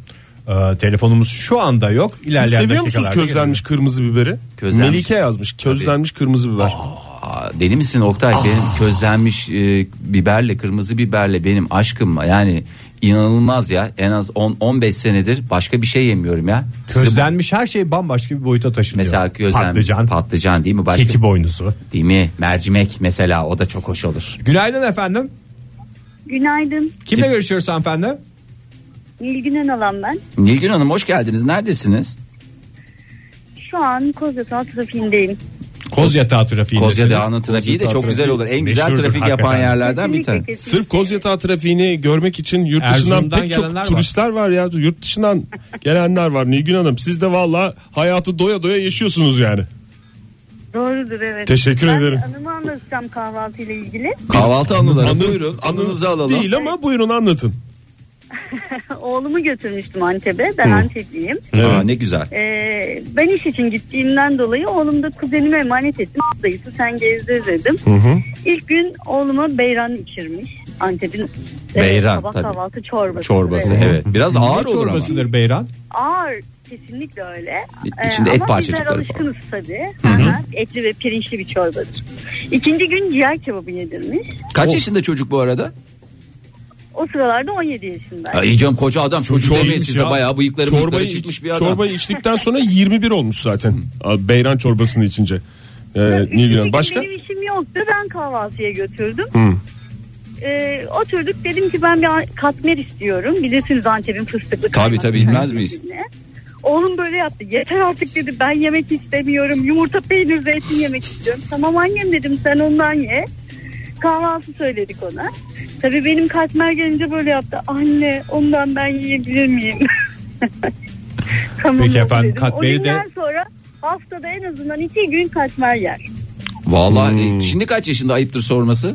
Speaker 3: Ee, telefonumuz şu anda yok.
Speaker 5: Siz
Speaker 3: İlerleyen
Speaker 5: seviyor musunuz
Speaker 3: dakikalarda
Speaker 5: közlenmiş kırmızı biberi?
Speaker 4: Közlenmiş.
Speaker 5: Melike yazmış közlenmiş kırmızı biber.
Speaker 4: Aa, deli misin Oktay? Benim közlenmiş e, biberle, kırmızı biberle benim aşkım yani inanılmaz ya. En az 10-15 senedir başka bir şey yemiyorum ya.
Speaker 3: gelir.
Speaker 4: Size-
Speaker 3: Közlenmiş her şey bambaşka bir boyuta taşınıyor.
Speaker 4: mesela közlenmiş patlıcan,
Speaker 3: Patlıcan,
Speaker 4: değil mi? Başka
Speaker 3: keçi boynuzu.
Speaker 4: değil mi? Mercimek mesela o da çok hoş olur.
Speaker 3: Günaydın efendim.
Speaker 11: Günaydın.
Speaker 3: Kimle
Speaker 4: Kim-
Speaker 3: görüşüyoruz hanımefendi?
Speaker 11: Nilgün Önalan ben.
Speaker 4: Nilgün Hanım hoş geldiniz. Neredesiniz?
Speaker 11: Şu an Kozyatağı trafiğindeyim.
Speaker 3: Kozyatağı trafiğinde.
Speaker 4: Kozya Dağı'nın trafiği de
Speaker 3: Kozya
Speaker 4: çok
Speaker 3: Dağı
Speaker 4: güzel
Speaker 3: trafiği
Speaker 4: olur. En güzel
Speaker 3: meşhurdur
Speaker 4: trafik yapan
Speaker 3: hakikaten.
Speaker 4: yerlerden bir
Speaker 11: Kesinlikle,
Speaker 4: tane.
Speaker 11: kesinlikle.
Speaker 5: Sırf Kozyatağı trafiğini görmek için yurt dışından
Speaker 3: Erzurum'dan
Speaker 5: pek çok
Speaker 3: gelenler var.
Speaker 5: turistler var. ya. Yurt dışından gelenler var Nilgün Hanım. Siz de valla hayatı doya doya yaşıyorsunuz yani.
Speaker 11: Doğrudur evet.
Speaker 5: Teşekkür
Speaker 11: ben
Speaker 5: ederim.
Speaker 11: anımı anlatacağım kahvaltıyla ilgili.
Speaker 4: Kahvaltı anıları.
Speaker 5: Anı-
Speaker 4: Buyurun anınızı alalım.
Speaker 5: Değil ama buyurun anlatın.
Speaker 11: Oğlumu götürmüştüm Antep'e. Ben Antepliyim.
Speaker 4: Aa, ne güzel.
Speaker 11: Ee, ben iş için gittiğimden dolayı oğlumu da kuzenime emanet ettim. Dayısı sen gezdir dedim. İlk gün oğluma beyran içirmiş. Antep'in e,
Speaker 4: Beyran,
Speaker 11: sabah
Speaker 4: tabii.
Speaker 11: kahvaltı çorbası.
Speaker 4: Çorbası
Speaker 11: Evet.
Speaker 4: evet. Biraz ağır
Speaker 3: Ne
Speaker 4: olur ama.
Speaker 3: çorbasıdır Beyran?
Speaker 11: Ağır kesinlikle öyle. Ee,
Speaker 4: İ- içinde et
Speaker 11: ama
Speaker 4: parçacıkları
Speaker 11: bizler
Speaker 4: falan.
Speaker 11: alışkınız tabii. Hı hı. Etli ve pirinçli bir çorbadır. İkinci gün ciğer kebabı yedirmiş.
Speaker 4: Kaç yaşında çocuk bu arada?
Speaker 11: O sıralarda 17 yaşında.
Speaker 4: Ya iyi canım koca adam çocuk
Speaker 5: Çok
Speaker 4: demeyin
Speaker 5: iyiymiş
Speaker 4: siz de
Speaker 5: ya.
Speaker 4: bayağı bıyıkları
Speaker 5: çorbayı,
Speaker 4: bıyıkları çıkmış bir adam.
Speaker 5: çorbayı içtikten sonra 21 olmuş zaten. Abi, Beyran çorbasını içince. Ee, Nilgün Hanım.
Speaker 11: Çünkü
Speaker 5: Başka?
Speaker 11: Benim işim yoktu. Ben kahvaltıya götürdüm. Ee, oturduk dedim ki ben bir katmer istiyorum. Bilirsiniz Antep'in fıstıklı
Speaker 4: Tabii,
Speaker 11: kaymak
Speaker 4: tabii, bilmez
Speaker 11: kaymak
Speaker 4: miyiz?
Speaker 11: ürünü. Oğlum böyle yaptı. Yeter artık dedi ben yemek istemiyorum. Yumurta peynir zeytin yemek istiyorum. Tamam annem dedim sen ondan ye. Kahvaltı söyledik ona. Tabii benim katmer gelince böyle yaptı. Anne ondan ben yiyebilir miyim? tamam,
Speaker 3: Peki
Speaker 11: oldu
Speaker 3: efendim,
Speaker 11: dedim.
Speaker 3: katmeri
Speaker 11: O
Speaker 3: de-
Speaker 11: günden sonra haftada en azından iki gün katmer yer.
Speaker 4: Vallahi e, şimdi kaç yaşında ayıptır sorması?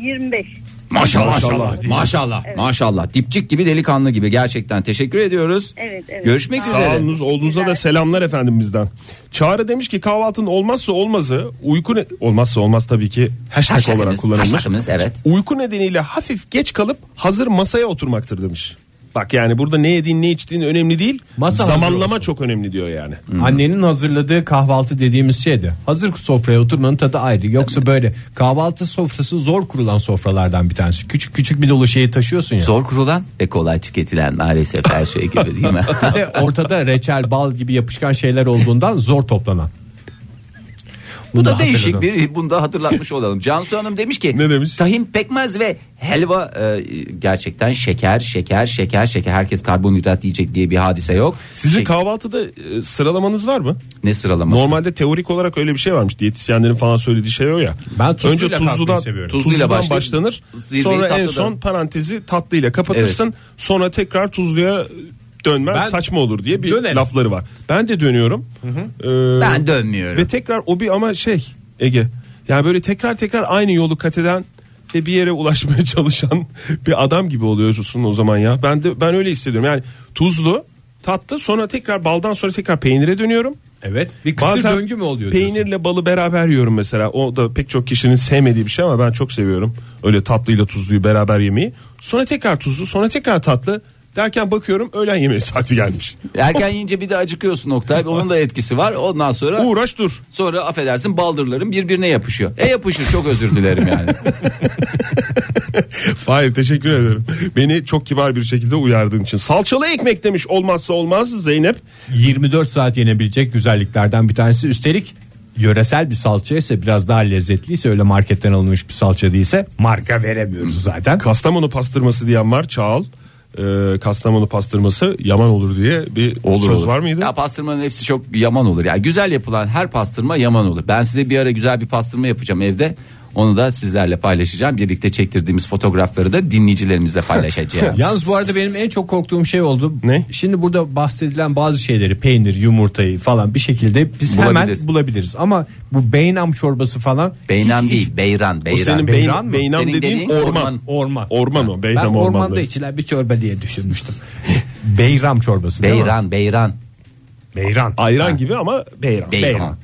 Speaker 11: 25.
Speaker 4: Maşallah. Maşallah.
Speaker 5: Maşallah.
Speaker 4: Maşallah. maşallah. Dipçik gibi delikanlı gibi gerçekten teşekkür ediyoruz.
Speaker 11: Evet, evet.
Speaker 4: Görüşmek
Speaker 5: Sağ
Speaker 4: üzere.
Speaker 5: olunuz, olduğunuza da selamlar efendim bizden. Çağrı demiş ki kahvaltının olmazsa olmazı uyku ne- olmazsa olmaz tabii ki hashtag
Speaker 4: Hashtagimiz,
Speaker 5: olarak kullanılmış.
Speaker 4: hashtagimiz, evet.
Speaker 5: Uyku nedeniyle hafif geç kalıp hazır masaya oturmaktır demiş. Bak yani burada ne yediğin ne içtiğin önemli değil.
Speaker 3: Masa hazır
Speaker 5: zamanlama çok önemli diyor yani.
Speaker 4: Hmm.
Speaker 3: Annenin hazırladığı kahvaltı dediğimiz şeydi. Hazır sofraya oturmanın tadı ayrı. Yoksa böyle kahvaltı sofrası zor kurulan sofralardan bir tanesi. Küçük küçük bir dolu şeyi taşıyorsun ya.
Speaker 4: Zor kurulan ve kolay tüketilen maalesef her şey gibi değil mi?
Speaker 3: Bir de ortada reçel, bal gibi yapışkan şeyler olduğundan zor toplanan.
Speaker 4: Bu
Speaker 3: Bunu
Speaker 4: da değişik
Speaker 3: hatırladım.
Speaker 4: bir bunu da hatırlatmış olalım. Cansu Hanım demiş ki
Speaker 5: Ne demiş?
Speaker 4: tahin pekmez ve helva e, gerçekten şeker şeker şeker şeker herkes karbonhidrat yiyecek diye bir hadise yok.
Speaker 5: Sizin
Speaker 4: Şek-
Speaker 5: kahvaltıda e, sıralamanız var mı?
Speaker 4: ne sıralaması?
Speaker 5: Normalde teorik olarak öyle bir şey varmış. Diyetisyenlerin falan söylediği şey o ya.
Speaker 3: Ben tuzluyla
Speaker 5: Önce
Speaker 3: kalkmayı
Speaker 5: tuzludan,
Speaker 3: seviyorum.
Speaker 5: tuzluyla
Speaker 4: Tuzluyla başlayıp
Speaker 5: başlanır.
Speaker 4: zirveyi
Speaker 5: Sonra en
Speaker 4: tatlıdan.
Speaker 5: son parantezi tatlıyla kapatırsın. Sonra tekrar tuzluya dönmen
Speaker 3: Ben
Speaker 5: saçma olur diye bir
Speaker 3: dönerim.
Speaker 5: lafları var. Ben de dönüyorum. Ee,
Speaker 4: ben dönmüyorum.
Speaker 5: ve tekrar o bir ama şey Ege. Yani böyle tekrar tekrar aynı yolu kat eden ve bir yere ulaşmaya çalışan bir adam gibi oluyorsun o zaman ya. Ben de ben öyle hissediyorum. Yani tuzlu, tatlı sonra tekrar baldan sonra tekrar peynire dönüyorum.
Speaker 3: Evet. Bir kısır
Speaker 5: Bazen
Speaker 3: döngü mü oluyor
Speaker 5: Peynirle
Speaker 3: diyorsun?
Speaker 5: balı beraber yiyorum mesela. O da pek çok kişinin sevmediği bir şey ama ben çok seviyorum. Öyle tatlıyla tuzluyu beraber yemeyi. Sonra tekrar tuzlu, sonra tekrar tatlı derken bakıyorum öğlen yemeği saati gelmiş.
Speaker 4: Erken yiyince bir de acıkıyorsun Oktay. Onun da etkisi var. Ondan sonra
Speaker 5: Uğraş dur.
Speaker 4: sonra affedersin baldırların birbirine yapışıyor. E yapışır çok özür dilerim yani.
Speaker 5: Hayır teşekkür ederim. Beni çok kibar bir şekilde uyardığın için. Salçalı ekmek demiş olmazsa olmaz Zeynep.
Speaker 3: 24 saat yenebilecek güzelliklerden bir tanesi. Üstelik yöresel bir salça ise biraz daha lezzetliyse öyle marketten alınmış bir salça değilse marka veremiyoruz zaten.
Speaker 5: Kastamonu pastırması diyen var Çağal. Ee, Kastamonu pastırması yaman olur diye bir söz var mıydı?
Speaker 4: Ya pastırmanın hepsi çok yaman olur. Yani güzel yapılan her pastırma yaman olur. Ben size bir ara güzel bir pastırma yapacağım evde. Onu da sizlerle paylaşacağım. Birlikte çektirdiğimiz fotoğrafları da dinleyicilerimizle paylaşacağım.
Speaker 3: Yalnız bu arada benim en çok korktuğum şey oldu.
Speaker 5: Ne?
Speaker 3: Şimdi burada bahsedilen bazı şeyleri peynir, yumurtayı falan bir şekilde biz hemen
Speaker 4: Bulabiliriz.
Speaker 3: bulabiliriz. Ama bu beynam çorbası falan
Speaker 4: Beynam
Speaker 3: hiç- hiç-
Speaker 4: değil, beyran, beyran.
Speaker 5: senin
Speaker 3: Beyran
Speaker 5: beynan,
Speaker 3: mı?
Speaker 5: beynan
Speaker 4: Senin
Speaker 5: dediğin,
Speaker 4: dediğin
Speaker 5: orman.
Speaker 4: orman.
Speaker 3: Orman.
Speaker 5: Orman o.
Speaker 3: ben
Speaker 5: Beynan
Speaker 3: ormanda
Speaker 5: ormanda.
Speaker 3: içilen bir çorba diye düşünmüştüm. Beyram çorbası değil mi?
Speaker 4: Beyran, beyran.
Speaker 3: Beyran.
Speaker 5: Ayran gibi ama beyran.
Speaker 4: Beyran.
Speaker 3: Beyran.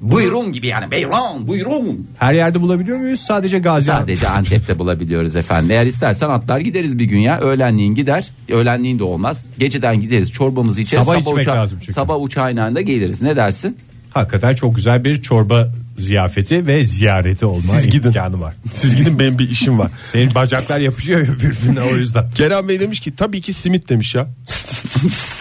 Speaker 4: Buyurun gibi yani beyran, buyurun.
Speaker 3: Her yerde bulabiliyor muyuz? Sadece Gaziantep.
Speaker 4: Sadece Antep'te bulabiliyoruz efendim. Eğer istersen atlar gideriz bir gün ya. Öğlenliğin gider. Öğlenliğin de olmaz. Geceden gideriz çorbamızı içeriz.
Speaker 3: Sabah içmek lazım çünkü.
Speaker 4: Sabah uçağıyla da geliriz. Ne dersin?
Speaker 3: Hakikaten çok güzel bir çorba ziyafeti ve ziyareti olma
Speaker 5: Siz gidin.
Speaker 3: imkanı var.
Speaker 5: Siz gidin benim bir işim var.
Speaker 3: Senin bacaklar yapışıyor ya birbirine o yüzden.
Speaker 5: Kerem Bey demiş ki tabii ki simit demiş ya.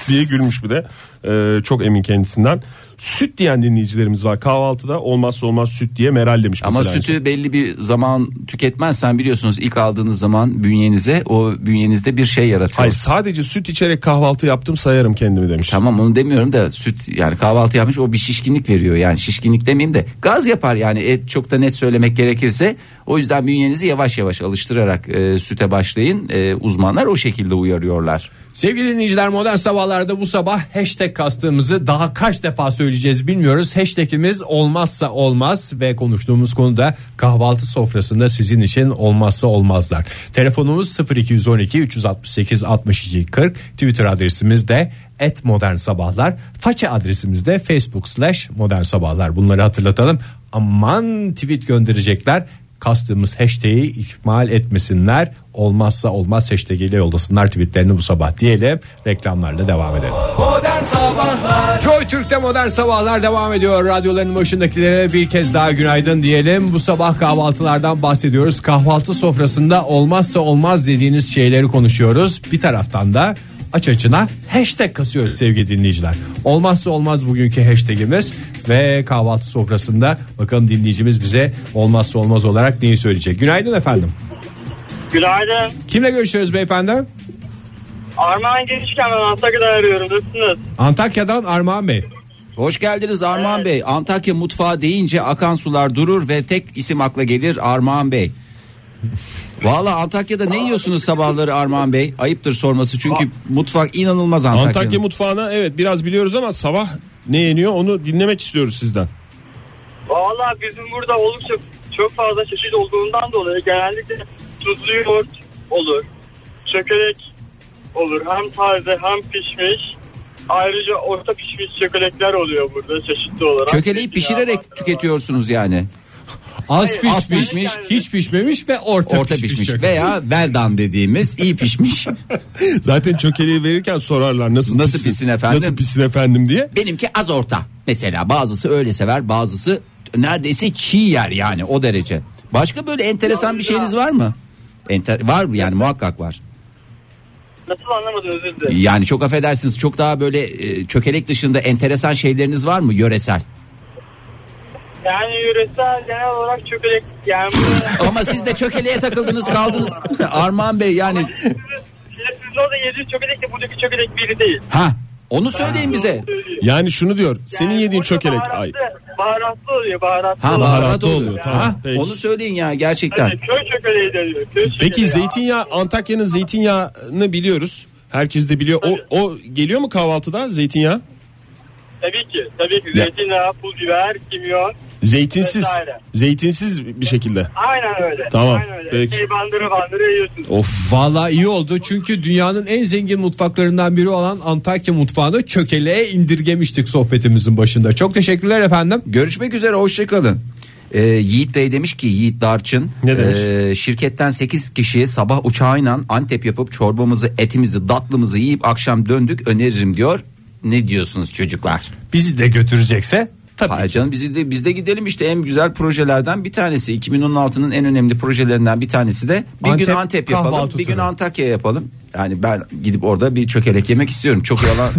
Speaker 5: diye gülmüş bir de. Ee, çok emin kendisinden. Süt diyen dinleyicilerimiz var. Kahvaltıda olmazsa olmaz süt diye Meral demiş.
Speaker 4: Ama
Speaker 5: mesela.
Speaker 4: sütü belli bir zaman tüketmezsen biliyorsunuz ilk aldığınız zaman bünyenize o bünyenizde bir şey yaratıyor.
Speaker 5: Hayır sadece süt içerek kahvaltı yaptım sayarım kendimi demiş.
Speaker 4: Tamam onu demiyorum da süt yani kahvaltı yapmış o bir şişkinlik veriyor yani şişkinlik demeyeyim de gaz yapar yani et çok da net söylemek gerekirse o yüzden bünyenizi yavaş yavaş alıştırarak e, süte başlayın E, uzmanlar o şekilde uyarıyorlar.
Speaker 3: Sevgili dinleyiciler modern sabahlarda bu sabah hashtag kastığımızı daha kaç defa söyleyeceğiz bilmiyoruz. Hashtagimiz olmazsa olmaz ve konuştuğumuz konuda kahvaltı sofrasında sizin için olmazsa olmazlar. Telefonumuz 0212 368 62 40 Twitter adresimiz de et modern sabahlar. Faça adresimiz de facebook slash modern sabahlar. Bunları hatırlatalım. Aman tweet gönderecekler kastığımız hashtag'i ihmal etmesinler. Olmazsa olmaz hashtag ile yollasınlar tweetlerini bu sabah diyelim. Reklamlarla devam edelim.
Speaker 2: Modern Sabahlar
Speaker 3: Joy Türk'te modern sabahlar devam ediyor. Radyoların başındakilere bir kez daha günaydın diyelim. Bu sabah kahvaltılardan bahsediyoruz. Kahvaltı sofrasında olmazsa olmaz dediğiniz şeyleri konuşuyoruz. Bir taraftan da aç açına hashtag kasıyoruz sevgili dinleyiciler. Olmazsa olmaz bugünkü hashtagimiz ve kahvaltı sofrasında bakalım dinleyicimiz bize olmazsa olmaz olarak neyi söyleyecek. Günaydın efendim.
Speaker 12: Günaydın.
Speaker 3: Kimle görüşüyoruz beyefendi?
Speaker 12: Armağan gelişken ben Antakya'dan arıyorum. Nasılsınız?
Speaker 3: Antakya'dan Armağan Bey.
Speaker 4: Hoş geldiniz Armağan Bey. Antakya mutfağı deyince akan sular durur ve tek isim akla gelir Armağan Bey. Valla Antakya'da ne yiyorsunuz sabahları Armağan Bey? Ayıptır sorması çünkü mutfak inanılmaz Antakya'nın.
Speaker 5: Antakya mutfağına evet biraz biliyoruz ama sabah ne yeniyor onu dinlemek istiyoruz sizden.
Speaker 12: Valla bizim burada oldukça çok fazla çeşit olduğundan dolayı genellikle tuzlu yoğurt olur. Çökelek olur. Hem taze hem pişmiş. Ayrıca orta pişmiş çökelekler oluyor burada çeşitli olarak.
Speaker 4: Çökeleği pişirerek tüketiyorsunuz yani.
Speaker 3: Az
Speaker 4: Hayır,
Speaker 3: pişmiş,
Speaker 4: az pişmiş,
Speaker 3: hiç pişmemiş ve orta,
Speaker 4: Orta
Speaker 3: pişmiş.
Speaker 4: pişmiş veya veldam dediğimiz iyi pişmiş.
Speaker 5: Zaten çökeleği verirken sorarlar nasıl,
Speaker 4: Nasıl pişsin efendim?
Speaker 5: Nasıl pişsin efendim diye.
Speaker 4: Benimki az orta. Mesela bazısı öyle sever, bazısı neredeyse çiğ yer yani o derece. Başka böyle enteresan bir şeyiniz var mı? Enter var yani muhakkak var.
Speaker 12: Nasıl anlamadım özür dilerim.
Speaker 4: Yani çok affedersiniz çok daha böyle e, çökelek dışında enteresan şeyleriniz var mı yöresel?
Speaker 12: Yani yöresel genel olarak çökelek yani bu-
Speaker 4: Ama siz de çökeleğe takıldınız kaldınız. Armağan Bey yani
Speaker 12: sizin orada yediğiniz çökelek de buradaki çökelek biri değil.
Speaker 4: ha onu söyleyin bize.
Speaker 5: Yani şunu diyor. senin yediğin çökelek ay.
Speaker 12: Baharatlı, baharatlı oluyor baharatlı.
Speaker 4: Ha
Speaker 12: oluyor.
Speaker 4: baharat oluyor.
Speaker 5: oluyor, tamam,
Speaker 4: Ha,
Speaker 5: peki.
Speaker 4: onu söyleyin ya gerçekten.
Speaker 12: Evet, köy çökeleği deniyor. Köy
Speaker 5: Peki
Speaker 12: çökeleği.
Speaker 5: zeytinyağı Antakya'nın zeytinyağını biliyoruz. Herkes de biliyor. O, o geliyor mu kahvaltıda zeytinyağı?
Speaker 12: Tabii ki. Tabii ki. Zeytinyağı, pul biber, kimyon.
Speaker 5: Zeytinsiz.
Speaker 12: Vesaire.
Speaker 5: Zeytinsiz bir şekilde.
Speaker 12: Aynen öyle.
Speaker 5: Tamam,
Speaker 12: Aynen öyle.
Speaker 5: peki.
Speaker 12: Şey bandıra bandıra yiyorsunuz.
Speaker 5: Of.
Speaker 3: Valla iyi oldu çünkü dünyanın en zengin mutfaklarından biri olan Antakya mutfağını çökeleğe indirgemiştik sohbetimizin başında. Çok teşekkürler efendim.
Speaker 4: Görüşmek üzere hoşçakalın. Ee, Yiğit Bey demiş ki Yiğit Darçın
Speaker 5: Ne demiş?
Speaker 4: e, şirketten 8 kişi sabah uçağıyla Antep yapıp çorbamızı etimizi datlımızı yiyip akşam döndük öneririm diyor. Ne diyorsunuz çocuklar?
Speaker 3: Bizi de götürecekse tabii.
Speaker 4: Hayır canım bizi de, biz de gidelim işte en güzel projelerden bir tanesi 2016'nın en önemli projelerinden bir tanesi de bir
Speaker 3: Antep
Speaker 4: gün Antep yapalım
Speaker 3: kahvaltı
Speaker 4: bir gün
Speaker 3: turu.
Speaker 4: Antakya yapalım. Yani ben gidip orada bir çökelek yemek istiyorum çok yalan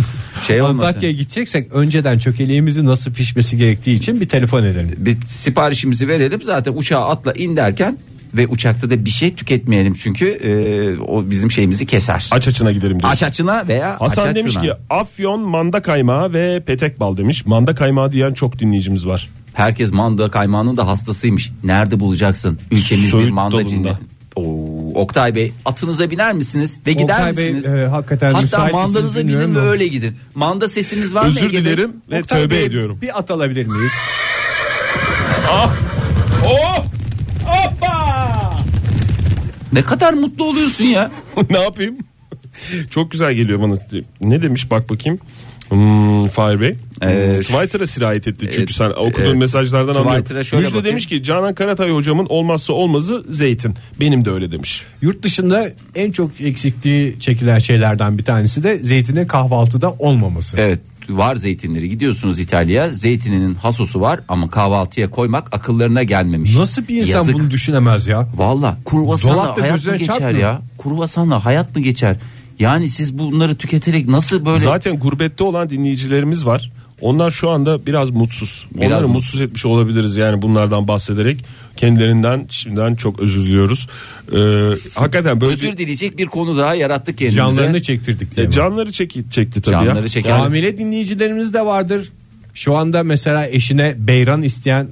Speaker 4: şey olmasın.
Speaker 3: Antakya'ya gideceksek önceden çökeleğimizi nasıl pişmesi gerektiği için bir telefon edelim.
Speaker 4: bir siparişimizi verelim zaten uçağa atla in derken ve uçakta da bir şey tüketmeyelim çünkü e, o bizim şeyimizi keser.
Speaker 5: Aç açına gidelim diyor.
Speaker 4: Aç açına veya
Speaker 5: Hasan
Speaker 4: aç
Speaker 5: demiş
Speaker 4: açına.
Speaker 5: ki afyon manda kaymağı ve petek bal demiş. Manda kaymağı diyen çok dinleyicimiz var.
Speaker 4: herkes manda kaymağının da hastasıymış. Nerede bulacaksın? Ülkemiz bir
Speaker 5: Söğüt
Speaker 4: manda
Speaker 5: dalında.
Speaker 4: cenneti. Oo, Oktay Bey atınıza biner misiniz ve gider
Speaker 3: Oktay Bey,
Speaker 4: misiniz?
Speaker 3: e, hakikaten
Speaker 4: Hatta
Speaker 3: müsait misiniz
Speaker 4: mandanıza
Speaker 3: bilmiyorum
Speaker 4: binin ve
Speaker 3: ama.
Speaker 4: öyle gidin. Manda sesiniz var mı
Speaker 5: Özür
Speaker 4: Ege'de?
Speaker 5: dilerim ve
Speaker 3: Oktay
Speaker 5: tövbe
Speaker 3: Bey,
Speaker 5: ediyorum.
Speaker 3: Bir at alabilir miyiz?
Speaker 5: Oh!
Speaker 4: Ne kadar mutlu oluyorsun ya.
Speaker 5: ne yapayım? Çok güzel geliyor bana. Ne demiş bak bakayım. Hmm, Fahir Bey. Hmm,
Speaker 4: Ee,
Speaker 5: Twitter'a sirayet etti çünkü
Speaker 4: Evet,
Speaker 5: sen okuduğun
Speaker 4: evet.
Speaker 5: mesajlardan anlıyorum.
Speaker 4: Twitter'a şöyle
Speaker 5: Müjde
Speaker 4: bakayım.
Speaker 5: demiş ki Canan Karatay hocamın olmazsa olmazı zeytin. Benim de öyle demiş.
Speaker 3: Yurt dışında en çok eksikliği çekilen şeylerden bir tanesi de zeytinin kahvaltıda olmaması.
Speaker 4: Evet var zeytinleri gidiyorsunuz İtalya'ya zeytininin hasosu var ama kahvaltıya koymak akıllarına gelmemiş.
Speaker 3: Nasıl bir insan
Speaker 4: Yazık.
Speaker 3: bunu düşünemez ya?
Speaker 4: Valla kurvasanla
Speaker 3: Dolapta
Speaker 4: hayat mı
Speaker 3: gözüne
Speaker 4: geçer
Speaker 3: çarpmıyor.
Speaker 4: ya? Kurvasanla hayat mı geçer? Yani siz bunları tüketerek nasıl böyle
Speaker 5: Zaten gurbette olan dinleyicilerimiz var. Onlar şu anda biraz mutsuz.
Speaker 4: Biraz
Speaker 5: Onları
Speaker 4: mutsuz.
Speaker 5: mutsuz etmiş olabiliriz yani bunlardan bahsederek. Kendilerinden şimdiden çok özür diliyoruz. Ee, hakikaten böyle
Speaker 4: özür dileyecek bir konu daha yarattık kendimize.
Speaker 3: Canlarını çektirdik diye.
Speaker 5: E,
Speaker 3: mi?
Speaker 5: canları çek, çekti tabii
Speaker 4: Canları
Speaker 5: ya.
Speaker 4: çeken-
Speaker 5: Yani
Speaker 3: Hamile dinleyicilerimiz de vardır. Şu anda mesela eşine beyran isteyen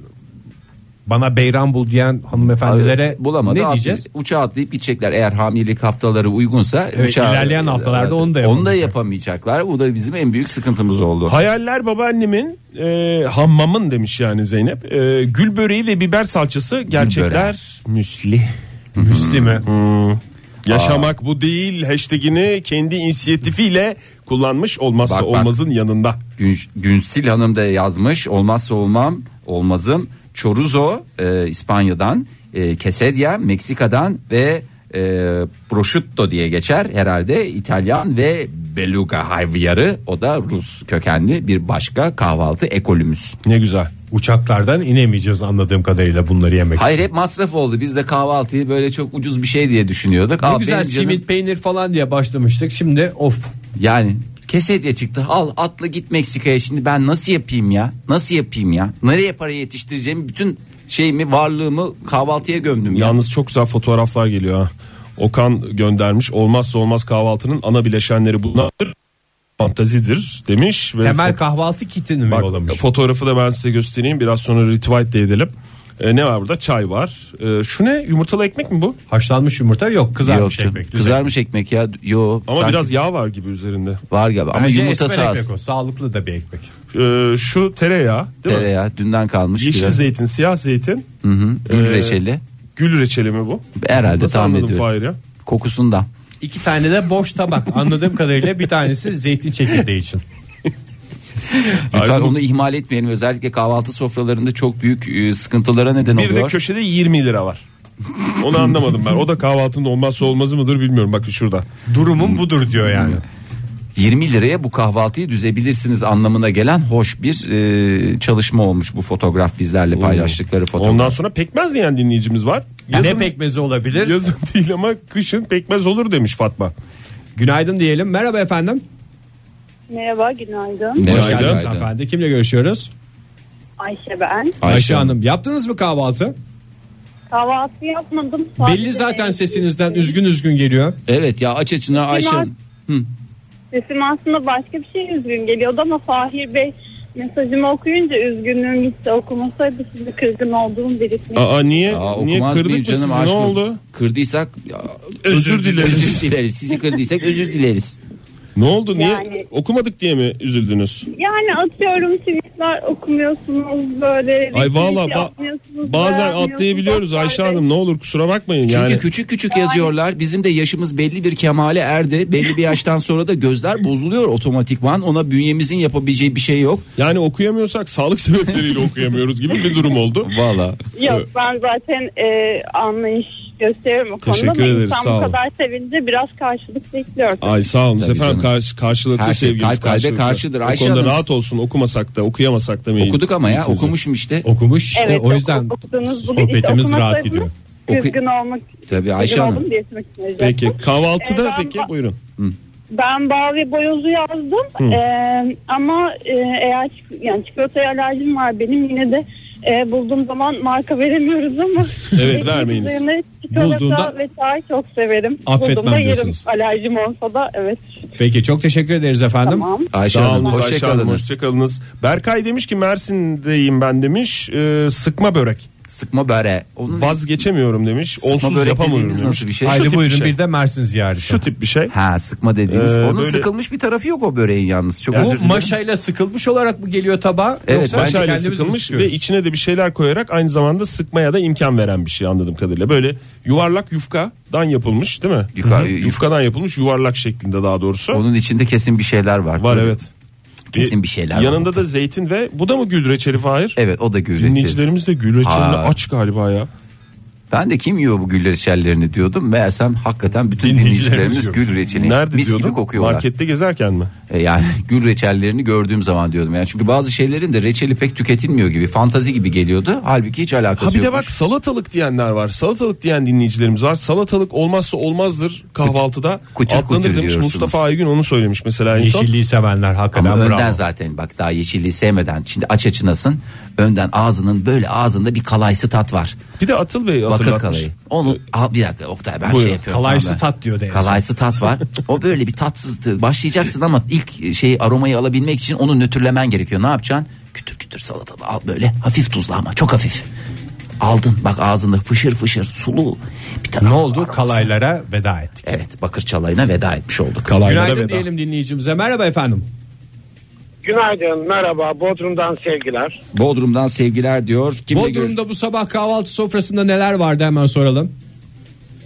Speaker 3: bana beyran bul diyen hanımefendilere
Speaker 4: bulamadı.
Speaker 3: ne
Speaker 4: atlayıp-
Speaker 3: diyeceğiz?
Speaker 4: Uçağa atlayıp gidecekler. Eğer hamilelik haftaları uygunsa
Speaker 3: Evet,
Speaker 4: uçağa-
Speaker 3: ilerleyen haftalarda onu da
Speaker 4: Onu da
Speaker 3: yapamayacak.
Speaker 4: yapamayacaklar. Bu da bizim en büyük sıkıntımız oldu.
Speaker 5: Hayaller babaannemin e, hammamın demiş yani Zeynep. E, gül böreği ve biber salçası gerçekler müsli.
Speaker 3: Müsli mi?
Speaker 5: Yaşamak bu değil hashtagini kendi inisiyatifiyle kullanmış olmazsa
Speaker 4: Bak, bak.
Speaker 5: olmazın yanında.
Speaker 4: Gün, Günsil Hanım da yazmış. Olmazsa olmam, olmazım. Chorizo e, İspanya'dan, e, quesadilla Meksika'dan ve e, prosciutto diye geçer herhalde İtalyan ve beluga havyarı o da Rus kökenli bir başka kahvaltı ekolümüz.
Speaker 5: Ne güzel.
Speaker 3: Uçaklardan inemeyeceğiz anladığım kadarıyla bunları yemek
Speaker 4: Hayır
Speaker 3: için.
Speaker 4: hep masraf oldu. Biz de kahvaltıyı böyle çok ucuz bir şey diye düşünüyorduk.
Speaker 3: Ne
Speaker 4: Al
Speaker 3: güzel
Speaker 4: benim canım-
Speaker 3: simit peynir falan diye başlamıştık. Şimdi of
Speaker 4: Yani kesedye çıktı. Al atla git Meksika'ya. Şimdi ben nasıl yapayım ya? Nasıl yapayım ya? Nereye parayı yetiştireceğimi bütün şeyimi varlığımı kahvaltıya gömdüm ya.
Speaker 5: Yalnız çok güzel fotoğraflar geliyor ha. Okan göndermiş. Olmazsa olmaz kahvaltının ana bileşenleri bunlardır. Fantazidir demiş. Ve
Speaker 3: temel
Speaker 5: fo-
Speaker 3: kahvaltı kitini mi
Speaker 5: Bak,
Speaker 3: yollamış?
Speaker 5: fotoğrafı da ben size göstereyim. Biraz sonra retweet de edelim. E, ne var burada? Çay var. E, şu ne? Yumurtalı ekmek mi bu?
Speaker 3: Haşlanmış yumurta yok
Speaker 4: Yok
Speaker 3: kızarmış
Speaker 4: canım,
Speaker 3: ekmek. düz
Speaker 4: Kızarmış ekmek ya. Yok.
Speaker 5: Ama biraz yağ var gibi üzerinde.
Speaker 4: var galiba ama
Speaker 3: Bence
Speaker 4: yumurta
Speaker 3: esmer
Speaker 4: az.
Speaker 3: ekmek o. Sağlıklı da bir ekmek.
Speaker 5: Ee, şu tereyağı değil mi?
Speaker 4: Tereyağı dünden kalmış
Speaker 5: Yeşil
Speaker 4: biraz.
Speaker 5: zeytin, siyah zeytin,
Speaker 4: Hı hı, Gül
Speaker 5: Ee,
Speaker 4: reçeli.
Speaker 5: Gül reçeli mi bu?
Speaker 4: Herhalde
Speaker 5: Nasıl
Speaker 4: tahmin
Speaker 5: anladın
Speaker 4: ediyorum.
Speaker 5: Fahir ya?
Speaker 4: Kokusundan.
Speaker 3: İki tane de boş tabak. Anladığım kadarıyla bir tanesi zeytin çekirdeği için.
Speaker 4: Lütfen onu ihmal etmeyelim. Özellikle kahvaltı sofralarında çok büyük e, sıkıntılara neden
Speaker 5: Bir de
Speaker 4: oluyor.
Speaker 5: köşede 20 lira var. Onu anlamadım ben. O da kahvaltının olmazsa olmazı mıdır bilmiyorum. Bak şurada. Hmm.
Speaker 3: Durumum budur diyor yani.
Speaker 4: 20 liraya bu kahvaltıyı düzebilirsiniz anlamına gelen hoş bir e, çalışma olmuş bu fotoğraf bizlerle paylaştıkları fotoğraf.
Speaker 5: Ondan sonra pekmez diyen dinleyicimiz var.
Speaker 3: ne pekmezi olabilir?
Speaker 5: Yazın değil ama kışın pekmez olur demiş Fatma.
Speaker 3: Günaydın diyelim. Merhaba efendim.
Speaker 11: Merhaba günaydın.
Speaker 3: Hoş geldiniz hanımefendi. Kimle görüşüyoruz?
Speaker 11: Ayşe ben.
Speaker 3: Ayşe, Hanım. Yaptınız mı kahvaltı?
Speaker 11: Kahvaltı yapmadım. Sadece
Speaker 3: Belli zaten sesinizden üzgün üzgün geliyor.
Speaker 4: Evet ya aç açına
Speaker 11: Ayşe Hanım. Sesim aslında başka bir şey üzgün geliyordu ama Fahir Bey mesajımı okuyunca üzgünlüğüm gitti. Okumasaydı sizi kırgın olduğum birisini.
Speaker 5: Aa niye?
Speaker 4: Aa,
Speaker 5: niye
Speaker 4: okumaz
Speaker 5: kırdık
Speaker 4: mıyım
Speaker 5: mı
Speaker 4: canım
Speaker 5: sizi? Ne
Speaker 4: aşkım?
Speaker 5: oldu?
Speaker 4: Kırdıysak ya,
Speaker 5: Özür dileriz.
Speaker 4: Özür dileriz. Sizi kırdıysak özür dileriz.
Speaker 5: Ne oldu? Niye
Speaker 11: Yani-
Speaker 5: okumadık diye mi üzüldünüz?
Speaker 11: Yani atıyorum tweetler okumuyorsunuz böyle.
Speaker 5: Ay
Speaker 11: retweet
Speaker 5: valla ba-
Speaker 11: yapmıyorsunuz,
Speaker 5: bazen
Speaker 11: beğenmiyorsunuz.
Speaker 5: atlayabiliyoruz Ayşe Hanım. Ne olur kusura bakmayın
Speaker 4: Çünkü
Speaker 5: yani.
Speaker 4: küçük küçük yazıyorlar. Bizim de yaşımız belli bir kemale erdi. Belli bir yaştan sonra da gözler bozuluyor otomatikman. Ona bünyemizin yapabileceği bir şey yok.
Speaker 5: Yani okuyamıyorsak sağlık sebepleriyle okuyamıyoruz gibi bir durum oldu.
Speaker 4: Valla.
Speaker 11: Yok ben zaten e, anlayış gösteriyorum o konuda.
Speaker 5: Teşekkür
Speaker 11: ama
Speaker 5: ederiz,
Speaker 11: insan
Speaker 5: sağ
Speaker 11: bu
Speaker 5: olun.
Speaker 11: kadar sevince biraz karşılık bekliyoruz.
Speaker 5: Ee, Ay sağ olun
Speaker 4: Tabii
Speaker 5: efendim
Speaker 4: canım.
Speaker 5: karşı, karşılıklı
Speaker 4: Her şey
Speaker 5: sevgimiz
Speaker 4: kalp kalbe
Speaker 5: karşılıklı.
Speaker 4: karşıdır.
Speaker 5: O
Speaker 4: Ayşe
Speaker 5: konuda
Speaker 4: Hanım-
Speaker 5: rahat olsun okumasak da okuyamasak da mı? iyi?
Speaker 4: Okuduk ama ya
Speaker 5: Tweetinizi.
Speaker 4: okumuşum işte.
Speaker 3: Okumuş işte
Speaker 11: Evet,
Speaker 3: o yüzden
Speaker 11: okudunuz bugün. İşte
Speaker 3: sohbetimiz rahat
Speaker 11: okumasaydınız
Speaker 3: gidiyor.
Speaker 11: Kızgın olmak
Speaker 4: Tabii Ayşe
Speaker 11: kızgın
Speaker 4: Hanım.
Speaker 11: oldum diye etmek isteyeceğim.
Speaker 5: Peki kahvaltıda
Speaker 11: Ee, ben-
Speaker 5: peki buyurun.
Speaker 11: Ben bal ve boyozu yazdım Ee, ama e, eğer çik- yani çikolataya alerjim var benim yine de e, bulduğum zaman marka veremiyoruz ama
Speaker 5: Evet, vermeyiniz.
Speaker 11: üzerine çikolata
Speaker 3: Bulduğunda-
Speaker 11: ve çay çok severim.
Speaker 3: Affetmem
Speaker 11: Bulduğumda yerim.
Speaker 3: diyorsunuz.
Speaker 11: Alerjim olsa da evet.
Speaker 3: Peki çok teşekkür ederiz efendim.
Speaker 11: Tamam.
Speaker 4: Ayşe
Speaker 5: Sağ
Speaker 4: Hanım
Speaker 5: olun Ayşe Hanım
Speaker 4: hoşçakalınız.
Speaker 5: hoşçakalınız. Berkay demiş ki Mersin'deyim ben demiş. Ee, sıkma börek.
Speaker 4: Sıkma böre. Onun
Speaker 5: Vazgeçemiyorum demiş.
Speaker 4: Sıkma
Speaker 5: Onsuz
Speaker 4: börek
Speaker 5: yapamıyorum
Speaker 4: dediğimiz
Speaker 5: demiş.
Speaker 4: nasıl bir şey?
Speaker 5: Şu
Speaker 3: Haydi
Speaker 5: tip bir
Speaker 3: buyurun
Speaker 5: şey.
Speaker 3: bir de Mersin ziyareti.
Speaker 5: Şu tip bir şey.
Speaker 4: Ha sıkma dediğimiz.
Speaker 5: Ee,
Speaker 4: Onun
Speaker 5: böyle-
Speaker 4: sıkılmış bir tarafı yok o böreğin yalnız. Çok özür
Speaker 3: Bu
Speaker 4: dilerim.
Speaker 3: maşayla sıkılmış olarak mı geliyor tabağa?
Speaker 4: Evet,
Speaker 3: Yoksa
Speaker 4: bence
Speaker 5: Şöyle
Speaker 3: kendimiz mi
Speaker 5: sıkılmış
Speaker 3: sıkıyoruz?
Speaker 5: ve içine de bir şeyler koyarak aynı zamanda sıkmaya da imkan veren bir şey anladığım kadarıyla. Böyle yuvarlak yufkadan yapılmış değil mi?
Speaker 4: Yuka-
Speaker 5: Hı hı.
Speaker 4: yufka.
Speaker 5: Yufkadan yapılmış yuvarlak şeklinde daha doğrusu.
Speaker 4: Onun içinde kesin bir şeyler var.
Speaker 5: Var
Speaker 4: Böyle-
Speaker 5: evet. E,
Speaker 4: Kesin bir şeyler var.
Speaker 5: Yanında da zeytin ve bu da mı gül reçeli Fahir?
Speaker 4: Evet o da gül reçeli.
Speaker 5: Dinleyicilerimiz de gül reçelini
Speaker 4: Aa.
Speaker 5: aç galiba ya.
Speaker 4: Ben de kim yiyor bu gül reçellerini diyordum. Meğersem hakikaten bütün
Speaker 5: Dinleyicilerimiz
Speaker 4: dinleyicilerimiz gül reçeli
Speaker 5: Nerede
Speaker 4: mis
Speaker 5: diyordun?
Speaker 4: gibi kokuyorlar.
Speaker 5: Markette gezerken mi?
Speaker 4: E Yani gül reçellerini gördüğüm zaman diyordum. Yani çünkü bazı şeylerin de reçeli pek tüketilmiyor gibi. Fantazi gibi geliyordu. Halbuki hiç alakası
Speaker 5: Ha bir de
Speaker 4: yokmuş.
Speaker 5: bak salatalık diyenler var. Salatalık diyen dinleyicilerimiz var. Salatalık olmazsa olmazdır kahvaltıda.
Speaker 4: Kutur kutur
Speaker 5: Atlanır demiş
Speaker 4: diyorsunuz.
Speaker 5: Mustafa Aygün onu söylemiş mesela en son.
Speaker 3: Yeşilliği sevenler
Speaker 4: Ama
Speaker 3: hakikaten
Speaker 4: önden
Speaker 3: bravo.
Speaker 4: zaten bak daha yeşilliği sevmeden. Şimdi aç açınasın. Önden ağzının böyle ağzında bir kalaysı tat var.
Speaker 5: Bir de Atıl Bey
Speaker 4: Bakır
Speaker 5: hatırlatmış.
Speaker 4: kalayı. Onu al bir dakika Oktay ben
Speaker 5: Buyurun.
Speaker 4: şey yapıyorum.
Speaker 3: Ee, Kalaysı
Speaker 4: tamam ben.
Speaker 3: tat diyor da en son.
Speaker 4: Kalaysı tat var. O böyle bir tatsızdı. Başlayacaksın ama ilk şey aromayı alabilmek için onu nötrlemen gerekiyor. Ne yapacaksın? Kütür kütür salatalı al böyle hafif tuzlu ama çok hafif. Aldın bak ağzında fışır fışır sulu. Bir tane
Speaker 3: Ne oldu? Kalaylara veda ettik.
Speaker 4: Evet bakır çalayına veda etmiş olduk.
Speaker 3: Günaydın diyelim dinleyicimize. Merhaba efendim.
Speaker 12: Günaydın, merhaba. Bodrum'dan sevgiler.
Speaker 4: Bodrum'dan sevgiler diyor. Kimle görüş-
Speaker 3: Bodrum'da bu sabah kahvaltı sofrasında neler vardı hemen soralım.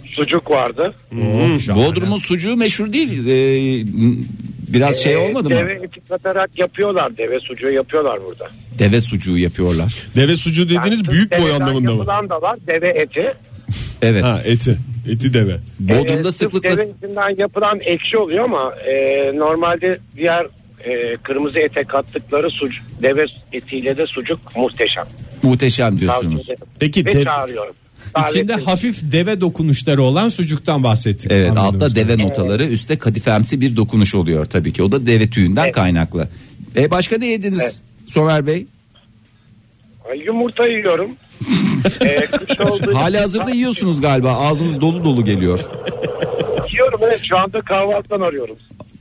Speaker 3: Oh,
Speaker 12: Sucuk vardı.
Speaker 5: Hmm,
Speaker 4: Bodrum'un sucuğu meşhur değil. Ee, biraz şey olmadı mı?
Speaker 12: Ee, Deve eti katarak yapıyorlar. Deve sucuğu yapıyorlar burada.
Speaker 4: Deve sucuğu yapıyorlar.
Speaker 5: Deve sucuğu dediğiniz
Speaker 12: Yani
Speaker 5: büyük boy
Speaker 12: deveden
Speaker 5: anlamında mı?
Speaker 12: yapılan da var. Deve eti.
Speaker 4: Evet.
Speaker 5: Ha eti. Eti deve.
Speaker 4: Bodrum'da
Speaker 12: Ee, sırf
Speaker 4: sıklıkla
Speaker 12: Deve etinden yapılan ekşi oluyor ama e, normalde diğer e, kırmızı ete kattıkları sucuk, deve etiyle de sucuk muhteşem.
Speaker 4: muhteşem
Speaker 12: Tavsiye
Speaker 4: diyorsunuz.
Speaker 12: ederim.
Speaker 5: Peki
Speaker 12: Ve
Speaker 5: dev-
Speaker 12: çağırıyorum.
Speaker 3: İçinde
Speaker 12: Davetli-
Speaker 3: hafif deve dokunuşları olan sucuktan bahsettik.
Speaker 4: Evet
Speaker 3: Anladığımız
Speaker 4: altta
Speaker 3: kadarıyla.
Speaker 4: deve notaları üstte kadifemsi bir dokunuş oluyor tabii ki. O da deve tüyünden kaynaklı. E başka ne yediniz
Speaker 12: Evet.
Speaker 4: Somer Bey?
Speaker 12: Ay, Yumurta yiyorum. ee, kış olduğu
Speaker 4: Hali hazırda yiyorsunuz galiba. Ağzınız dolu dolu geliyor.
Speaker 12: yiyorum. Evet, şu anda kahvaltıdan arıyorum.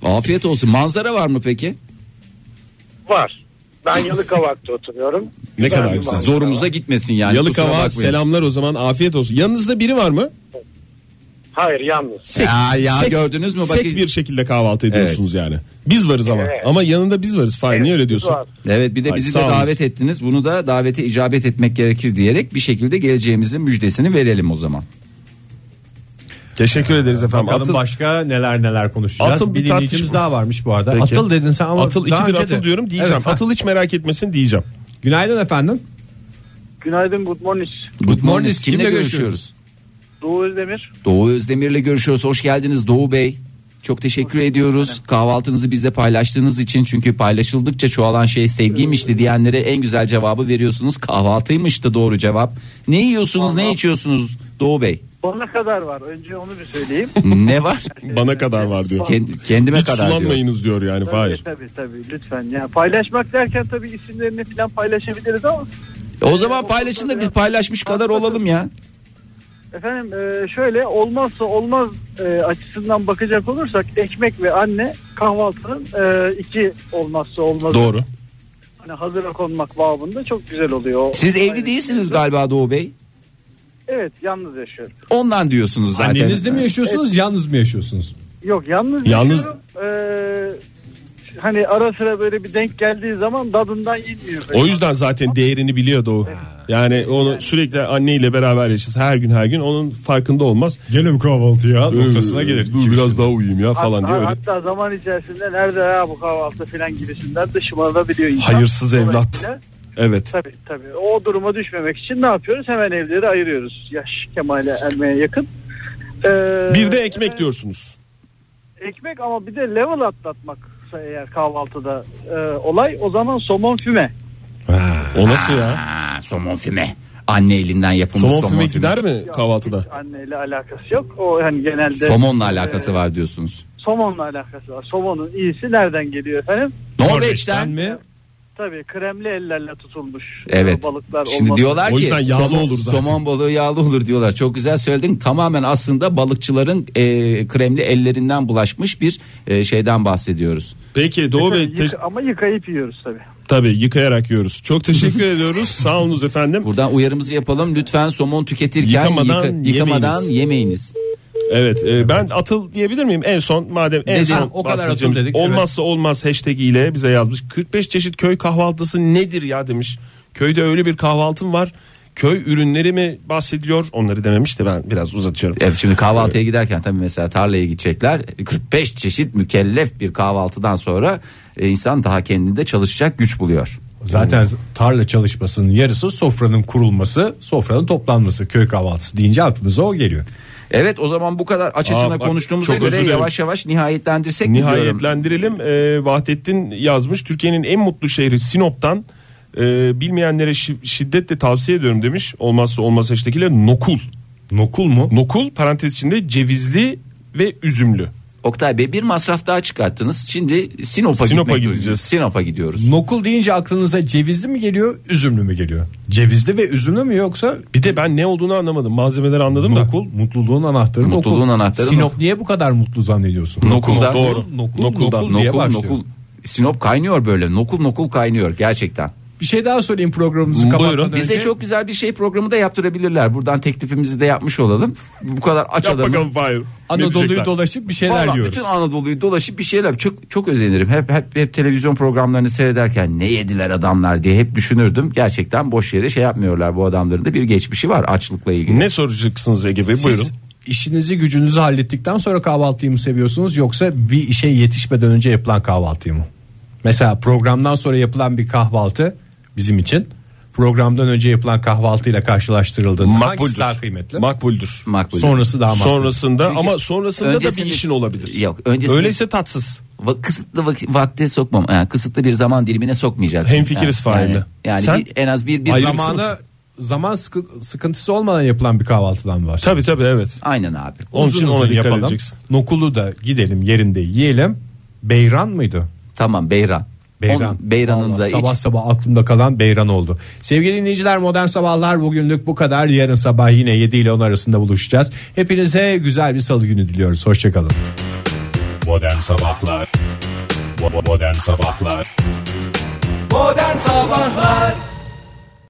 Speaker 4: Afiyet olsun. Manzara var mı peki?
Speaker 12: Var. Ben Yalıkavak'ta oturuyorum.
Speaker 5: Ne
Speaker 12: Güzel
Speaker 5: kadar
Speaker 12: bir
Speaker 5: güzel.
Speaker 12: manzara var.
Speaker 4: Zorumuza gitmesin yani.
Speaker 5: Yalıkava
Speaker 4: kusura bakmayın.
Speaker 5: selamlar o zaman afiyet olsun. Yanınızda biri var mı?
Speaker 12: Hayır yalnız.
Speaker 4: Ya, ya gördünüz mü?
Speaker 5: Sek
Speaker 4: Bakın-
Speaker 5: bir şekilde kahvaltı ediyorsunuz yani. Biz varız ama.
Speaker 4: Evet.
Speaker 5: Ama yanında biz varız. Fahir niye öyle diyorsun?
Speaker 4: Evet bir de
Speaker 5: Ay,
Speaker 4: bizi
Speaker 5: sağ
Speaker 4: de
Speaker 5: olun.
Speaker 4: davet ettiniz. Bunu da davete icabet etmek gerekir diyerek bir şekilde geleceğimizin müjdesini verelim o zaman.
Speaker 5: Teşekkür ederiz efendim.
Speaker 3: Bakalım
Speaker 5: Atıl-
Speaker 3: başka neler neler konuşacağız.
Speaker 5: Atıl
Speaker 3: bir
Speaker 5: bir
Speaker 3: dinleyicimiz
Speaker 5: tartışma-
Speaker 3: daha varmış bu arada.
Speaker 5: Peki.
Speaker 3: Atıl dedin sen ama
Speaker 5: Atıl
Speaker 3: daha
Speaker 5: ikidir
Speaker 3: önce de-
Speaker 5: Atıl diyorum diyeceğim.
Speaker 3: Evet, ha.
Speaker 5: Atıl hiç merak etmesin diyeceğim.
Speaker 3: Günaydın efendim.
Speaker 13: Günaydın, good morning.
Speaker 4: Good morning.
Speaker 13: morning.
Speaker 4: Kimle,
Speaker 13: Kimle
Speaker 4: görüşüyoruz?
Speaker 13: Doğu Özdemir.
Speaker 4: Doğu Özdemir'le görüşüyoruz. Hoş geldiniz Doğu Bey. Çok teşekkür ediyoruz. Kahvaltınızı bizle paylaştığınız için çünkü paylaşıldıkça çoğalan şey sevgiymişti diyenlere en güzel cevabı veriyorsunuz. Kahvaltıymıştı doğru cevap. Ne yiyorsunuz, ne içiyorsunuz Doğu Bey?
Speaker 13: Bana kadar var. Önce onu bir söyleyeyim.
Speaker 4: ne var?
Speaker 5: Bana kadar var diyor.
Speaker 4: Kend- kendime
Speaker 5: Hiç
Speaker 4: kadar diyor.
Speaker 5: sulanmayınız diyor, yani Fahir.
Speaker 13: E, Tabii tabii lütfen. Ya paylaşmak derken tabii isimlerini falan paylaşabiliriz ama
Speaker 4: O zaman paylaşın da biz paylaşmış kadar olalım ya.
Speaker 13: efendim e, şöyle olmazsa olmaz e, açısından bakacak olursak ekmek ve anne kahvaltının e, iki olmazsa olmazı.
Speaker 4: Doğru.
Speaker 13: Hani hazıra konmak babında çok güzel oluyor.
Speaker 4: Siz
Speaker 13: Aynen.
Speaker 4: evli değilsiniz galiba Doğu Bey.
Speaker 13: Evet yalnız yaşıyorum.
Speaker 4: Ondan diyorsunuz zaten.
Speaker 3: Annenizle mi yaşıyorsunuz, yalnız mı yaşıyorsunuz?
Speaker 13: Yok yalnız
Speaker 3: Yalnız-
Speaker 13: yaşıyorum. E, hani ara sıra böyle bir denk geldiği zaman dadından yenmiyor.
Speaker 5: O yüzden zaten değerini biliyordu o. Yani onu sürekli anneyle beraber yaşasın her gün her gün onun farkında olmaz.
Speaker 3: Gene mi kahvaltı ya
Speaker 5: noktasına gelir. Dur biraz daha uyuyayım ya falan
Speaker 13: hatta,
Speaker 5: diyor öyle.
Speaker 13: hatta zaman içerisinde nerede ya bu kahvaltı falan gibisinden de şımarılabiliyor insan.
Speaker 5: Hayırsız evlat.
Speaker 13: Dolayısıyla
Speaker 5: Evet.
Speaker 13: Tabii tabii. O duruma düşmemek için ne yapıyoruz? Hemen evleri ayırıyoruz. Yaş kemale ermeye yakın. Ee,
Speaker 5: Bir de ekmek diyorsunuz.
Speaker 13: ekmek ama bir de level atlatmak eğer kahvaltıda e, olay o zaman somon füme.
Speaker 5: O nasıl ya?
Speaker 4: Ha, somon füme. Anne elinden yapılmış somon,
Speaker 5: Somon füme gider mi kahvaltıda?
Speaker 13: Anneyle alakası yok. O hani genelde ee,
Speaker 4: Somonla alakası var diyorsunuz.
Speaker 13: somonla alakası var. Somonun iyisi nereden geliyor efendim?
Speaker 4: Norveç'ten mi?
Speaker 13: Tabii kremli ellerle tutulmuş
Speaker 4: Evet.
Speaker 13: e, balıklar
Speaker 4: Şimdi
Speaker 13: olmalı.
Speaker 4: diyorlar ki somon, somon balığı yağlı olur diyorlar. Çok güzel söyledin. Tamamen aslında balıkçıların e, kremli ellerinden bulaşmış bir e, şeyden bahsediyoruz.
Speaker 5: Peki Doğu Bey
Speaker 13: Yıka-
Speaker 5: te-
Speaker 13: ama yıkayıp yiyoruz tabii.
Speaker 5: tabii yıkayarak yiyoruz. Çok teşekkür ediyoruz. Sağ olunuz efendim.
Speaker 4: Buradan uyarımızı yapalım. Lütfen somon tüketirken
Speaker 5: Yıkamadan
Speaker 4: yıka- yıkamadan
Speaker 5: yemeyiniz.
Speaker 4: yemeyiniz.
Speaker 5: Evet e, ben atıl diyebilir miyim en son madem en
Speaker 3: Dedin.
Speaker 5: son
Speaker 3: Ha, o kadar atıl
Speaker 5: bahsedeceğimiz
Speaker 3: dedik,
Speaker 5: olmazsa olmaz hashtag ile bize yazmış 45 çeşit köy kahvaltısı nedir ya demiş köyde öyle bir kahvaltım var köy ürünleri mi bahsediliyor onları dememiş de ben biraz uzatıyorum.
Speaker 4: Evet şimdi kahvaltıya giderken tabii mesela tarlaya gidecekler. 45 çeşit mükellef bir kahvaltıdan sonra e, insan daha kendinde çalışacak güç buluyor.
Speaker 3: Zaten tarla çalışmasının yarısı sofranın kurulması, sofranın toplanması. Köy kahvaltısı deyince aklımıza o geliyor.
Speaker 4: Evet o zaman bu kadar aç açına
Speaker 5: Aa, bak,
Speaker 4: konuştuğumuza
Speaker 5: çok
Speaker 4: göre
Speaker 5: özür dilerim.
Speaker 4: yavaş yavaş nihayetlendirsek mi diyorum.
Speaker 5: Nihayetlendirelim E, Vahdettin yazmış Türkiye'nin en mutlu şehri Sinop'tan e, bilmeyenlere şi- şiddetle tavsiye ediyorum demiş olmazsa olmaz hashtag ile nokul.
Speaker 3: Nokul mu?
Speaker 5: Nokul parantez içinde cevizli ve üzümlü.
Speaker 4: Oktay Bey bir masraf daha çıkarttınız. Şimdi Sinop'a,
Speaker 5: Sinop'a
Speaker 4: gitmek
Speaker 5: gideceğiz.
Speaker 4: durumundayız. Sinop'a gidiyoruz.
Speaker 3: Nokul deyince aklınıza cevizli mi geliyor, üzümlü mü geliyor? Cevizli ve üzümlü mü yoksa
Speaker 5: Bir de ben ne olduğunu anlamadım. Malzemeleri anladım da.
Speaker 3: nokul, mutluluğun anahtarı
Speaker 4: Mutluluğun
Speaker 3: nokul.
Speaker 4: anahtarı
Speaker 3: Sinop
Speaker 4: nokul.
Speaker 3: niye bu kadar mutlu zannediyorsun?
Speaker 4: Nokul'dan.
Speaker 5: Doğru.
Speaker 3: Nokul,
Speaker 5: Nokul'dan.
Speaker 3: nokul diye
Speaker 4: Nokul
Speaker 3: başlıyor.
Speaker 4: nokul. Sinop kaynıyor böyle. Nokul nokul kaynıyor gerçekten.
Speaker 3: Bir şey daha söyleyeyim programımızı
Speaker 5: Buyurun.
Speaker 3: kapatmadan
Speaker 4: Bize
Speaker 3: önce.
Speaker 4: çok güzel bir şey programı da yaptırabilirler. Buradan teklifimizi de yapmış olalım. Bu kadar aç
Speaker 5: Yap
Speaker 4: adamı.
Speaker 5: bakalım Fahir. Ne
Speaker 3: Anadolu'yu
Speaker 5: diyecekler?
Speaker 3: dolaşıp bir şeyler
Speaker 4: Vallahi
Speaker 3: yiyoruz.
Speaker 4: bütün Anadolu'yu dolaşıp bir şeyler çok çok özenirim. Hep, hep hep televizyon programlarını seyrederken ne yediler adamlar diye hep düşünürdüm. Gerçekten boş yere şey yapmıyorlar bu adamların da bir geçmişi var açlıkla ilgili.
Speaker 5: Ne soracaksınız Ege Bey?
Speaker 3: Siz
Speaker 5: Buyurun.
Speaker 3: işinizi gücünüzü hallettikten sonra kahvaltıyı mı seviyorsunuz yoksa bir işe yetişmeden önce yapılan kahvaltıyı mı? Mesela programdan sonra yapılan bir kahvaltı bizim için programdan önce yapılan kahvaltıyla karşılaştırıldığında hangisi
Speaker 5: Makbuldür.
Speaker 3: daha kıymetli?
Speaker 5: Makbuldür.
Speaker 4: Makbul.
Speaker 3: Sonrası daha makbul.
Speaker 5: Sonrasında
Speaker 4: Çünkü
Speaker 5: ama sonrasında da bir
Speaker 4: öncesinde-
Speaker 5: işin olabilir.
Speaker 4: Yok, öncesinde-
Speaker 5: Öyleyse tatsız.
Speaker 4: Va- kısıtlı vak- vakte sokmam. Yani kısıtlı bir zaman dilimine sokmayacaksın.
Speaker 5: Hemfikiriz
Speaker 4: yani,
Speaker 5: Fahir'le.
Speaker 4: yani, yani
Speaker 5: Sen-
Speaker 4: bir- en az bir bir
Speaker 3: Zamanı zaman sıkı- sıkıntısı olmadan yapılan bir kahvaltıdan var.
Speaker 5: Tabii tabii evet.
Speaker 4: Aynen abi.
Speaker 5: Onun için ona dikkat
Speaker 3: yapalım.
Speaker 5: edeceksin.
Speaker 3: Nokulu da gidelim yerinde yiyelim. Beyran mıydı?
Speaker 4: Tamam Beyran.
Speaker 3: Beyran.
Speaker 4: Onun- Beyran'ın
Speaker 3: Vallahi
Speaker 4: da
Speaker 3: sabah
Speaker 4: iç.
Speaker 3: sabah aklımda kalan Beyran oldu. Sevgili dinleyiciler modern sabahlar bugünlük bu kadar. Yarın sabah yine 7 ile 10 arasında buluşacağız. Hepinize güzel bir salı günü diliyoruz. Hoşçakalın.
Speaker 1: Modern Sabahlar Bo- bo- Modern Sabahlar
Speaker 2: Modern Sabahlar